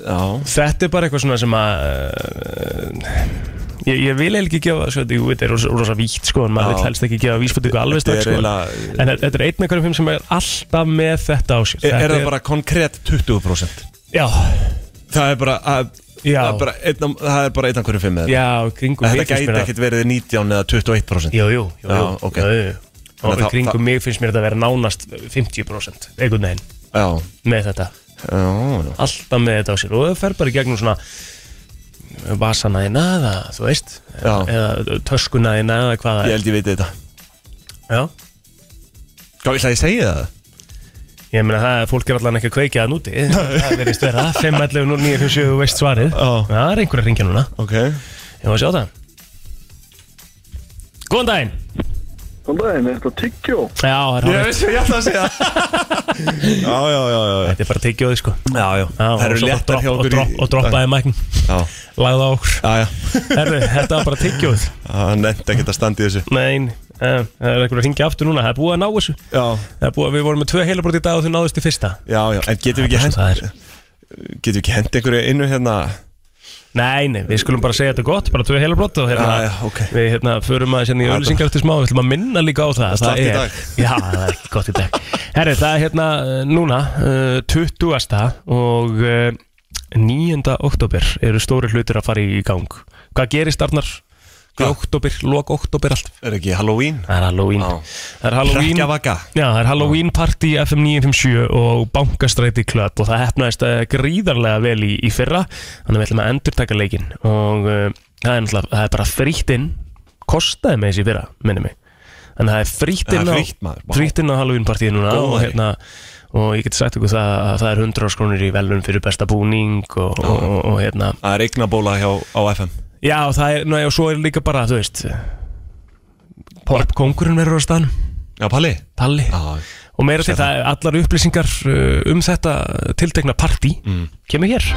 Speaker 2: Já
Speaker 1: Þetta er bara eitthvað svona sem að uh, ég, ég vil eiginlega ekki gefa svo, þetta, jú, þetta er rosa, rosa vítt sko en maður
Speaker 2: Já.
Speaker 1: vil helst ekki gefa vísbútingu alveg
Speaker 2: Þetta er
Speaker 1: strax sko.
Speaker 2: eiginlega-
Speaker 1: en þetta er einn af hverjum fimm sem er alltaf með þetta á sér
Speaker 2: Er,
Speaker 1: Þetta
Speaker 2: er það bara konkrétt 20%?
Speaker 1: Já
Speaker 2: Það er bara að,
Speaker 1: Já.
Speaker 2: Það er bara einn af- það er bara einn af hverjum fimm eða?
Speaker 1: Já, kringum
Speaker 2: Þetta
Speaker 1: mig finnst mér
Speaker 2: gæti
Speaker 1: það.
Speaker 2: ekkert verið 19 eða 21%
Speaker 1: Jú, jú, jú,
Speaker 2: Já,
Speaker 1: jú.
Speaker 2: ok
Speaker 1: Jú, jú.
Speaker 2: Þannig
Speaker 1: og
Speaker 2: að
Speaker 1: í
Speaker 2: það-
Speaker 1: kringum mig finnst mér þetta að vera nánast 50% einhvern veginn
Speaker 2: Já.
Speaker 1: með þetta
Speaker 2: já, já.
Speaker 1: alltaf með þetta á sér og það fer bara í gegnum svona vasana þína eða þú veist já. eða töskuna þína eða hvað það
Speaker 2: Ég held ég veit þetta
Speaker 1: Já
Speaker 2: Hvað vil það ég segja það?
Speaker 1: Ég meina það að fólk er allan ekki að kveikja það núti Það verðist vera 511 0957 þú veist svarið Já Það er einhver að ringja núna
Speaker 2: Ok
Speaker 1: Ég var að sjá það Góðan daginn
Speaker 11: Góðan daginn, er þetta tyggjó?
Speaker 1: Já, það er hárrétt.
Speaker 2: ætla að segja Já, já, já, já
Speaker 1: Þetta er bara tyggjóði sko
Speaker 2: Já, já
Speaker 1: Það
Speaker 2: eru léttar hjá okkur í-
Speaker 1: Og droppaði mækn
Speaker 2: Já
Speaker 1: Lagði á okkur
Speaker 2: Já, já
Speaker 1: Herru, þetta var bara tyggjóð
Speaker 2: Það nefndi ekkert að standa í þessu
Speaker 1: Nein, eh, það er einhver að ringja aftur núna Það er búið að ná þessu
Speaker 2: Já
Speaker 1: Það er búið að við vorum með tvö heilabrót í dag og þau náðust í fyrsta
Speaker 2: Já, já, en getum við ekki hent Getum við ekki hent einhverju innu hérna
Speaker 1: Nei, nei, við skulum bara segja þetta gott, bara tvö heilabrótt og hérna,
Speaker 2: Já, já, ok.
Speaker 1: við hérna förum að sérna í auðlýsingar eftir smá, við ætlum að minna líka á það
Speaker 2: slappt í
Speaker 1: er,
Speaker 2: dag.
Speaker 1: Já, það er ekki gott í dag Herri, það er hérna eh, núna uh, 20. og uh, 9. oktober eru stóri hlutir að fara í gang Hvað gerist Arnar? Í oktober, lok oktober allt
Speaker 2: Er ekki Halloween?
Speaker 1: Það er Halloween Það er Halloween
Speaker 2: Hrekkjavaka.
Speaker 1: Já, það er Halloween party í FM 957 og bankastræti klöpp og það hefnaðist eh, gríðarlega vel í, í fyrra þannig að við ætlum að endurtaka leikinn og uh, það, er náttúrulega- það er bara frítt inn kostaði með þessi í fyrra, minni mig þannig að það er frítt
Speaker 2: Það er
Speaker 1: inn á
Speaker 2: frítt, maður, vá.
Speaker 1: frítt inn á Halloween partíi núna og,
Speaker 2: Góðæri.
Speaker 1: hérna, og ég geti sagt ykkur það að það er 100 skrónir í velun fyrir besta búning og, og, og, og hérna
Speaker 2: Það er eignabóla hjá á FM
Speaker 1: Já, og það er, næ, og svo er líka bara, þú veist Popkongurinn verður á staðnum
Speaker 2: Já, Palli
Speaker 1: Palli Og meira til það, allar upplýsingar uh, um þetta tiltekna partí
Speaker 2: Mm.
Speaker 1: kemur hér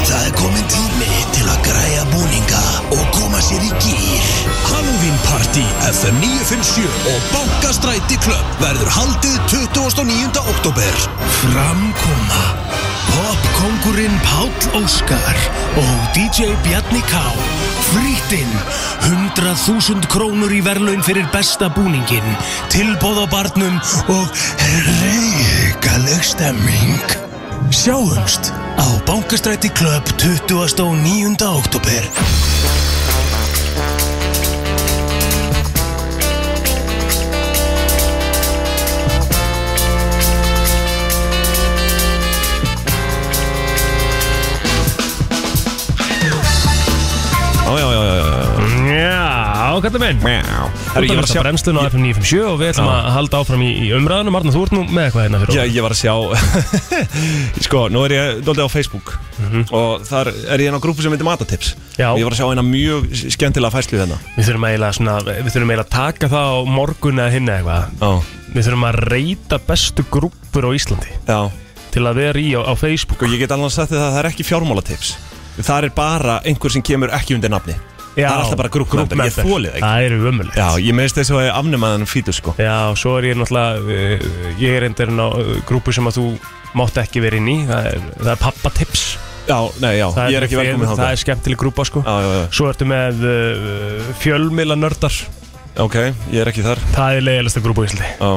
Speaker 12: Það er komin tími til að græja búninga og koma sér í gýr. Halloween Party FM 957 og Bankastræti Club verður haldið 29. oktober. Framkoma Popkongurinn Páll Óskar og DJ Bjarni K. Frítinn 100.000 krónur í verlaun fyrir besta búningin, tilbóð á barnum og reykaleg stemming. Sjáumst á Bankastræti Klöp 29. oktober
Speaker 2: Já, já, já, já, já
Speaker 1: Já, kallar minn
Speaker 2: Herru,
Speaker 1: Herru,
Speaker 2: ég var að sjá-
Speaker 1: brennslun á FM 957 og við ætlum
Speaker 2: Já.
Speaker 1: að halda áfram í, í umræðanum Arna, þú ert nú með eitthvað hérna fyrir
Speaker 2: Já, ég var að sjá Sko, nú er ég doldið á Facebook Og þar er ég inn á grúpu sem heitir Matatips
Speaker 1: Mhm. Já.
Speaker 2: Og Ég var að sjá eina mjög skemmtilega fæslu hérna
Speaker 1: Við þurfum eiginlega svona, við þurfum eiginlega að taka það á morgun eða hinn eða eitthvað
Speaker 2: Já.
Speaker 1: Við þurfum að reyta bestu grúpur á Íslandi
Speaker 2: Já
Speaker 1: Til að vera í á, á Facebook
Speaker 2: Sko, ég get alveg sagt þér það að það er ekki fjármálatips Það er bara einhver sem kemur ekki undir nafni
Speaker 1: Já.
Speaker 2: Það er alltaf bara grúpp
Speaker 1: Group
Speaker 2: Ég
Speaker 1: member.
Speaker 2: þólið ekki
Speaker 1: Það eru ömulegt
Speaker 2: Já, ég meðist þess að ég afnema þennan fítu sko
Speaker 1: Já, svo er ég náttúrulega eh, Ég er endur á eh, grúpu sem að þú mátt ekki vera inn í Það er, það er pappatips
Speaker 2: Já, nei, já,
Speaker 1: það
Speaker 2: ég er ekki
Speaker 1: fyrir-
Speaker 2: velkomin
Speaker 1: Það
Speaker 2: þáka
Speaker 1: er skemmtileg grúpa sko
Speaker 2: Já, já, já,
Speaker 1: Svo ertu með uh, fjölmila nördar
Speaker 2: ok, ég er ekki þar
Speaker 1: Það er leiðilegsta grúpa í Íslandi
Speaker 2: Já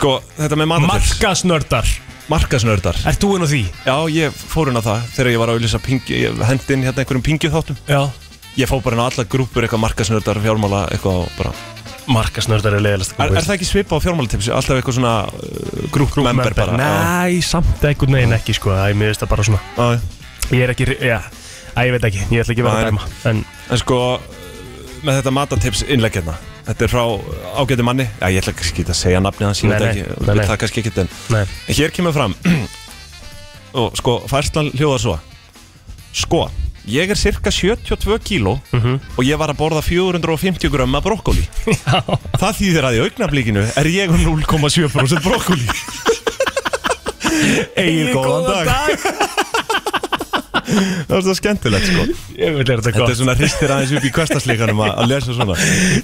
Speaker 2: Sko, þetta með matatips
Speaker 1: Markasnördar
Speaker 2: Markasnördar
Speaker 1: Ert þú inn á því?
Speaker 2: Já, ég fór inn á það þegar ég var að auðvisa pingi Ég hendi inn hérna einhverjum pingið þáttum
Speaker 1: Já
Speaker 2: Ég fór bara inn á alla grúpur eitthvað markasnördar fjármála eitthvað og bara
Speaker 1: Markasnördar er leiðilegsta
Speaker 2: Er,
Speaker 1: grúpa
Speaker 2: er það ekki svipa á fjármálatipsi? Alltaf eitthvað svona uh, grúpp member bara
Speaker 1: Nei, samt einhvern veginn ekki sko Það er mjög veist að bara svona
Speaker 2: Já, já.
Speaker 1: Ég er ekki, já Æ, ég veit ekki, ég ætla ekki að vera að
Speaker 2: Nei.
Speaker 1: dæma En
Speaker 2: En sko, með þetta matatips innlegg hérna Þetta er frá ágæti manni Já, ég ætla kannski ekki að segja nafnið hans, ég
Speaker 1: Nei,
Speaker 2: veit
Speaker 1: nei,
Speaker 2: ekki
Speaker 1: nei,
Speaker 2: nei,
Speaker 1: nei.
Speaker 2: Það kannski ekki en
Speaker 1: Nei.
Speaker 2: En Hér kemur fram Og sko, færslan hljóðar svo Sko, Ég er cirka 72 kíló
Speaker 1: Mhm.
Speaker 2: og ég var að borða 450 grömm af brokkoli Það þýðir að í augnablíkinu er ég um 0,7% brokkoli Egið góðan dag, Það var svo skemmtilegt sko
Speaker 1: Ég vil er þetta
Speaker 2: Þetta er svona hristir aðeins upp í kvestaslíkanum að að lesa svona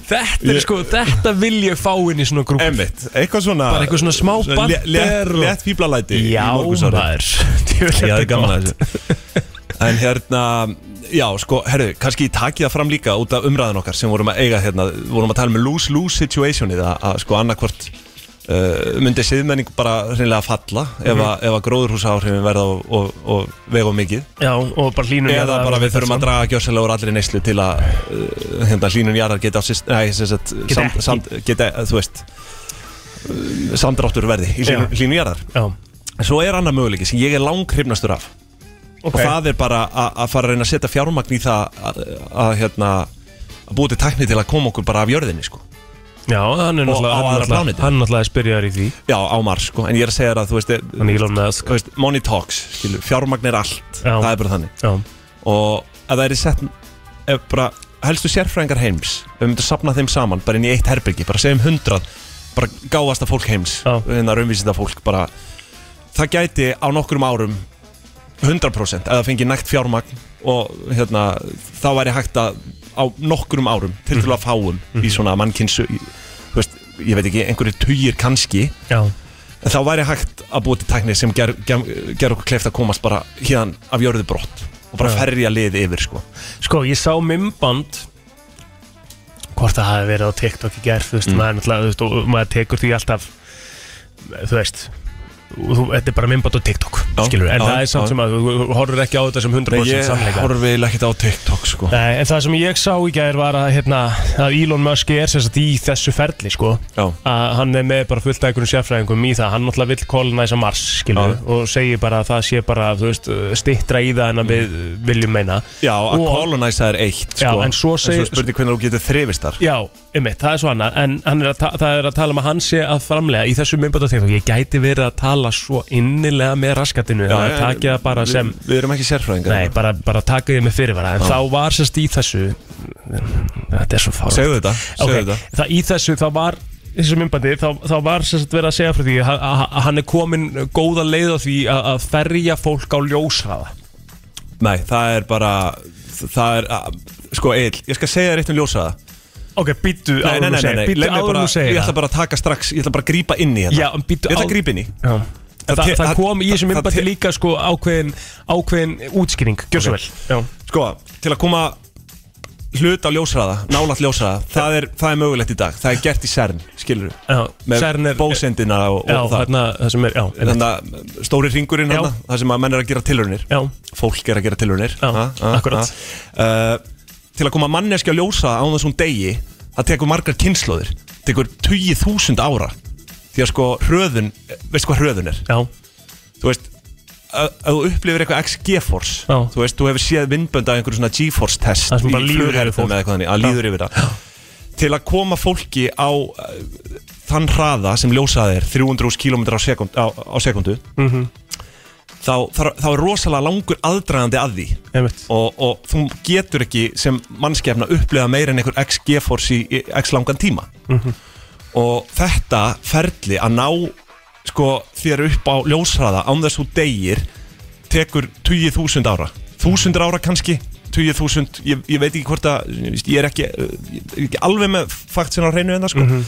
Speaker 1: Þetta er sko, þetta vil ég fá inn í svona grúpur
Speaker 2: Einmitt, eitthvað svona
Speaker 1: Bara eitthvað svona smá
Speaker 2: Svona
Speaker 1: bander
Speaker 2: lé- létt-
Speaker 1: og-
Speaker 2: Létt fíblalæti í
Speaker 1: Já,
Speaker 2: morgunsárið.
Speaker 1: maður
Speaker 2: Já,
Speaker 1: Djöfull er
Speaker 2: það er
Speaker 1: þetta
Speaker 2: gaman
Speaker 1: gott.
Speaker 2: að þessu En hérna, já, sko, herru, kannski ég taki það fram líka út af umræðan okkar sem vorum að eiga hérna, vorum að tala með lose-lose situationið að, að sko annarkvort uh, myndi siðmenning bara hreinlega falla
Speaker 1: Mhm.
Speaker 2: ef, að, ef að gróðurhúsáhrifin verða og, og, og vega of mikið
Speaker 1: Já, og bara hlínun
Speaker 2: eða bara við þurfum að draga gjössalega úr allri neyslu til að uh, hérna, hlínun jarðar geta, á sýst- nei, sem sagt,
Speaker 1: Geta
Speaker 2: sand,
Speaker 1: ekki.
Speaker 2: sand, geta uh, þú veist uh, samdráttur verði í hlínun,
Speaker 1: Já.
Speaker 2: hlínun jarðar
Speaker 1: Já.
Speaker 2: En svo er annar möguleiki sem ég er langhrifnastur af og það er bara að að fara að reyna að setja fjármagn í það að, að, hérna, að búið til tækni til að koma okkur bara af jörðinni sko.
Speaker 1: Já, hann
Speaker 2: Og
Speaker 1: er náttúrulega
Speaker 2: á
Speaker 1: hann er
Speaker 2: aðra
Speaker 1: náttúrulega-
Speaker 2: plánetu.
Speaker 1: Hann er náttúrulega spyrjar í því
Speaker 2: já, á Mars sko. en ég er að segja þér að þú veist,
Speaker 1: Hann Elon Musk
Speaker 2: þú veist money talks, skilu, fjármagn er allt
Speaker 1: Já.
Speaker 2: það er bara þannig
Speaker 1: Já.
Speaker 2: og að það er sett ef bara helstu sérfræðingar heims við myndum að sapna þeim saman, bara inn í eitt herbyggi bara segjum hundrað, bara gáðasta fólk heims hérna raunvísinda fólk bara, það gæti á nokkrum árum 100% eða fengi nægt fjármagn og hérna, þá væri hægt að á nokkrum árum til
Speaker 1: Mhm.
Speaker 2: til að fáum í svona mannkynsu í, þú veist, ég veit ekki, einhverju tugir kannski
Speaker 1: Já.
Speaker 2: en þá væri hægt að búa til tækni sem ger, ger, ger okkur kleift að komast bara hérna af jörðu brott og bara
Speaker 1: Já.
Speaker 2: ferja liði yfir sko
Speaker 1: Sko, ég sá mymband Hvort það hafi verið á TikTok í gerð Þú
Speaker 2: Mm.
Speaker 1: veist, maður er náttúrulega þú veist, og maður tekur því alltaf Þú veist og þú, Þetta er bara mymband og TikTok
Speaker 2: Já,
Speaker 1: skilur, En
Speaker 2: já,
Speaker 1: það er
Speaker 2: já.
Speaker 1: samt sem að þú- þú þú horfir ekki á þetta sem 100%
Speaker 2: ég
Speaker 1: sannleika
Speaker 2: horfi ekkert á TikTok sko
Speaker 1: Nei, en það sem ég sá í gær var að, hérna, að Elon Musk er sem sagt í þessu ferli sko,
Speaker 2: Já.
Speaker 1: að hann er með bara fullt af einhverjum sérfræðingum í það, hann náttúrulega vill kolonæsa Mars skilur,
Speaker 2: Já.
Speaker 1: og segir bara að það sé bara þú veist, stittra í það en að við viljum meina
Speaker 2: já, að
Speaker 1: Og-
Speaker 2: kolonæsa er eitt sko
Speaker 1: Já, en svo segir-
Speaker 2: spurning hvernig þú getur þrifist þar
Speaker 1: Já, einmitt, það er svo annað en hann er að, ta- það er að tala um að hann sé að framlega í þessu myndbætateknum, ég gæti verið að tala svo innilega með raskatinu já, að takja það bara
Speaker 2: við,
Speaker 1: sem
Speaker 2: við erum ekki sérfræðingar
Speaker 1: Nei, bara, bara taka ég með fyrirvara En
Speaker 2: Já.
Speaker 1: þá var sérst í þessu Þetta er svo fárað
Speaker 2: Segðu þetta, segðu þetta.
Speaker 1: Það í þessu, þá var í þessu myndbandi, þá, þá var sérst verið að segja frá því að- að að hann er komin góða leið á því að, að ferja fólk á ljósraða
Speaker 2: Nei, það er bara það er, að, sko Egil, ég skal segja þér eitt um ljósaða
Speaker 1: Ok, býttu
Speaker 2: Nei, nei,
Speaker 1: áður
Speaker 2: nei, nei,
Speaker 1: nú
Speaker 2: nei.
Speaker 1: segir Býttu
Speaker 2: leið mér
Speaker 1: áður
Speaker 2: bara,
Speaker 1: nú segir
Speaker 2: Ég ætla bara að taka strax, ég ætla bara að grípa inn í hérna
Speaker 1: Já, en býttu
Speaker 2: Ég ætla að
Speaker 1: á-
Speaker 2: grípa inn í
Speaker 1: Já.
Speaker 2: Það
Speaker 1: Það, það,
Speaker 2: te- það-
Speaker 1: kom í þessum
Speaker 2: það-
Speaker 1: myndbandi
Speaker 2: það-
Speaker 1: líka sko ákveðin, ákveðin útskýring, gjör svo
Speaker 2: Ok.
Speaker 1: vel Já.
Speaker 2: Sko, til að koma hluta ljósraða, nálat ljósraða það er, það er mögulegt í dag, það er gert í CERN skilur
Speaker 1: Já,
Speaker 2: með
Speaker 1: CERN er-
Speaker 2: bósendina og,
Speaker 1: Já,
Speaker 2: og það
Speaker 1: þarna, það sem er, já, einmitt.
Speaker 2: þannig að stóri ringurinn
Speaker 1: Já.
Speaker 2: hana, það sem að menn er að gera tilraunir
Speaker 1: Já.
Speaker 2: fólk er að gera tilraunir
Speaker 1: Já, akkurat.
Speaker 2: uh, til að koma manneskja ljósa á þessum degi það tekur margar kynnslóðir tekur 20.000 ára því að sko hröðun, veist hvað hröðun er
Speaker 1: Já.
Speaker 2: þú veist að að þú upplifir eitthvað XG-force
Speaker 1: Já.
Speaker 2: þú veist, þú hefur séð myndbönd af einhverjum svona G-force test
Speaker 1: Það
Speaker 2: í
Speaker 1: sem bara líður yfir
Speaker 2: flughernum
Speaker 1: fólk.
Speaker 2: eða eitthvað þannig, að líður yfir það til að koma fólki á uh, þann hraða sem ljósað er 300 km á, sekund, á, á sekundu
Speaker 1: Mhm.
Speaker 2: þá, þá, þá er rosalega langur aðdragandi að því
Speaker 1: Einmitt.
Speaker 2: og, og þú getur ekki sem mannskefna upplifa meira en einhver XG-force í, í X langan tíma
Speaker 1: Mhm.
Speaker 2: og þetta ferli að ná sko, þér upp á ljósraða án þess þú degir tekur 20.000 ára 1000 ára kannski 20.000, ég, ég veit ekki hvort að ég er ekki, ég er ekki alveg með fakt sem á hreinu en það sko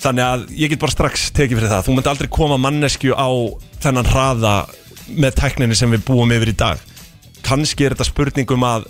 Speaker 2: Þannig að ég get bara strax tekið fyrir það Þú myndi aldrei koma mannesku á þennan hraða með tækninni sem við búum yfir í dag Kanski er þetta spurningum að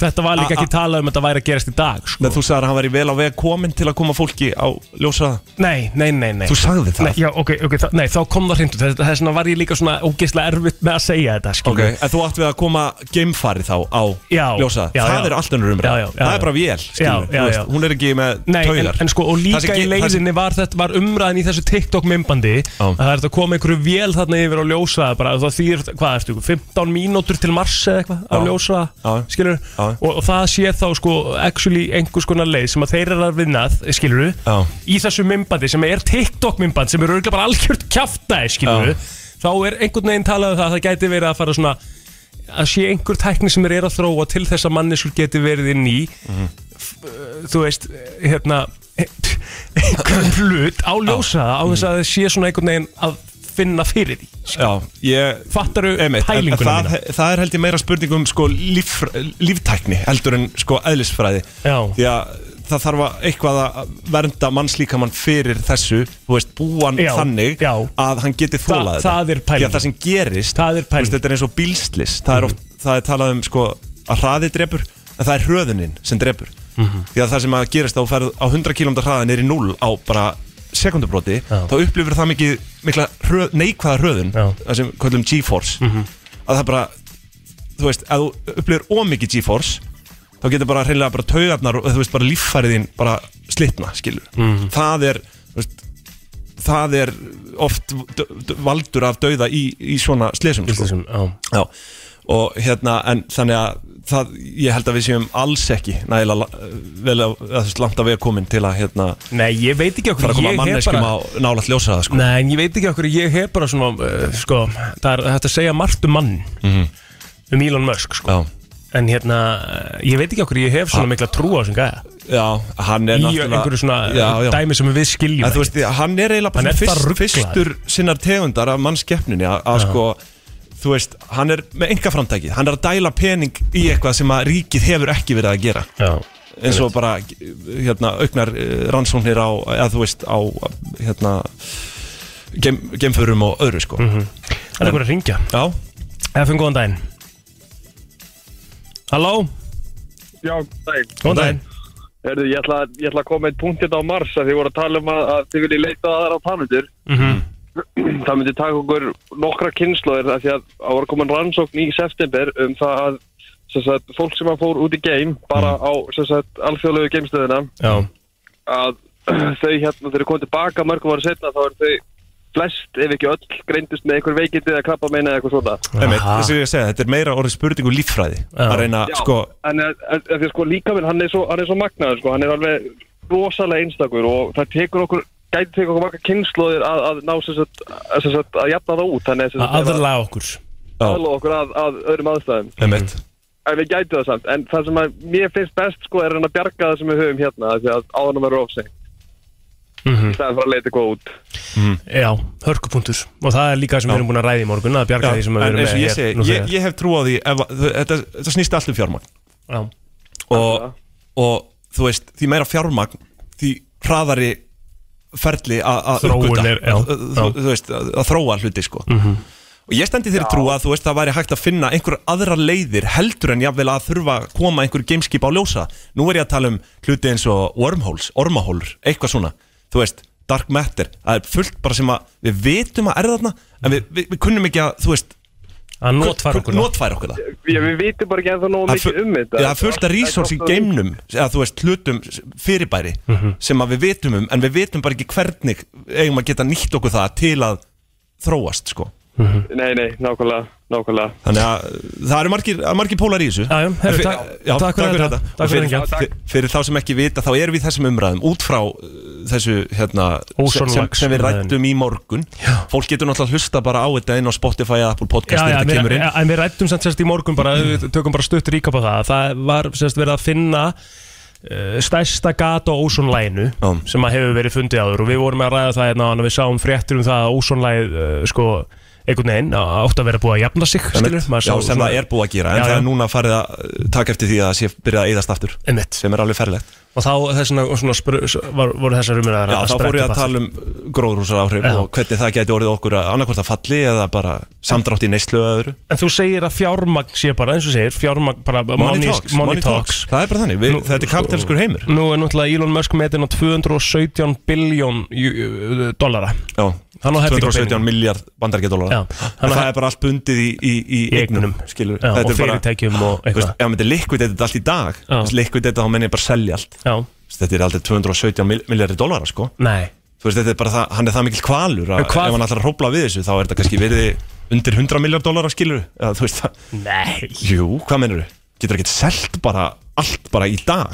Speaker 1: Þetta var líka
Speaker 2: A- a-
Speaker 1: ekki talað um að þetta væri að gerast í dag sko.
Speaker 2: Nei, þú sagðir að hann væri vel á veg komin til að koma fólki á ljósraða
Speaker 1: Nei, nei, nei, nei
Speaker 2: Þú sagði það.
Speaker 1: Nei, já, ok, ok, þa nei, þá kom það hrindu Þess þess vegna var ég líka svona ógeðslega erfitt með að segja þetta
Speaker 2: Ok,
Speaker 1: skilur.
Speaker 2: en þú átt við að koma geimfari þá á
Speaker 1: Já,
Speaker 2: ljósraða
Speaker 1: já,
Speaker 2: Það
Speaker 1: já.
Speaker 2: er allt önnur
Speaker 1: Já, já,
Speaker 2: umræð
Speaker 1: já,
Speaker 2: Það
Speaker 1: já.
Speaker 2: er bara vél, skilur
Speaker 1: Já, já,
Speaker 2: þú veist,
Speaker 1: já.
Speaker 2: Hún er ekki með
Speaker 1: Nei, en,
Speaker 2: taugar
Speaker 1: en sko, og
Speaker 2: Það sem ge-
Speaker 1: líka í
Speaker 2: það sem-
Speaker 1: leiðinni var, þetta, var umræðin í þessu TikTok-mymbandi að það er hægt að koma einhverju vél þarna yfir á ljósraða bara, og það þýr, hvað ertu, 15 mínútur til Mars eða eitthvað á
Speaker 2: Já.
Speaker 1: ljósraða
Speaker 2: Já.
Speaker 1: skilur,
Speaker 2: Já.
Speaker 1: og, og það sé þá sko, actually einhvers konar leið sem að þeir eru að vinnað, skilur
Speaker 2: Já.
Speaker 1: í þessu mymbandi sem er TikTok-mymband sem eru örgulega bara algjört kjaftaði, skilur
Speaker 2: Já.
Speaker 1: þá er einhvern veginn talað um það að það gæti verið að fara svona að sé einhver tækni sem er, er að þróa til þess að manneskur geti verið inn í
Speaker 2: Mhm.
Speaker 1: eh, þú veist, hérna einhvern hlut á ljósaða á þess
Speaker 2: Mhm.
Speaker 1: að það sé svona einhvern veginn að finna fyrir því
Speaker 2: Já, ég
Speaker 1: Fattaru
Speaker 2: en, en
Speaker 1: pælinguna
Speaker 2: það,
Speaker 1: mína
Speaker 2: það er held ég meira spurning um sko, líf, líftækni heldur en sko, eðlisfræði
Speaker 1: Já.
Speaker 2: því að það þarf að eitthvað að vernda mannslíkamann fyrir þessu þú veist, búan
Speaker 1: Já,
Speaker 2: þannig já. að hann geti
Speaker 1: Þa-
Speaker 2: þólað
Speaker 1: það er pæling.
Speaker 2: Því að það sem gerist það er, þú veist, þetta er eins og bílslis
Speaker 1: Mhm.
Speaker 2: það er, oft, það er talað um sko, að hraði drepur en það er hröðunin sem drepur
Speaker 1: Mhm.
Speaker 2: því að það sem að gerist á, ferð, á 100 km hraðan er í 0 á bara sekundubróti þá upplifir það mikið mikla hröð, neikvæða hröðun það sem kallum G-force að það bara þú veist, að þú upplifir ómikið G-force þá getur bara hreinlega bara taugarnar og þú veist bara líffæriðin bara slitna skilur
Speaker 1: Mhm.
Speaker 2: það er þú veist, það er oft d- d- valdur af dauða í, í svona slesum, slesum
Speaker 1: sko.
Speaker 2: já. og hérna en þannig að það, ég held að við séum alls ekki nægilega la- vel að, að þú veist, langt að við erum komin til að hérna,
Speaker 1: Nei, ég veit ekki okkur
Speaker 2: fara að koma manneskjum á nála ljósa það sko
Speaker 1: Nei, en ég veit ekki okkur, ég hef bara svona, uh, sko, það er hægt að segja margt um mann, um Elon Musk, sko.
Speaker 2: Mhm. Já.
Speaker 1: En hérna, uh, ég veit ekki okkur, ég hef svona mikla trú á þessum gæða.
Speaker 2: Já, hann er
Speaker 1: Í
Speaker 2: náttúrulega-
Speaker 1: einhverju svona dæmi sem við skiljum
Speaker 2: En þú veist, hann er eiginlega bara
Speaker 1: Hann er
Speaker 2: svona
Speaker 1: bara ruglaður.
Speaker 2: fyrstur sinnar tegundar af mannskeppninni að, að
Speaker 1: Já.
Speaker 2: sko þú veist, hann er með enga framtæki hann er að dæla pening í eitthvað sem að ríkið hefur ekki verið að gera
Speaker 1: Já,
Speaker 2: eins og bara hérna, auknar eh, rannsóknir á, eða þú veist á hérna gem, gemförum og öðru sko
Speaker 1: Mhm. Það er okkur að ringja.
Speaker 2: Já.
Speaker 1: Efum, góðan daginn. Halló?
Speaker 11: Já, dæn.
Speaker 1: Góðan daginn.
Speaker 11: Herðu, ég ætla, ég ætla að koma með eitt punkt hérna á Mars að þið voru að tala um að, að þið viljið leita aðra á planetur.
Speaker 1: Mhm.
Speaker 11: það myndi taka okkur nokkra kynnslóðir af því að það voru komin rannsókn í september um það að sem sagt, fólk sem að fór út í game bara
Speaker 1: Mm.
Speaker 11: á sem sagt, alþjóðlegu geimstöðina
Speaker 1: Já.
Speaker 11: að þau hérna þegar komið tilbaka mörgum ára setna þá eru þau flest ef ekki öll greindust með einhver veikindi eða krabba meina eða eitthvað svona
Speaker 2: Einmitt, þess að ég að segja, þetta er meira orðið spurningu líffræði að reyna,
Speaker 11: Já,
Speaker 2: sko,
Speaker 11: en, en, en því að sko líka minn, hann er svo, hann er svo magnaður sko, hann er alveg rosalega einstakur og það tekur okkur gæti tekur okkur marga kynnslóðir að, að ná sem sagt, að, sem sagt, að jafna það út þannig sem
Speaker 1: Að
Speaker 11: sagt, ef
Speaker 1: aðlaga okkur.
Speaker 11: aðlaga okkur að, að öðrum aðstæðum
Speaker 2: Einmitt.
Speaker 11: en við gætu það samt, en það sem að mér finnst best sko er hann að bjarga það sem við höfum hérna af því að áðanum verður ofseng
Speaker 2: Mm.
Speaker 1: Mhm.
Speaker 11: það er bara að leita góð út
Speaker 1: Já, hörkupunktur. Og það er líka það sem við erum búin að ræða í morgun, að bjarga
Speaker 2: Já,
Speaker 1: því sem við
Speaker 2: en
Speaker 1: erum
Speaker 2: eins og ég
Speaker 1: hér
Speaker 2: segi,
Speaker 1: nú
Speaker 2: ég,
Speaker 1: þegar.
Speaker 2: ég hef trú á því ef, að- þ- þetta, þetta snýst allt um fjármagn
Speaker 1: Já.
Speaker 2: og, og þú veist, því meira fjármagn því hraðari ferli að að
Speaker 1: Þróun
Speaker 2: uppgötva,
Speaker 1: er- já,
Speaker 2: að- að- þú
Speaker 1: já.
Speaker 2: þú veist, að að þróa hluti sko
Speaker 1: Mhm.
Speaker 2: og ég stendi þeirri trú að þú veist, það væri hægt að finna einhver aðra leiðir heldur en jafnvel að þurfa að koma einhver gameskip á ljósa nú er ég að tala um hluti eins og wormholes, ormahólur, eitthvað svona þú veist, dark matter, það er fullt bara sem að við vitum að er þarna en við, við, við kunnum ekki að, þú veist
Speaker 1: að notfæra okkur það.
Speaker 2: notfæra okkur það
Speaker 11: Já, við vitum bara ekki ennþá nógu
Speaker 2: Það er
Speaker 11: mikið
Speaker 2: fu-
Speaker 11: um þetta
Speaker 2: Já, það er fullt af resource í geimnum eða þú veist hlutum s- fyrirbæri
Speaker 1: Mhm.
Speaker 2: sem að við vitum um en við vitum bara ekki hvernig eigum að geta nýtt okkur það til að þróast sko
Speaker 11: Nei, nei, nákvæmlega, nákvæmlega
Speaker 2: Þannig að uh, það eru margir, að margir pólar í þessu
Speaker 1: Já, já, herru, takk- takk fyrir þetta. Takk
Speaker 2: Og
Speaker 1: fyrir
Speaker 2: fyrir,
Speaker 1: þetta.
Speaker 2: fyrir, fyrir þá sem ekki vita, þá erum við í þessum umræðum út frá uh, þessu hérna, sem, sem, sem við
Speaker 1: Ósonlagsumræðunni.
Speaker 2: rættum í morgun Fólk getur náttúrulega hlusta bara á þetta inn á Spotify eða Apple Podcast
Speaker 1: Já, já,
Speaker 2: þegar þetta
Speaker 1: en
Speaker 2: kemur
Speaker 1: við,
Speaker 2: inn Mm.
Speaker 1: en við rættum samt sérst í morgun bara, við tökum bara stutt ríkap á það að það var sérst verið að finna uh, stærsta gat á ósónlæginu sem að hefur verið fundið áður og við vorum að ræða það hérna áðan og við sáum fréttur um það að ósónlæg uh, sko einhvern veginn á- átti að vera búið að jafna sig skilur, maður
Speaker 2: Já,
Speaker 1: sá
Speaker 2: sem
Speaker 1: svona-
Speaker 2: það er búið að gera En
Speaker 1: Já,
Speaker 2: það
Speaker 1: já.
Speaker 2: er núna farið að uh, taka eftir því að það sé byrjað að eyðast aftur
Speaker 1: Einmitt.
Speaker 2: Sem er alveg ferlegt
Speaker 1: og þá þessna, og svona spru, s- var, voru þessar umræðar
Speaker 2: Já, þá fór ég að tala um gróðrúsar áhrif
Speaker 1: Já.
Speaker 2: og hvernig það geti orðið okkur að annarkvort að falli eða bara samdrátt í neyslu eða öðru
Speaker 1: En þú segir að fjármagn sé bara, eins og segir, fjármagn bara
Speaker 2: Money talks, money talks. Það er bara þannig, við- þetta er kapítalskur heimur.
Speaker 1: Nú er náttúrulega Elon Musk metin á 217 biljón dollara
Speaker 2: Já,
Speaker 1: Hann á helling af
Speaker 2: 217
Speaker 1: peningum.
Speaker 2: miljard bandargedólara
Speaker 1: Já, hann
Speaker 2: En
Speaker 1: á-
Speaker 2: það er bara allt bundið í, í, í eignum skilur,
Speaker 1: Já,
Speaker 2: Þetta
Speaker 1: og
Speaker 2: er bara-
Speaker 1: fyrirtækjum og
Speaker 2: Þú veist,
Speaker 1: eitthvað
Speaker 2: Ef maður likvidið þetta allt í dag Likvidið þetta þá menn ég bara selja allt
Speaker 1: Já.
Speaker 2: Þú veist, Þetta er aldrei 217 mil- miljardir dólara sko.
Speaker 1: Nei
Speaker 2: Þú veist, þetta er bara það, hann er það mikil kvalur að
Speaker 1: En hvað-
Speaker 2: ef hann ætlar að hrópla við þessu þá er þetta kannski verið undir 100 miljard dólar að skilur eða, þú veist það
Speaker 1: Nei
Speaker 2: Jú, hvað menur þú? Getur ekkert selt bara allt bara í dag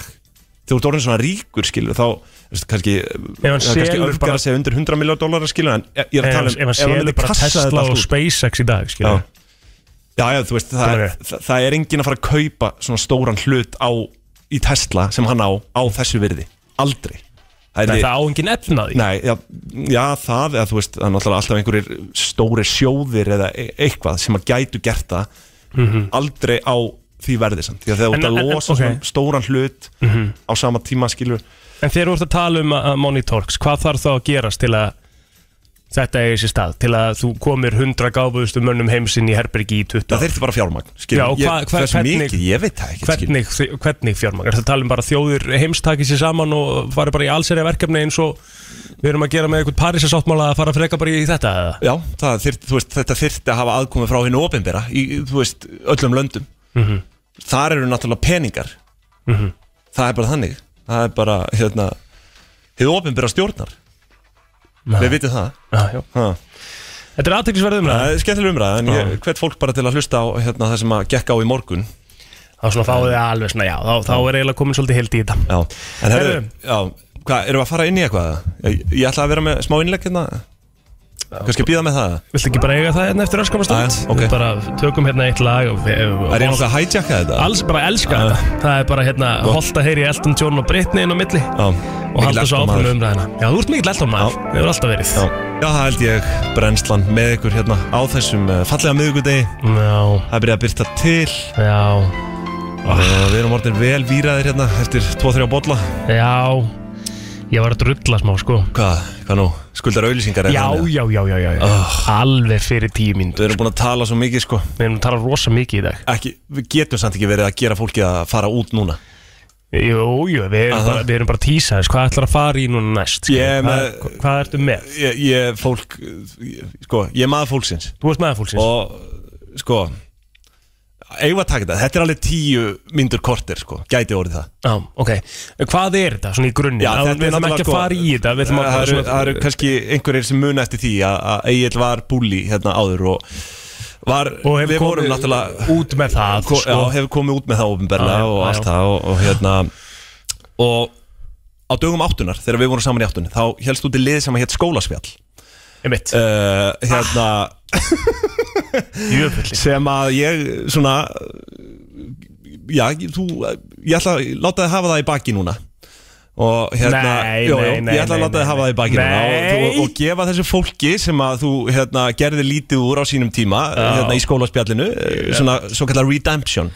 Speaker 2: Þú ert orðin svona ríkur skilur þá þú veist, kannski
Speaker 1: Ef hann
Speaker 2: eða kannski
Speaker 1: selur
Speaker 2: örgar
Speaker 1: bara-
Speaker 2: að segja undir 100 miljard dólar að skilur en ég ég er að tala um
Speaker 1: Ef hann
Speaker 2: myndi
Speaker 1: séður bara
Speaker 2: kassa
Speaker 1: Tesla
Speaker 2: þetta
Speaker 1: og
Speaker 2: allt út,
Speaker 1: SpaceX í dag, skilja
Speaker 2: Já, já, þú veist, það er, það, það er engin að fara að kaupa svona stóran hlut á, í Tesla sem hann á, á þessu virði Aldrei
Speaker 1: Nei,
Speaker 2: yrði-
Speaker 1: það á enginn efnaði
Speaker 2: Nei, já, já það, eða, þú veist, það er náttúrulega alltaf einhverjir stóri sjóðir eða e- eitthvað sem að gætu gert það
Speaker 1: Mhm.
Speaker 2: Aldrei á því verði samt Því að þegar þú
Speaker 1: En-
Speaker 2: ert að
Speaker 1: en- en-
Speaker 2: losa
Speaker 1: ok.
Speaker 2: svona stóran hlut
Speaker 1: Mhm.
Speaker 2: á sama tíma skilur
Speaker 1: En þegar þú ert að tala um að- að Monitorx, hvað þarf þá að gerast til að þetta eigi sér stað? Til að þú komir 100 gáfuðustu mönnum heimsinn í herbergi í 20 Það
Speaker 2: þurfti bara fjármagn, skilur.
Speaker 1: Já, og
Speaker 2: Ég-
Speaker 1: hva, hva,
Speaker 2: hversu mikið, ég veit það ekki, skilur.
Speaker 1: Hvernig, þi- hvernig fjármagn? Er það að tala um bara að þjóðir heimstaki sér saman og fari bara í allserja verkefni eins og við erum að gera með einhvern parísasáttmála að fara að freka bara í þetta eða?
Speaker 2: Já, það þyrt, veist, þetta þyrfti að hafa aðkomi frá hinn opinbera í þú veist, öllum löndum
Speaker 1: Mhm.
Speaker 2: Þar eru náttúrulega peningar
Speaker 1: Mhm.
Speaker 2: Það er bara þannig Það er bara, hérna Hið opinbera stjórnar
Speaker 1: Já.
Speaker 2: Við vitum það
Speaker 1: Já,
Speaker 2: já.
Speaker 1: Þetta er aðteklisverð umræða
Speaker 2: Það er skemmtileg umræða En ég hvert fólk bara til að hlusta á hérna, það sem að gekk á í morgun
Speaker 1: Þá svona fáið þið alveg svona, já, þá, þá er eiginlega komin svolítið heilt í þetta
Speaker 2: Já, en herru,
Speaker 1: Heyrðu.
Speaker 2: já, hvað, erum við að fara inn í eitthvað? Ég, ég ætla að vera með smá innlegg hérna Kannski býða með það
Speaker 1: Viltu ekki bara eiga það hérna eftir öskama stund?
Speaker 2: ok.
Speaker 1: Við bara tökum hérna eitt lag og,
Speaker 2: Er ég náttúrulega að hijacka þetta?
Speaker 1: Alls bara elska þetta Það er bara hérna holdt að heyri Elton John og Britney inn á milli
Speaker 2: Já,
Speaker 1: Og halda svo áfram með
Speaker 2: um
Speaker 1: umræðina Já, þú ert mikill Elton maður Það hefur alltaf verið
Speaker 2: Já, já það held ég brennslan með ykkur hérna á þessum eh, fallega miðugudegi
Speaker 1: Já
Speaker 2: Það er byrjað að byrta til
Speaker 1: Já
Speaker 2: Og við erum orðin vel víraðir hérna eftir 2-3 bolla
Speaker 1: Já Ég var að drulla smá sko
Speaker 2: Hvað, hvað nú? Skuldar auðlýsingar
Speaker 1: Já, já, já, já, já, já. Alveg fyrir tíu mínútur
Speaker 2: Við erum búin að tala svo mikið sko
Speaker 1: Við erum að tala rosa mikið í dag
Speaker 2: Ekki, við getum samt ekki verið að gera fólki að fara út núna
Speaker 1: Jú, jú, við erum,
Speaker 2: Aha.
Speaker 1: bara, við erum bara að tísa þess Hvað ætlar að fara í núna næst? sko.
Speaker 2: Ég
Speaker 1: skilur?
Speaker 2: er
Speaker 1: hvað,
Speaker 2: með-
Speaker 1: hvað, hvað ertu með?
Speaker 2: Ég, ég fólk, ég, sko, ég er maður fólksins
Speaker 1: Þú ert maður fólksins
Speaker 2: Og, sko, eigum við að taka þetta Þetta er alveg 10 myndur kortir sko, gæti orðið það
Speaker 1: Já, ok Hvað er þetta svona í grunni?
Speaker 2: Já, þetta er
Speaker 1: við ætlum
Speaker 2: náttúrulega
Speaker 1: ekki að
Speaker 2: sko-
Speaker 1: fara í þetta Við ætlum að
Speaker 2: Það
Speaker 1: fara
Speaker 2: eru, það eru
Speaker 1: svona
Speaker 2: kannski einhverjir sem muna eftir því að, að Egil var búli hérna áður og var,
Speaker 1: Og hefur
Speaker 2: við vorum
Speaker 1: komið
Speaker 2: náttúrulega
Speaker 1: út með það
Speaker 2: ko,
Speaker 1: sko.
Speaker 2: já, hefur komið út með það
Speaker 1: Já, já,
Speaker 2: ofinberlega og
Speaker 1: já,
Speaker 2: allt
Speaker 1: já.
Speaker 2: það og, og hérna og á dögum áttunar þegar við vorum saman í áttunni þá helst út í lið sem að hétt skólaspjall
Speaker 1: Einmitt
Speaker 2: uh, Hérna sem að ég svona já, ég- þú ég ætla að láta þið hafa það í baki núna og hérna
Speaker 1: Nei,
Speaker 2: jó,
Speaker 1: nei,
Speaker 2: jó,
Speaker 1: nei,
Speaker 2: ég ætla að
Speaker 1: nei,
Speaker 2: láta
Speaker 1: nei,
Speaker 2: þið hafa það í baki núna og,
Speaker 1: Nei.
Speaker 2: þú- og gefa þessu fólki sem að þú hérna, gerði lítið úr á sínum tíma
Speaker 1: Já.
Speaker 2: hérna, í skólaspjallinu, yeah. svona svo kallar redemption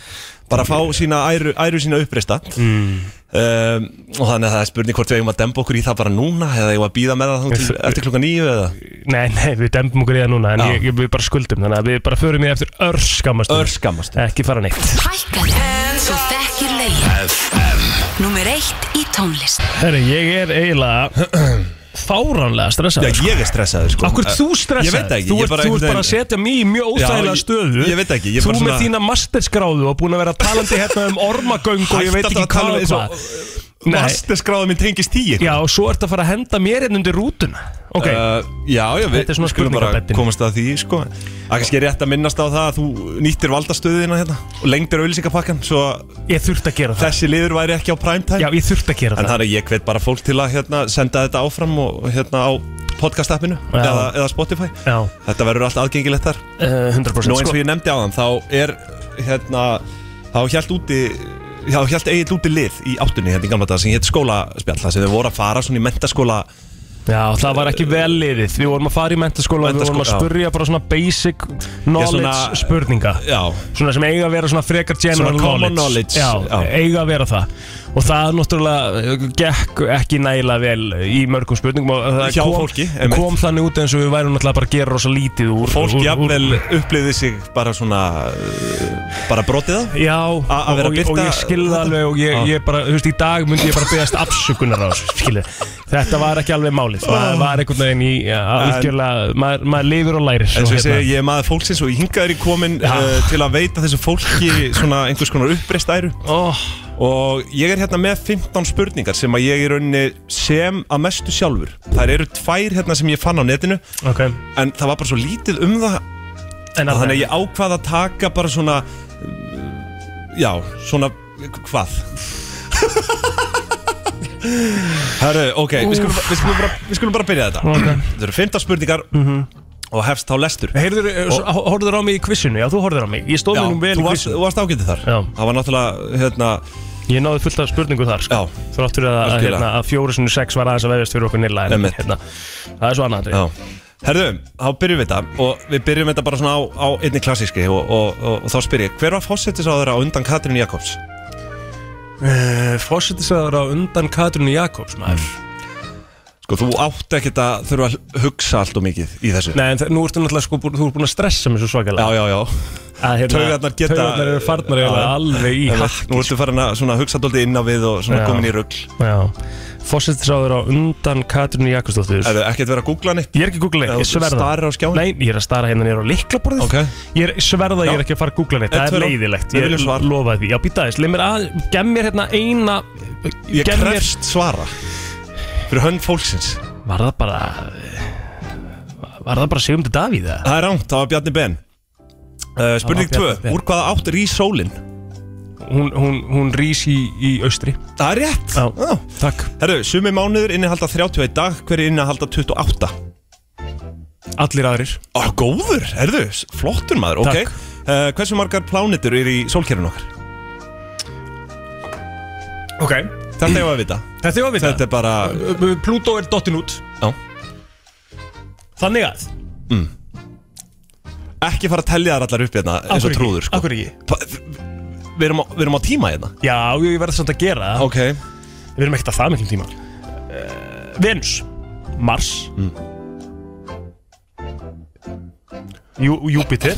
Speaker 2: bara fá sína æru, æru sína uppreista
Speaker 1: Mm.
Speaker 2: Um, og þannig að það er spurning hvort við eigum að demba okkur í það bara núna eða eigum að býða með það þangað til, eftir klokka nýju eða
Speaker 1: Nei, nei, við dembum okkur í það núna En ég, ég, við bara skuldum Þannig að við bara förum í það eftir örskamast
Speaker 2: Örskamast
Speaker 1: Ekki fara neitt
Speaker 13: Þú þekkir lögin
Speaker 6: FM
Speaker 13: Númer eitt í tónlist
Speaker 1: Herri, ég er eiginlega Fáránlega stressaður
Speaker 2: Já, ég er stressaður sko
Speaker 1: Akkur þú stressaður
Speaker 2: Ég veit það ekki
Speaker 1: Þú
Speaker 2: ég
Speaker 1: ert þú ert
Speaker 2: einhvern
Speaker 1: bara að setja mig í mjög
Speaker 2: Já,
Speaker 1: óþægilega
Speaker 2: ég-
Speaker 1: stöðu
Speaker 2: ég veit ekki, ég er
Speaker 1: Þú
Speaker 2: bara
Speaker 1: með
Speaker 2: svona-
Speaker 1: þína masterskráðu og búin að vera talandi hérna um ormagöng og ég veit
Speaker 2: Hættu alltaf
Speaker 1: ekki
Speaker 2: að tala um
Speaker 1: hvað og
Speaker 2: eins og-
Speaker 1: hvað
Speaker 2: veginn Masterskráðum minn tengist tíu
Speaker 1: Já, og svo ertu að fara að henda mér einn undir rútuna Ok,
Speaker 2: Uh, já, já,
Speaker 1: Þetta er svona
Speaker 2: skulum bara
Speaker 1: spurningabeddin.
Speaker 2: komast að því sko. Það er kannski rétt að minnast á það að þú nýttir valdastöðina hérna og lengdir auðlýsingapakkan svo
Speaker 1: ég þurft að gera það
Speaker 2: þessi liður væri ekki á primetime
Speaker 1: Já, ég þurft að gera
Speaker 2: En
Speaker 1: það
Speaker 2: þannig að ég hvet bara fólk til að hérna, senda þetta áfram og hérna á podcast appinu
Speaker 1: Já.
Speaker 2: eða, eða Spotify
Speaker 1: Já.
Speaker 2: Þetta verður allt aðgengilegt þar
Speaker 1: Eh, 100%
Speaker 2: Nú eins
Speaker 1: sko.
Speaker 2: og ég nefndi á þann þá er hérna þá hjælt úti þá hjælt eigin úti lið í áttunni hérna í gamla dag sem hétt skólaspjall það sem þau voru að fara svona í mentaskóla
Speaker 1: Já, það var ekki vel liðið Við vorum að fara í mentaskóla og Við vorum að
Speaker 2: Menntaskóla,
Speaker 1: spurja bara svona basic knowledge
Speaker 2: svona-
Speaker 1: spurninga
Speaker 2: Já
Speaker 1: Svona sem eiga að vera svona frekar general
Speaker 2: Svona common knowledge,
Speaker 1: Já,
Speaker 2: já.
Speaker 1: eiga að vera það Og það náttúrulega eh, gekk ekki nægilega vel í mörgum spurningum og það
Speaker 2: Hjá
Speaker 1: kom,
Speaker 2: fólki, einmitt.
Speaker 1: Kom þannig út eins og við værum náttúrulega bara að gera rosa lítið úr
Speaker 2: fólk
Speaker 1: úr- úr-
Speaker 2: jafnvel upplifði sig bara svona uh, bara brotið það
Speaker 1: Já,
Speaker 2: að vera
Speaker 1: og,
Speaker 2: að
Speaker 1: og
Speaker 2: birta
Speaker 1: ég skilði alveg og
Speaker 2: Já.
Speaker 1: ég, ég bara, þú veist, í dag myndi ég bara beðast afsökunar á þessu, skilur Þetta var ekki alveg málið, maður var einhvern veginn í ja, algjörlega, maður, maður lifir og
Speaker 2: En
Speaker 1: lærir og
Speaker 2: svo ég
Speaker 1: hérna-
Speaker 2: segi, ég er maður fólksins og ég hingaður í komin uh, til að veita þessu fólki svona einhvers konar uppreist æru
Speaker 1: oh.
Speaker 2: og ég er hérna með 15 spurningar sem að ég er rauninni sem að mestu sjálfur þær eru tvær hérna sem ég fann á netinu
Speaker 1: Ok.
Speaker 2: en það var bara svo lítið um það
Speaker 1: En
Speaker 2: að þannig að ég ákvað að taka bara svona mm, já, svona hvað? Herru, ok, við skulum, við, skulum bara, við skulum bara byrja þetta
Speaker 1: Ok. Mhm.
Speaker 2: Þetta eru 15 spurningar og hefst þá lestur
Speaker 1: Hóruður eh, á mig í kvissinu, já þú hóruður á mig Ég stóð
Speaker 2: Já,
Speaker 1: mér
Speaker 2: þú
Speaker 1: nú vel í
Speaker 2: varst-
Speaker 1: kvissinu
Speaker 2: Þú varst ágætið þar
Speaker 1: Já.
Speaker 2: Það var náttúrulega, hérna
Speaker 1: Ég náði fullt af spurningu þar sko. Þrátt fyrir að, að,
Speaker 2: Algjörlega.
Speaker 1: hérna, að fjóru sinni sex var aðeins að vefjast fyrir okkur nilla en,
Speaker 2: Einmitt.
Speaker 1: hérna, Það er svo annað atriði.
Speaker 2: Já. Herðu, þá byrjum við þetta og við byrjum þetta bara svona á, á einni klassíski og, og, og, og þá spyr ég, hver var fósettisáður á undan Katrín Jakobs?
Speaker 1: uh, Fósettisaður á undan Katrún Jakobs maður
Speaker 2: Sko, þú átt ekkert að þurfa að hugsa allt og mikið í þessu
Speaker 1: Nei, en þa- nú ertu náttúrulega sko, bú- þú ert búin að stressa mér svo svakalega
Speaker 2: Já, já, já
Speaker 1: að, hérna,
Speaker 2: Taugarnar geta
Speaker 1: Taugarnar eru farnar eiginlega
Speaker 2: Já.
Speaker 1: alveg í
Speaker 2: Einmitt.
Speaker 1: hakki,
Speaker 2: Nú ertu farin að svona, hugsa dóldi inn á við og svona
Speaker 1: Já.
Speaker 2: komin í rugl
Speaker 1: Já Fósettisáður á undan Katrún Jakobsdóttir
Speaker 2: Hefðu ekkert verið að googla neitt?
Speaker 1: Ég er ekki að googla neitt, ég sverða
Speaker 2: Starir á skjáin?
Speaker 1: Nei, ég er að stara hérna nýra á liklaborðið
Speaker 2: Ok.
Speaker 1: Ég er sverða, ég
Speaker 2: Já.
Speaker 1: er ekki að fara að googla neitt
Speaker 2: Eitt,
Speaker 1: Það
Speaker 2: tvö,
Speaker 1: er
Speaker 2: þrjú.
Speaker 1: leiðilegt,
Speaker 2: Við
Speaker 1: ég
Speaker 2: viljum svar.
Speaker 1: lofa því Já, býta aðeins, leið mér að, gem mér hérna eina
Speaker 2: Ég
Speaker 1: gem mér-
Speaker 2: krefst svara Fyrir hönd fólksins
Speaker 1: Var það bara Var það bara Sigmundur Davíð eða?
Speaker 2: Það er rámt, það var Bjarni Ben uh, Spurning
Speaker 1: Það
Speaker 2: 2,
Speaker 1: var Bjarni Ben.
Speaker 2: úr hvaða átt rís sólin?
Speaker 1: Hún, hún, hún rís í, í austri
Speaker 2: Það er rétt
Speaker 1: Já,
Speaker 2: Takk Herru, sumi mánuður innihalda 31 dag, hver er innihalda 28?
Speaker 1: Allir aðrir
Speaker 2: Ó, góður, herru, s- flottur maður, ok
Speaker 1: Takk.
Speaker 2: uh, Hversu margar plánetur eru í sólkerfinu okkar?
Speaker 1: ok
Speaker 2: Þetta hefur að vita
Speaker 1: Þetta er ofið
Speaker 2: Þetta er bara,
Speaker 1: það Eh, Plútó er dottin út
Speaker 2: já
Speaker 1: Þannig að
Speaker 2: Ekki fara að tellja þar allar upp hérna, eins og trúður sko.
Speaker 1: Akkur ekki
Speaker 2: Pa- Við erum, á- við erum á tíma hérna
Speaker 1: Já, ég verði samt að gera það
Speaker 2: Ok
Speaker 1: Við erum ekkert að það miklum tíma uh, Venus Mars Jú, Júpiter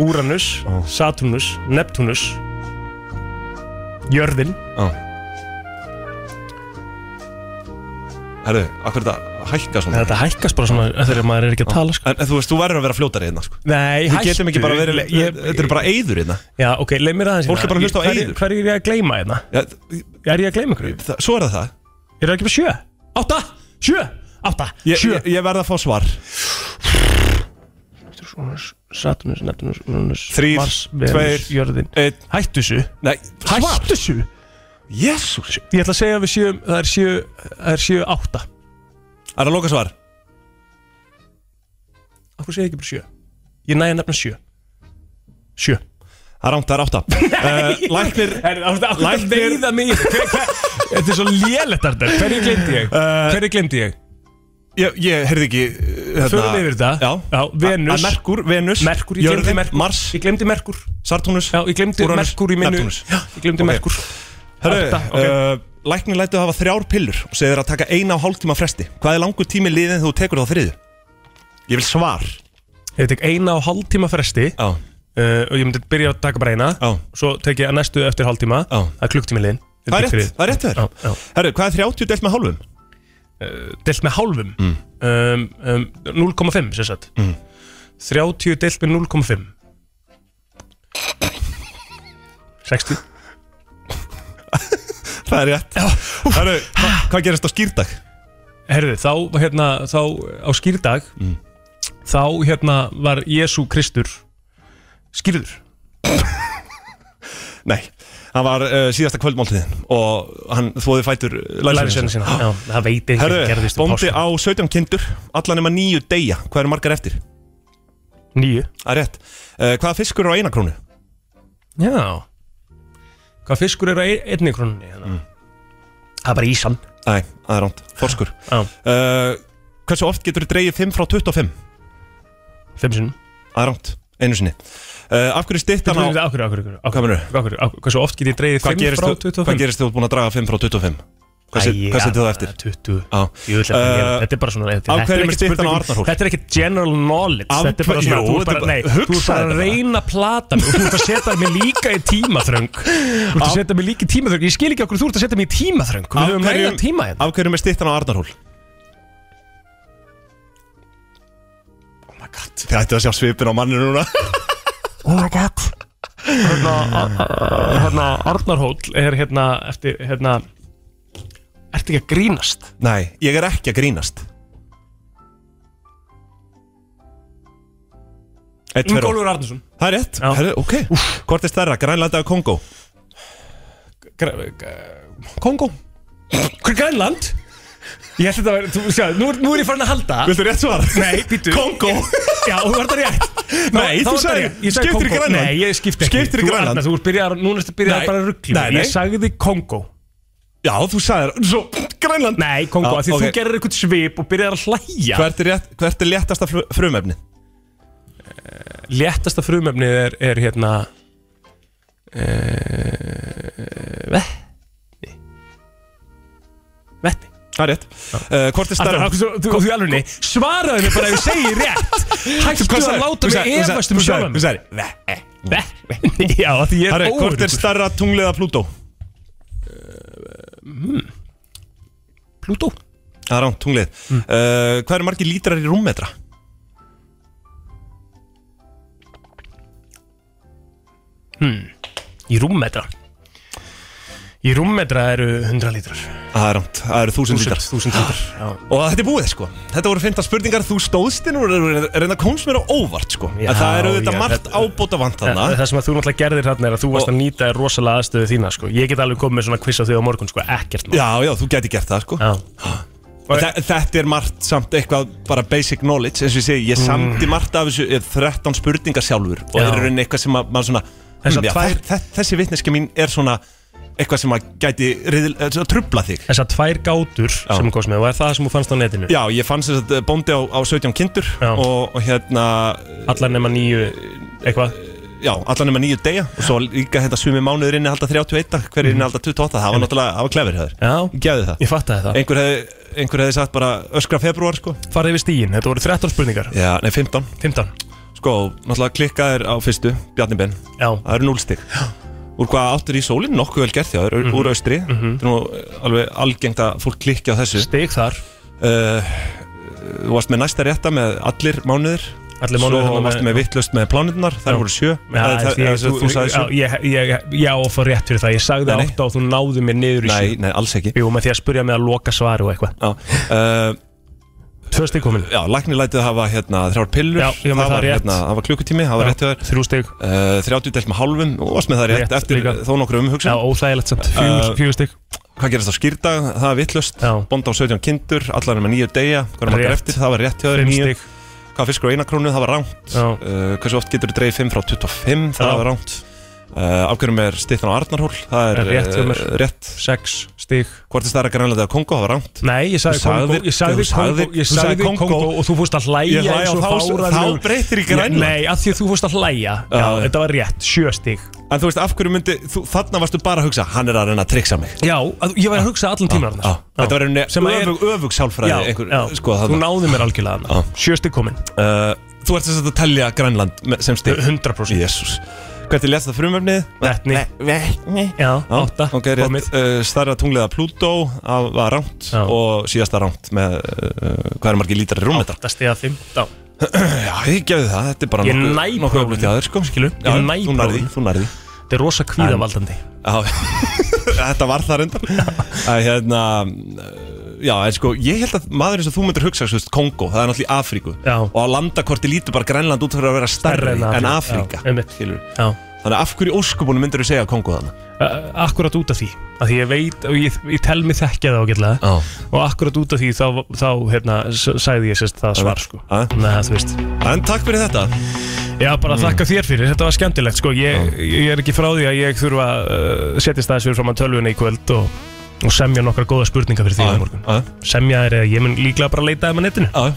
Speaker 1: Úranus Saturnus Neptunus Jörðin
Speaker 2: Herru, akkur þetta hækka svona
Speaker 1: Þetta hækkast bara svona þegar maður er ekki að tala sko.
Speaker 2: En en þú veist, þú verður að vera fljótari hérna sko.
Speaker 1: Nei,
Speaker 2: Við getum ekki bara verið
Speaker 1: ég,
Speaker 2: Þetta eru bara eyður hérna
Speaker 1: Já, ok, leið mér aðeins
Speaker 2: Fólk er bara að hlusta á
Speaker 1: Hverju-
Speaker 2: eyður.
Speaker 1: Hverju er ég að gleyma hérna?
Speaker 2: ja,
Speaker 1: Er ég að gleyma ykkur?
Speaker 2: það, Svo er það það
Speaker 1: Er það ekki bara sjö? Átta? Sjö? Átta?
Speaker 2: Ég,
Speaker 1: Sjö?
Speaker 2: ég, ég verð að fá svar
Speaker 1: Saturnus, Neptunus, Uranus
Speaker 2: Þrír,
Speaker 1: Mars, Venus,
Speaker 2: tveir,
Speaker 1: Jörðin
Speaker 2: einn.
Speaker 1: Hættu þessu
Speaker 2: Nei,
Speaker 1: Hættu þessu
Speaker 2: Jésús
Speaker 1: Ég ætla að segja að við séum Það er sjö Það er sjö átta
Speaker 2: Það er að loka svar
Speaker 1: Akkur segja ekki bara sjö Ég næja nefna sjö Sjö
Speaker 2: Það er átt, það er átta uh, Læknir
Speaker 1: Er það að
Speaker 2: Læknir-
Speaker 1: veiða mig í- Hver- hver- Þetta er svo lélætt Arnar Hverju glemdi ég? Hverju glemdi ég?
Speaker 2: Eh, Ég, ég heyrði ekki uh, hérna,
Speaker 1: Förum yfir þetta
Speaker 2: Já
Speaker 1: Já
Speaker 2: Að
Speaker 1: Venus
Speaker 2: Merkur, Venus
Speaker 1: Merkur, ég glemdi
Speaker 2: Jörðin,
Speaker 1: Merkur
Speaker 2: Mars,
Speaker 1: Ég glemdi Merkur
Speaker 2: Saturnus
Speaker 1: Já, ég glemdi
Speaker 2: Úranus,
Speaker 1: Merkur í minnu
Speaker 2: Neptúnus.
Speaker 1: Já, ég glemdi
Speaker 2: Ok.
Speaker 1: Merkur
Speaker 2: Herru,
Speaker 1: Átta, ok.
Speaker 2: uh, Læknir lætu hafa þrjár pillur og segir að taka eina og hálftíma fresti Hvað er langur tími liðin þegar þú tekur þá þriðu? Ég vil svar
Speaker 1: Ég tek eina og hálftíma fresti
Speaker 2: Já
Speaker 1: uh, og ég myndi byrja að taka bara eina
Speaker 2: Já.
Speaker 1: svo tek ég að næstu eftir hálftíma
Speaker 2: Já.
Speaker 1: það er klukktími liðin
Speaker 2: Það er rétt, það er rétt
Speaker 1: Já,
Speaker 2: þér
Speaker 1: já.
Speaker 2: Herru, hvað er 30 delt með hálfum? Mm.
Speaker 1: delt með hálfum um, um, 0,5 sem sagt mm. 30 delt með 0,5 60
Speaker 2: Það er rétt Herru, hva, hvað gerist á skýrdag?
Speaker 1: Herðu, þá, hérna, þá á skýrdag þá hérna var Jésu Kristur skýrður
Speaker 2: Nei, hann var uh, síðasta kvöldmáltíðin og hann þvoði fætur
Speaker 1: lærisveina sína, já, það veit ekki
Speaker 2: Herru,
Speaker 1: gerðist um
Speaker 2: bóndi á 17 kindur Alla nema nýju deyja, hvað eru margar eftir?
Speaker 1: nýju
Speaker 2: Það er rétt uh, Hvaða fiskur eru á eina krónu?
Speaker 1: Já Hvað fiskur eru að einni krónunni? Mm. Það er bara ísan
Speaker 2: Nei, það er ránt, forskur
Speaker 1: Já,
Speaker 2: uh, Hversu oft getur þú dreigið 5 frá 25?
Speaker 1: fimm sinnum
Speaker 2: Það er ránt, einu sinni uh, Af hverju
Speaker 1: Hvað
Speaker 2: stittan á...
Speaker 1: akkur, akkur, akkur,
Speaker 2: Hvað
Speaker 1: akkur,
Speaker 2: meinarðu?
Speaker 1: akkur, akkur Hversu oft get ég dreigið
Speaker 2: Hvað
Speaker 1: 5
Speaker 2: gerist
Speaker 1: frá
Speaker 2: þú- hvað
Speaker 1: 25?
Speaker 2: gerist þú búin að draga 5 frá 25? Hvað set-
Speaker 1: Æ,
Speaker 2: hvað setið þú
Speaker 1: ja,
Speaker 2: eftir?
Speaker 1: 20
Speaker 2: Á.
Speaker 1: Jú, ætla ekki að gera-
Speaker 2: Eh,
Speaker 1: Þetta er bara svona
Speaker 2: af
Speaker 1: þetta- þetta
Speaker 2: hverju
Speaker 1: er
Speaker 2: er
Speaker 1: ekkert
Speaker 2: styttan á
Speaker 1: spurning- um-
Speaker 2: Arnarhól?
Speaker 1: Þetta er ekki general knowledge
Speaker 2: Af
Speaker 1: Þetta er bara
Speaker 2: hverju-
Speaker 1: svona
Speaker 2: jú,
Speaker 1: Þú er
Speaker 2: þetta er
Speaker 1: bara,
Speaker 2: bara-
Speaker 1: nei, þú er
Speaker 2: hugsaðu
Speaker 1: bara að
Speaker 2: þetta bara.
Speaker 1: reyna að plata mig og Þú ert að setja mig líka í tímaþröng Þú ert að setja mig líka í tímaþröng Ég skil ekki okkur þú ert að setja mig í tímaþröng Við
Speaker 2: Af
Speaker 1: höfum
Speaker 2: hverjum-
Speaker 1: nægan tíma hérna
Speaker 2: Af hverjum er stittan á Arnarhól? Oh my god Þið ættu að sjá svipin á manninu núna
Speaker 1: Hérna, Arnarhóll er hérna eftir, hérna Ertu ekki að grínast?
Speaker 2: Nei, ég er ekki að grínast Eitt fyrir
Speaker 1: Ingólfur Arnarsson
Speaker 2: Það er rétt,
Speaker 1: Já.
Speaker 2: Herru, ok Hvort er stærra, Grænlanda eða Kongó?
Speaker 1: Kongo Grænland Ég held að þetta var, þú sjá, nú, nú er ég farin að halda
Speaker 2: Viltu rétt svar?
Speaker 1: Nei, býttu
Speaker 2: Kongó
Speaker 1: Já, þú var það rétt
Speaker 2: Nei,
Speaker 1: Þá-
Speaker 2: þú
Speaker 1: þá var þetta
Speaker 2: sagði-
Speaker 1: rétt. Ég sagði
Speaker 2: skiptir í
Speaker 1: Kongó.
Speaker 2: Grænland.
Speaker 1: Nei, ég skipti ekki
Speaker 2: Skiptir í
Speaker 1: Þú,
Speaker 2: Grænland.
Speaker 1: Arnar, Þú byrjar, núna ertu
Speaker 2: Nei.
Speaker 1: byrjar bara að ruggla
Speaker 2: Nei, nei.
Speaker 1: Ég sagði Kongó
Speaker 2: Já, þú sagðir, svo, Grænland
Speaker 1: Nei, Kongó,
Speaker 2: Já,
Speaker 1: af því
Speaker 2: ok.
Speaker 1: þú gerir eitthvað svip og byrjar að hlæja
Speaker 2: Hvert er, rétt, hvert er léttasta fru- frumefni?
Speaker 1: Léttasta frumefnið er, er hérna eh, e, Vetni Vetni
Speaker 2: Það er rétt uh, Hvort er
Speaker 1: Arnar,
Speaker 2: stærra?
Speaker 1: af hverju- Þú þú í alvegni, svaraðu mér bara ef ég segi rétt
Speaker 2: Þú-
Speaker 1: Hættu
Speaker 2: hvað
Speaker 1: að
Speaker 2: sagðir? Þú
Speaker 1: láta mig
Speaker 2: sagðir- þú sagðir-
Speaker 1: efast um
Speaker 2: þú sagðir-
Speaker 1: sjálfan
Speaker 2: Þú sagðir,
Speaker 1: mig. Ve- Já, af því ég
Speaker 2: Harry,
Speaker 1: er
Speaker 2: hvort er
Speaker 1: óöruggur.
Speaker 2: stærra tunglið að Plútó?
Speaker 1: Eh, hmm. Plútó?
Speaker 2: Það er rámt, tunglið uh, Hvað eru margir lítrar í rúmmetra?
Speaker 1: Hmm. Í rúmmetra Í rúmmetra eru 100 lítrar
Speaker 2: Það er rámt, það eru þúsund lítrar Ah,
Speaker 1: Þúsund lítrar, já
Speaker 2: Og þetta er búið sko Þetta voru fynda spurningar Þú stóðst inn og reynda- reynda komst mér á óvart sko
Speaker 1: Já,
Speaker 2: En það eru þetta
Speaker 1: já,
Speaker 2: margt
Speaker 1: þetta-
Speaker 2: ábóta vant
Speaker 1: Það,
Speaker 2: þarna
Speaker 1: það sem að þú náttúrulega gerðir þarna er að þú varst að nýta þér rosalega aðstöðu þína sko. Ég get alveg komið með svona quiz á þau á morgun sko. Ekkert mál
Speaker 2: Já, já, þú geti gert það sko
Speaker 1: Og-
Speaker 2: Þa, Þetta er margt samt eitthvað bara basic knowledge eins og ég segi, ég samdi margt af þessu eh, 13 spurningar sjálfur og
Speaker 1: Mm.
Speaker 2: það
Speaker 1: Já.
Speaker 2: er raunin eitthvað sem að, maður svona
Speaker 1: Þessar
Speaker 2: hm, já,
Speaker 1: tvær-
Speaker 2: þe- þe- þessi vitneski mín er svona eitthvað sem að gæti riðil, eh, svona trubla þig
Speaker 1: Þessar tvær gátur já. sem þú komst með Var það sem þú fannst á netinu?
Speaker 2: Já, ég fann þess að bóndi á, á 17 kindur og, og hérna eh,
Speaker 1: Allar nema nýju eitthvað
Speaker 2: Já, allar nema nýju degja og svo líka hérna sumi mánuður inni halda 31 dag, hver er inni halda 28 það var náttúrulega, það var klefir hér
Speaker 1: Mhm. Já,
Speaker 2: Gæði það
Speaker 1: ég fattaði það
Speaker 2: Einhver hefði, einhver hefði sagt bara öskra februar sko
Speaker 1: Farði yfir stígin, þetta voru 13 spurningar
Speaker 2: Já, nei 15
Speaker 1: 15
Speaker 2: Sko, náttúrulega klikkaðir á fyrstu, Bjarni Ben
Speaker 1: Já Mhm.
Speaker 2: Það eru 0 stig Úr hvað áttur í sólinn, nokkuð vel gert hjá þér, mm úr austri Þetta er nú alveg algengt að fólk klikki á þessu
Speaker 1: Stig þar
Speaker 2: uh, Þú varst með næsta rétta með allir mánuðir
Speaker 1: Allir mánuðir
Speaker 2: Svo
Speaker 1: þarna
Speaker 2: varst
Speaker 1: með-
Speaker 2: með vittlust með plánunar, þær
Speaker 1: Já.
Speaker 2: voru sjö
Speaker 1: Já,
Speaker 2: Eða þær-
Speaker 1: þú-
Speaker 2: eða þú- þú sagðir sjö.
Speaker 1: þú- já, ég- ég- Já, og fór rétt fyrir það Ég sagði
Speaker 2: Nei, nei.
Speaker 1: 8 og þú náðu mér niður í
Speaker 2: Nei,
Speaker 1: 7
Speaker 2: nei, alls ekki
Speaker 1: Jú, með því að spurja mig að loka svari og eitthvað
Speaker 2: uh,
Speaker 1: Tvö stig komin
Speaker 2: Já, læknir lætið hafa hérna þrjár pillur
Speaker 1: Já, ég var með það
Speaker 2: var,
Speaker 1: rétt.
Speaker 2: hérna, það var klukkutími, það var
Speaker 1: Já,
Speaker 2: rétt hjá þér
Speaker 1: Þrjú stig
Speaker 2: uh, 30 delt með hálfum, og varst með það rétt,
Speaker 1: Rétt
Speaker 2: eftir
Speaker 1: líka.
Speaker 2: þó nokkru umhugsun
Speaker 1: Já, óþægilegt samt Fjögur-
Speaker 2: Eh,
Speaker 1: Fjögur stig
Speaker 2: Hvað gerast á skýrta, það er vittlust Bónda á 17 kindur, allar með nýju degja Hvað er maður
Speaker 1: Rétt.
Speaker 2: eftir, það var rétt hjá þér
Speaker 1: Fimm
Speaker 2: níu.
Speaker 1: stig.
Speaker 2: Hvað fiskur á eina krónu, það var rámt
Speaker 1: Já.
Speaker 2: uh, Hversu oft getur þú dreigð 5 frá 25, það
Speaker 1: Já.
Speaker 2: var rámt uh, Afhverjum er stittan á Arnarhól, það er
Speaker 1: Rétt hjá
Speaker 2: eh,
Speaker 1: mér.
Speaker 2: rétt.
Speaker 1: 6 stig
Speaker 2: Hvort er stærra grænlega þegar Kongo, það var rámt
Speaker 1: Nei, ég sagði
Speaker 2: Þú sagðir-
Speaker 1: Kongó Ég sagði
Speaker 2: þú sagðir-
Speaker 1: Kongó Ég
Speaker 2: þú sagðir
Speaker 1: sagði Kongó
Speaker 2: Kongó.
Speaker 1: og þú fórst að hlæja
Speaker 2: Ég hlæ
Speaker 1: eins
Speaker 2: og
Speaker 1: og
Speaker 2: þá-
Speaker 1: fáránlegur-
Speaker 2: þá breytir í Grænland.
Speaker 1: Nei, af því að þú fórst að hlæja Já,
Speaker 2: Já.
Speaker 1: þetta var rétt Sjö stig
Speaker 2: En þú veist, af hverju myndi, þú, þarna varstu bara að hugsa Hann er að reyna að triksa mig
Speaker 1: Já, að- ég var að hugsa allan tíma
Speaker 2: Já, Þetta var einhvern
Speaker 1: Sem að er-
Speaker 2: veginn öfug, öfug sálfræði einhver, sko,
Speaker 1: þú
Speaker 2: þarna.
Speaker 1: náði mér algjörlega hana Sjö stig komin
Speaker 2: Uh, þú ert þess að telja Grænland me- sem stig
Speaker 1: 100%
Speaker 2: Jésús Hvert er lest það frumöfnið?
Speaker 1: Vetni
Speaker 2: Vetni
Speaker 1: Já, átta
Speaker 2: Ok, rétt uh, Starra tungliða Plútó af- var rámt Og síðasta rámt með uh, Hvað er margir lítrar í rúmmetra?
Speaker 1: Átta stiga 15
Speaker 2: Já, ég gefði það Þetta er bara
Speaker 1: Ég
Speaker 2: nokkuð-
Speaker 1: næ
Speaker 2: nokkuð
Speaker 1: prófinu.
Speaker 2: öflugt hjá þér, sko
Speaker 1: Skilur, ég
Speaker 2: Já,
Speaker 1: næ
Speaker 2: Þú nærði,
Speaker 1: prófinu.
Speaker 2: þú nærði
Speaker 1: Þetta er rosa kvíðavaldandi
Speaker 2: Já, þetta var það reyndar að, hérna, uh, Já, en sko Ég held að maður eins og þú myndir hugsa svo, veist, Kongo, það er náttúrulega í Afríku
Speaker 1: Já.
Speaker 2: Og á landakorti lítur bara Grænland út fyrir að vera stærri en Afríka
Speaker 1: Já, einmitt. Já.
Speaker 2: Þannig að af hverju óskupunum myndir þú segja Kongo þannig?
Speaker 1: Uh, akkurat út af því að því ég veit og ég, ég tel mig þekkja það ágætlega
Speaker 2: oh.
Speaker 1: og akkurat út af því þá, þá hérna, s- sagði ég sérst það svar sko. Nei, þú veist
Speaker 2: En takk fyrir þetta
Speaker 1: Já, bara þakka þér fyrir, þetta var skemmtilegt sko. ég, ég er ekki frá því að ég þurfa uh, setjast aðeins fyrir fram að tölvuna í kvöld og, og semja nokkra góða spurningar fyrir því á morgun
Speaker 2: að.
Speaker 1: Semja þér eða ég mun líklega bara leita þeim á netinu
Speaker 2: að.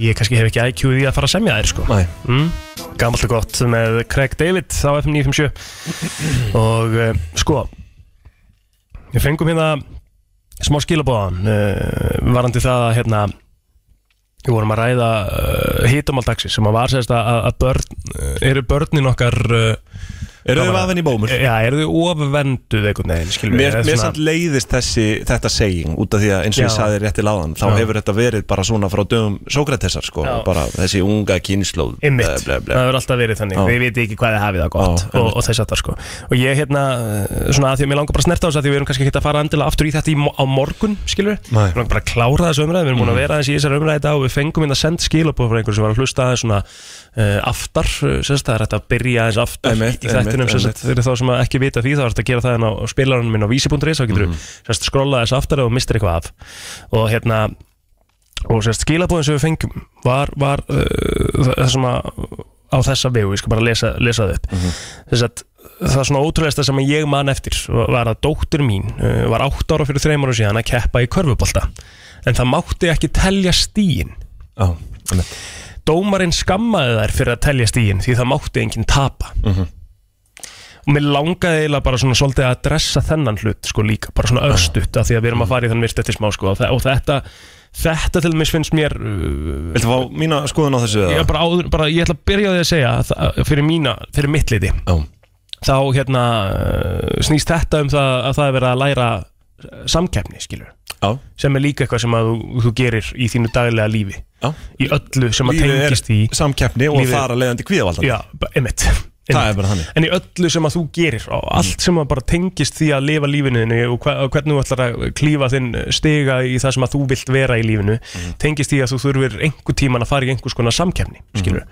Speaker 1: Ég kannski hef ekki IQ í því að fara að semja þér sko.
Speaker 2: Nei.
Speaker 1: mm, Gammalt og gott með Craig David á FM 957 Og uh, sko Við fengum hérna smá skilabóðan uh, varandi það að hérna við vorum að ræða uh, hitamáldagsir sem að var sérst að, að- að börn uh, eru börnin okkar uh,
Speaker 2: eh, Eru þau vafin í bómur?
Speaker 1: Já, eru þau ofvenduð einhvern veginn skilur við,
Speaker 2: Mér,
Speaker 1: eða
Speaker 2: mér
Speaker 1: svona-
Speaker 2: samt leiðist þessi, þetta seging út af því að eins og ég
Speaker 1: Já.
Speaker 2: saði rétt í láðan þá
Speaker 1: Já.
Speaker 2: hefur þetta verið bara svona frá dögum Sókratesar sko,
Speaker 1: Já.
Speaker 2: bara þessi unga kynnslóð
Speaker 1: Einmitt,
Speaker 2: ble,
Speaker 1: það hefur alltaf verið þannig
Speaker 2: Já.
Speaker 1: Við veitum ekki hvað þið hafið það gott
Speaker 2: Já,
Speaker 1: og, og þess að það sko Og ég hérna, eh, svona að því að mér langar bara að snerta á þess að því við erum kannski ekki að fara endilega aftur í þetta í, mo- á morgun, skilur við
Speaker 2: Nei.
Speaker 1: Mér langar bara að klára þessu umræði, við erum
Speaker 2: Mhm.
Speaker 1: búin að vera aðeins í þessari umræði í dag og við fengum hérna send skilabóð frá einhverjum sem var að hlusta aðeins svona uh, aftar, eh, sérst eh, það er hægt að byrja aðeins aftar
Speaker 2: Einmitt,
Speaker 1: í þættinum þættinum sem sagt, fyrir þá sem að ekki vita því þá er þetta að gera það en á spilarunum minn á vísi.is þá getur þú mm. skrolla þess aftar og mistir eitthvað af og hérna og sérst, skilabóðin sem við fengjum var, var uh, það það sem að á þessa vegu, ég skal bara lesa, lesa það upp þess að það svona ótrúlegasta sem ég man eftir var að dóttir mín uh, var átt ára fyrir þreim ára síðan að keppa í körfubolta en það mátti ekki telja stíin
Speaker 2: oh,
Speaker 1: dómarinn skammaði þær fyrir að telja stíin því það mátti enginn tapa og mér langaði eiginlega bara svona svolítið að dressa þennan hlut sko líka, bara svona östut af því að við
Speaker 2: Mm.
Speaker 1: erum að fara í þann virt eftir smá sko og þe- og þetta, þetta til dæmis finnst mér Viltu
Speaker 2: fá mína skoðun á þessu?
Speaker 1: Já, bara, áður, bara ég ætla að byrja á því að segja að það- fyrir mína, fyrir mitt liti
Speaker 2: oh.
Speaker 1: þá hérna eh, snýst þetta um það að það er verið að læra eh, samkeppni, skilur
Speaker 2: Já.
Speaker 1: sem er líka eitthvað sem að þú, þú gerir í þínu daglega lífi
Speaker 2: Já.
Speaker 1: í öllu sem að
Speaker 2: Lífið er
Speaker 1: tengist í
Speaker 2: samkeppni og þar af leiðandi kvíðavaldandi.
Speaker 1: já, ba- einmitt, einmitt.
Speaker 2: Það er bara þannig.
Speaker 1: en í öllu sem að þú gerir og allt sem að bara tengist því að lifa lífinu þínu og hva- og hvernig þú ætlar að klífa þinn stiga í það sem að þú vilt vera í lífinu
Speaker 2: Mhm.
Speaker 1: tengist því að þú þurfir einhver tíman að fara í einhvers konar samkeppni
Speaker 2: Mhm.
Speaker 1: skilur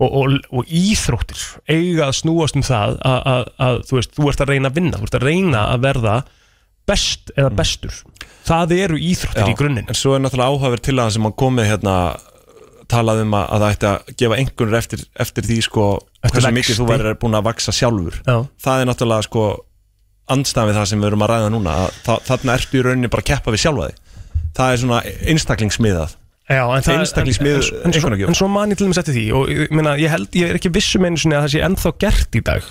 Speaker 1: og, og, og íþróttir eiga að snúast um það að, að, að þú veist, þú ert að reyna að vinna þú ert að reyna að verða best
Speaker 2: Mhm.
Speaker 1: eða bestur það eru íþróttir í grunninn
Speaker 2: En svo er náttúrulega áhafur til að sem hann komið hérna talað um að, að það ætti að gefa einhvernur eftir, eftir því sko
Speaker 1: Eftir
Speaker 2: hversu
Speaker 1: vexti.
Speaker 2: mikið þú værir búin að vaksa sjálfur
Speaker 1: Já.
Speaker 2: það er náttúrulega sko andstæðan við það sem við erum að ræða núna að þa- þarna ertu í rauninni bara að keppa við sjálfa þig það er svona einstaklingsmiðað
Speaker 1: Já, en það
Speaker 2: einstaklingsmiðað
Speaker 1: en- en, en, en, svo- en
Speaker 2: einhvernagjöf
Speaker 1: svo man ég til dæmis eftir því og ég, meina, ég, held, ég er ekki vissum einu sinni að það sé ennþá gert í dag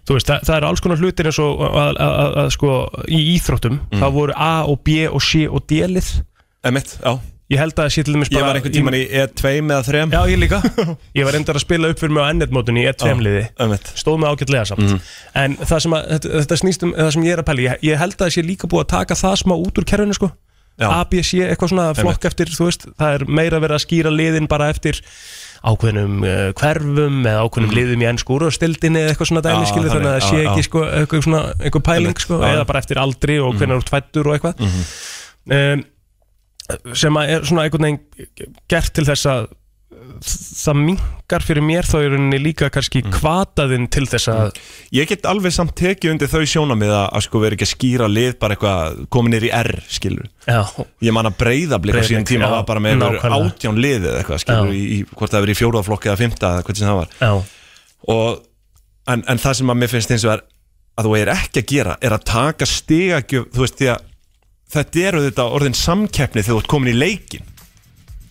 Speaker 1: Þú veist, það, það eru alls konar hlutir eins og að, að, að, að, sko, í íþróttum mm. það voru A og B og C og D-lið
Speaker 2: Emitt, já
Speaker 1: Ég held að það sé til dæmis
Speaker 2: Ég
Speaker 1: bara
Speaker 2: var einhvern tíman í E E2 með að 3
Speaker 1: Já, ég líka Ég var reyndar að spila upp fyrir mig á N1-mótunni í E
Speaker 2: Já,
Speaker 1: E2-liði
Speaker 2: einmitt. Mhm.
Speaker 1: Stóð mig ágætlega samt En það sem, að, þetta, þetta snýst um, það sem ég er að pæla ég, ég held að það sé líka búið að taka það smá út úr kerfinu sko
Speaker 2: Já.
Speaker 1: A, B, C, eitthvað svona flokk eftir þú veist, það er meira verið að skýra liðin bara eftir ákveðnum uh, hverfum eða ákveðnum liðum í ennsku úrstildinni eða eitthvað svona dæmi
Speaker 2: Mhm. Já,
Speaker 1: skilur þannig að
Speaker 2: þannig,
Speaker 1: það sé
Speaker 2: já,
Speaker 1: ekki
Speaker 2: já.
Speaker 1: sko, eitthvað svona eitthvað pæling sko,
Speaker 2: já.
Speaker 1: eða bara eftir aldri og hvernig
Speaker 2: Mhm.
Speaker 1: þú ert fættur og eitthvað um, sem að er svona einhvern veginn gert til þess að það mingar fyrir mér þá er henni líka kannski
Speaker 2: Mhm.
Speaker 1: kvataðinn til þess að
Speaker 2: Ég get alveg samt tekið undir þau sjónamið að, að sko vera ekki að skýra lið bara eitthvað komið nýr í R skilur
Speaker 1: Já.
Speaker 2: Ég man að breyða blika
Speaker 1: Breiðablik,
Speaker 2: síðan tíma
Speaker 1: já,
Speaker 2: var bara með einhver
Speaker 1: nákvæmlega.
Speaker 2: átján lið eða eitthvað skilur
Speaker 1: Já.
Speaker 2: í, í, hvort það verið í fjórðaflokki eða fymta eða hvernig sem það var
Speaker 1: Já.
Speaker 2: og, en, en það sem að mér finnst eins og er að þú er ekki að gera er að taka stigagjöf þú veist því að þetta eru þetta orðin samkeppni þegar þú ert komin í leikin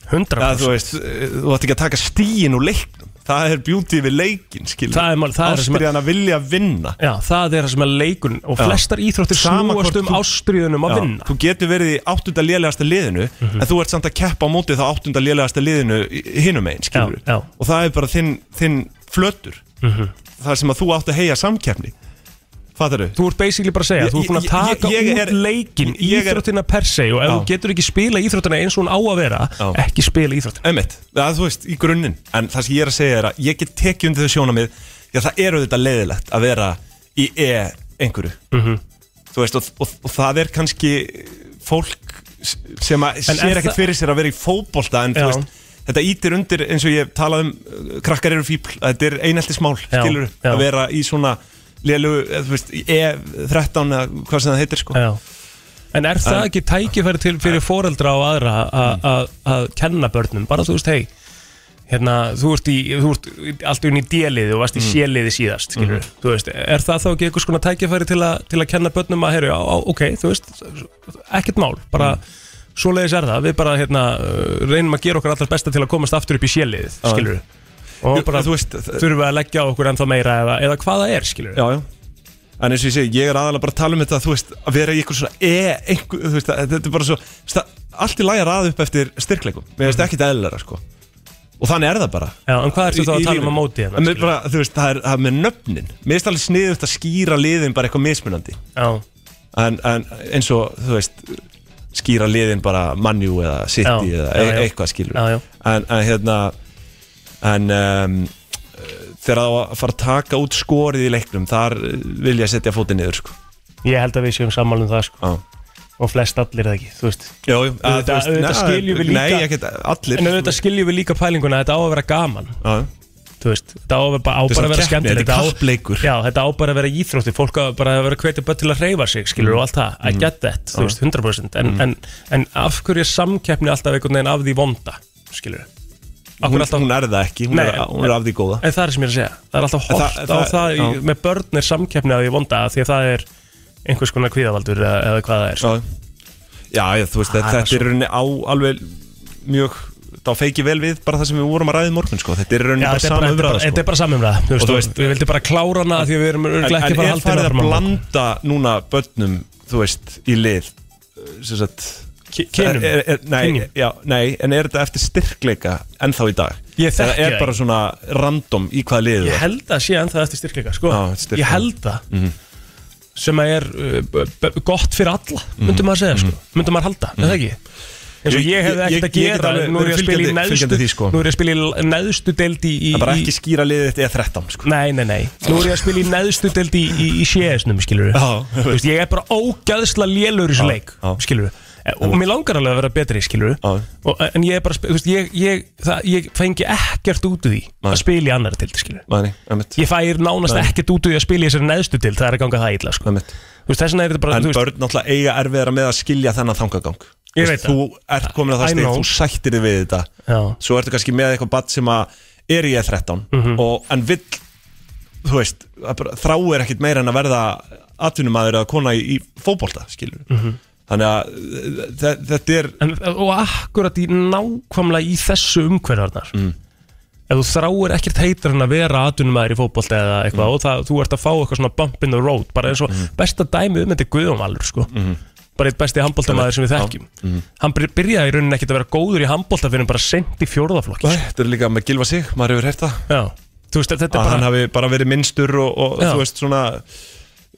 Speaker 1: 100%
Speaker 2: að, þú, veist, eh, þú ætti ekki að taka stíin úr leiknum það er beauty við leikin skilur
Speaker 1: Það er mál- það er það sem að-
Speaker 2: Ástriðan að vilja vinna
Speaker 1: Já, það er það sem er leikun og
Speaker 2: Já.
Speaker 1: flestar íþróttir
Speaker 2: Sama
Speaker 1: snúast
Speaker 2: hvort
Speaker 1: um
Speaker 2: þú-
Speaker 1: ástriðunum að vinna Mhm.
Speaker 2: Þú getur verið í áttunda lélegasta liðinu En þú ert samt að keppa á móti þá áttunda lélegasta liðinu í- Hinum einn, skilur
Speaker 1: Já, já.
Speaker 2: Og það er bara þinn, þinn flötur
Speaker 1: Mhm.
Speaker 2: Það sem að þú átt að heia samkeppni Fattar þú?
Speaker 1: Þú ert basically bara að segja,
Speaker 2: Ég-
Speaker 1: þú ert búin að
Speaker 2: ég-
Speaker 1: taka
Speaker 2: ég- ég
Speaker 1: út
Speaker 2: er-
Speaker 1: leikin,
Speaker 2: ég er-
Speaker 1: íþróttina per se og ef
Speaker 2: Já.
Speaker 1: þú getur ekki spila íþróttina eins og hún á að vera, ekki spila íþróttina
Speaker 2: Emmett, það þú veist, í grunninn En það sem ég er að segja er að ég get tekið undir þau sjónamið Já, það eru þetta leiðilegt að vera í E einhverju
Speaker 1: Mhm.
Speaker 2: Þú veist, og, og, og það er kannski fólk s- sem að
Speaker 1: En
Speaker 2: sér
Speaker 1: er
Speaker 2: ekkert
Speaker 1: það-
Speaker 2: fyrir sér að vera í fótbolta En þú
Speaker 1: Já.
Speaker 2: veist, þetta ítir undir eins og ég talaði um uh, Krakkar eru fíbl, þetta er eineltismál,
Speaker 1: Já,
Speaker 2: skilur
Speaker 1: já.
Speaker 2: Að vera í svona lélu, þú veist, í E13 eða hvað sem það heitir sko
Speaker 1: Já. En Mm. er það ekki tækifæri til fyrir foreldra og aðra að- að- að kenna börnum, bara þú veist, hei hérna, þú ert, í, þú ert alltaf inn í D-liði og varst í
Speaker 2: Mm.
Speaker 1: C-liði síðast skilur,
Speaker 2: Mhm.
Speaker 1: þú veist, er það þá ekki einhvers konar tækifæri til, a, til að kenna börnum að heyru, á, á, ok, þú veist ekkert mál, bara svoleiðis er það, við bara hérna, uh, reynum að gera okkar allar besta til að komast aftur upp í C-liðið
Speaker 2: Já.
Speaker 1: skilur, og
Speaker 2: Jú,
Speaker 1: bara
Speaker 2: þú veist, það-
Speaker 1: þurfum við að leggja á okkur ennþá meira eða, eða hvað það er, skilur
Speaker 2: já, já. En eins og ég segi, ég er aðalega bara að tala um þetta þú veist, að vera í einhver svona e, einhver, þú veist, að, þetta er bara svo stað, allt í lagi að raða upp eftir styrkleikum mér finnst ekkit eðlera, sko og þannig er það bara
Speaker 1: Mhm. Já, en hvað ertu
Speaker 2: Í-
Speaker 1: þá að
Speaker 2: í
Speaker 1: tala um
Speaker 2: lífinu.
Speaker 1: á móti hérna,
Speaker 2: En mér bara, þú veist, það er, það er með nöfnin mér finnst alveg sniðugt að skýra liðin bara eitthvað mismunandi
Speaker 1: Já.
Speaker 2: en, en eins og, þú veist skýra liðin bara mannjú eða city
Speaker 1: Já,
Speaker 2: eða
Speaker 1: já,
Speaker 2: e
Speaker 1: já.
Speaker 2: eitthvað skilur
Speaker 1: Já, já.
Speaker 2: En, en hérna en um, þegar það á að fara að taka út skorið í leiknum þar eh, vil ég setja fótinn niður sko.
Speaker 1: Ég held að við séum sammálum það sko. Og flest allir er það ekki, þú veist
Speaker 2: Já, já, að, þú
Speaker 1: Auðvitað-
Speaker 2: veist,
Speaker 1: auðvitað
Speaker 2: nei,
Speaker 1: skiljum við líka
Speaker 2: nei, ekkert allir.
Speaker 1: En auðvitað skiljum við líka pælinguna að þetta á að vera gaman
Speaker 2: Já.
Speaker 1: þú veist, þetta á að vera- bara á
Speaker 2: Þetta er
Speaker 1: bara að
Speaker 2: svona
Speaker 1: vera
Speaker 2: keppni,
Speaker 1: skemmtilegt
Speaker 2: þetta er
Speaker 1: á-
Speaker 2: kappleikur.
Speaker 1: Já, þetta á bara að vera íþrótti, fólk á bara að vera að hvetja bara til að hreyfa sig, skilur og allt það, I
Speaker 2: Mm.
Speaker 1: get that, þú
Speaker 2: Já.
Speaker 1: veist, 100% en,
Speaker 2: Mm.
Speaker 1: en, en af hverju er samkeppni alltaf einhvern veginn af því vonda, skilur
Speaker 2: Hún- hún er það ekki, hún er- hún er af því góða.
Speaker 1: En það er sem ég er að segja, það er alltaf
Speaker 2: En það-
Speaker 1: hort á
Speaker 2: það-
Speaker 1: það í,
Speaker 2: já.
Speaker 1: með börn er samkeppni af því vonda af því að það er einhvers konar kvíðavaldur eða, eða hvað það er sko.
Speaker 2: Já, já, þú veist, þetta,
Speaker 1: Ah, Það er
Speaker 2: þetta er í rauninni á alveg mjög þá feiki vel við bara það sem við vorum að ræða í morgun sko. þetta er í rauninni
Speaker 1: Já,
Speaker 2: bara
Speaker 1: þetta er
Speaker 2: sama
Speaker 1: bara-
Speaker 2: umræða
Speaker 1: þetta er bara sama umræða, þú veist,
Speaker 2: Og þú
Speaker 1: og
Speaker 2: veist-
Speaker 1: við vildum bara klára hana af því að við erum örugglega ekki
Speaker 2: En-
Speaker 1: bara
Speaker 2: en er
Speaker 1: haldin
Speaker 2: farið að
Speaker 1: áfram á morgun.
Speaker 2: blanda núna börnum þú veist, í lið uh, sem sagt
Speaker 1: kynjum?
Speaker 2: Er- er- nei,
Speaker 1: Kynjum?
Speaker 2: já, nei, en er þetta eftir styrkleika ennþá í dag?
Speaker 1: Ég
Speaker 2: Eða
Speaker 1: þekki
Speaker 2: er
Speaker 1: það
Speaker 2: bara
Speaker 1: ekki.
Speaker 2: svona random í hvaða lið
Speaker 1: Ég held að sé ennþá eftir styrkleika sko.
Speaker 2: Já, eftir styrkleika.
Speaker 1: Ég held það
Speaker 2: mm
Speaker 1: sem að er uh, b- b- gott fyrir alla
Speaker 2: Mhm.
Speaker 1: myndum maður segja, sko. myndum maður halda mm.
Speaker 2: Mhm.
Speaker 1: það ekki eins og
Speaker 2: Ég-
Speaker 1: ég hefði
Speaker 2: ég-
Speaker 1: ekkert
Speaker 2: ég-
Speaker 1: að
Speaker 2: ég get
Speaker 1: gera
Speaker 2: alveg
Speaker 1: nú er ég að
Speaker 2: verið
Speaker 1: spila í
Speaker 2: fylgjandi-
Speaker 1: neðstu
Speaker 2: fylgjandi því, sko.
Speaker 1: nú er ég að spila í neðstu deild í, í
Speaker 2: Það er bara
Speaker 1: í-
Speaker 2: ekki skýra liðið þetta eða 13 sko.
Speaker 1: Nei, nei, nei, nú er ég að spila í neðstu deild í, í, í CS-num, skilur
Speaker 2: Já,
Speaker 1: Þú veist, ég er bara ógæðsla lélur í þessu
Speaker 2: Já,
Speaker 1: leik, skilur og mér langar alveg að vera betri, skilur og, en ég er bara, að sp- þú veist, ég, ég, það, ég fengi ekkert út úr því að spila í annari deild, skilur
Speaker 2: Mæni, einmitt
Speaker 1: ég fær nánast
Speaker 2: Nei.
Speaker 1: ekkert út úr því að spila í þessari neðstu deild, það er að ganga það illa, sko Þú veist, þess vegna er þetta bara,
Speaker 2: En
Speaker 1: þú veist,
Speaker 2: börn náttúrulega eiga erfiðara með að skilja þennan þangagang
Speaker 1: Ég
Speaker 2: Þú
Speaker 1: veit
Speaker 2: Þú ert komin að það
Speaker 1: I
Speaker 2: stið,
Speaker 1: know.
Speaker 2: þú sættir þig við þetta
Speaker 1: Já.
Speaker 2: Svo ertu kannski með eitthvað badd sem að er í E13
Speaker 1: Mhm.
Speaker 2: og, En vill, þú veist, það bara- þrá er ekkit meira en að verða atvinnumæður eða kona í, í fótbolta, skilur
Speaker 1: Mhm.
Speaker 2: Þannig að þe- þetta er
Speaker 1: en, e, og akkurat í nákvæmlega í þessu umhverfarnar mm. ef þú þráir ekkert heitar en að vera atvinnumæður í fótbolta eða eitthvað
Speaker 2: Mm.
Speaker 1: og það, þú ert að fá eitthvað svona bump in the road bara eins og besta dæmi um þetta er Guðjón Valur sko.
Speaker 2: Mm.
Speaker 1: bara eitt besti handbóltamæður sem við þekkjum
Speaker 2: Mhm.
Speaker 1: hann byr- byrjaði í rauninni ekkert að vera góður í handbólta fyrir bara sent í fjórðaflokki sko.
Speaker 2: Þetta er líka með gilva sig, maður hefur hert það
Speaker 1: Já, þú veist, þetta
Speaker 2: Að
Speaker 1: er bara-
Speaker 2: hann hafi bara verið minnstur og, og
Speaker 1: Já.
Speaker 2: þú veist svona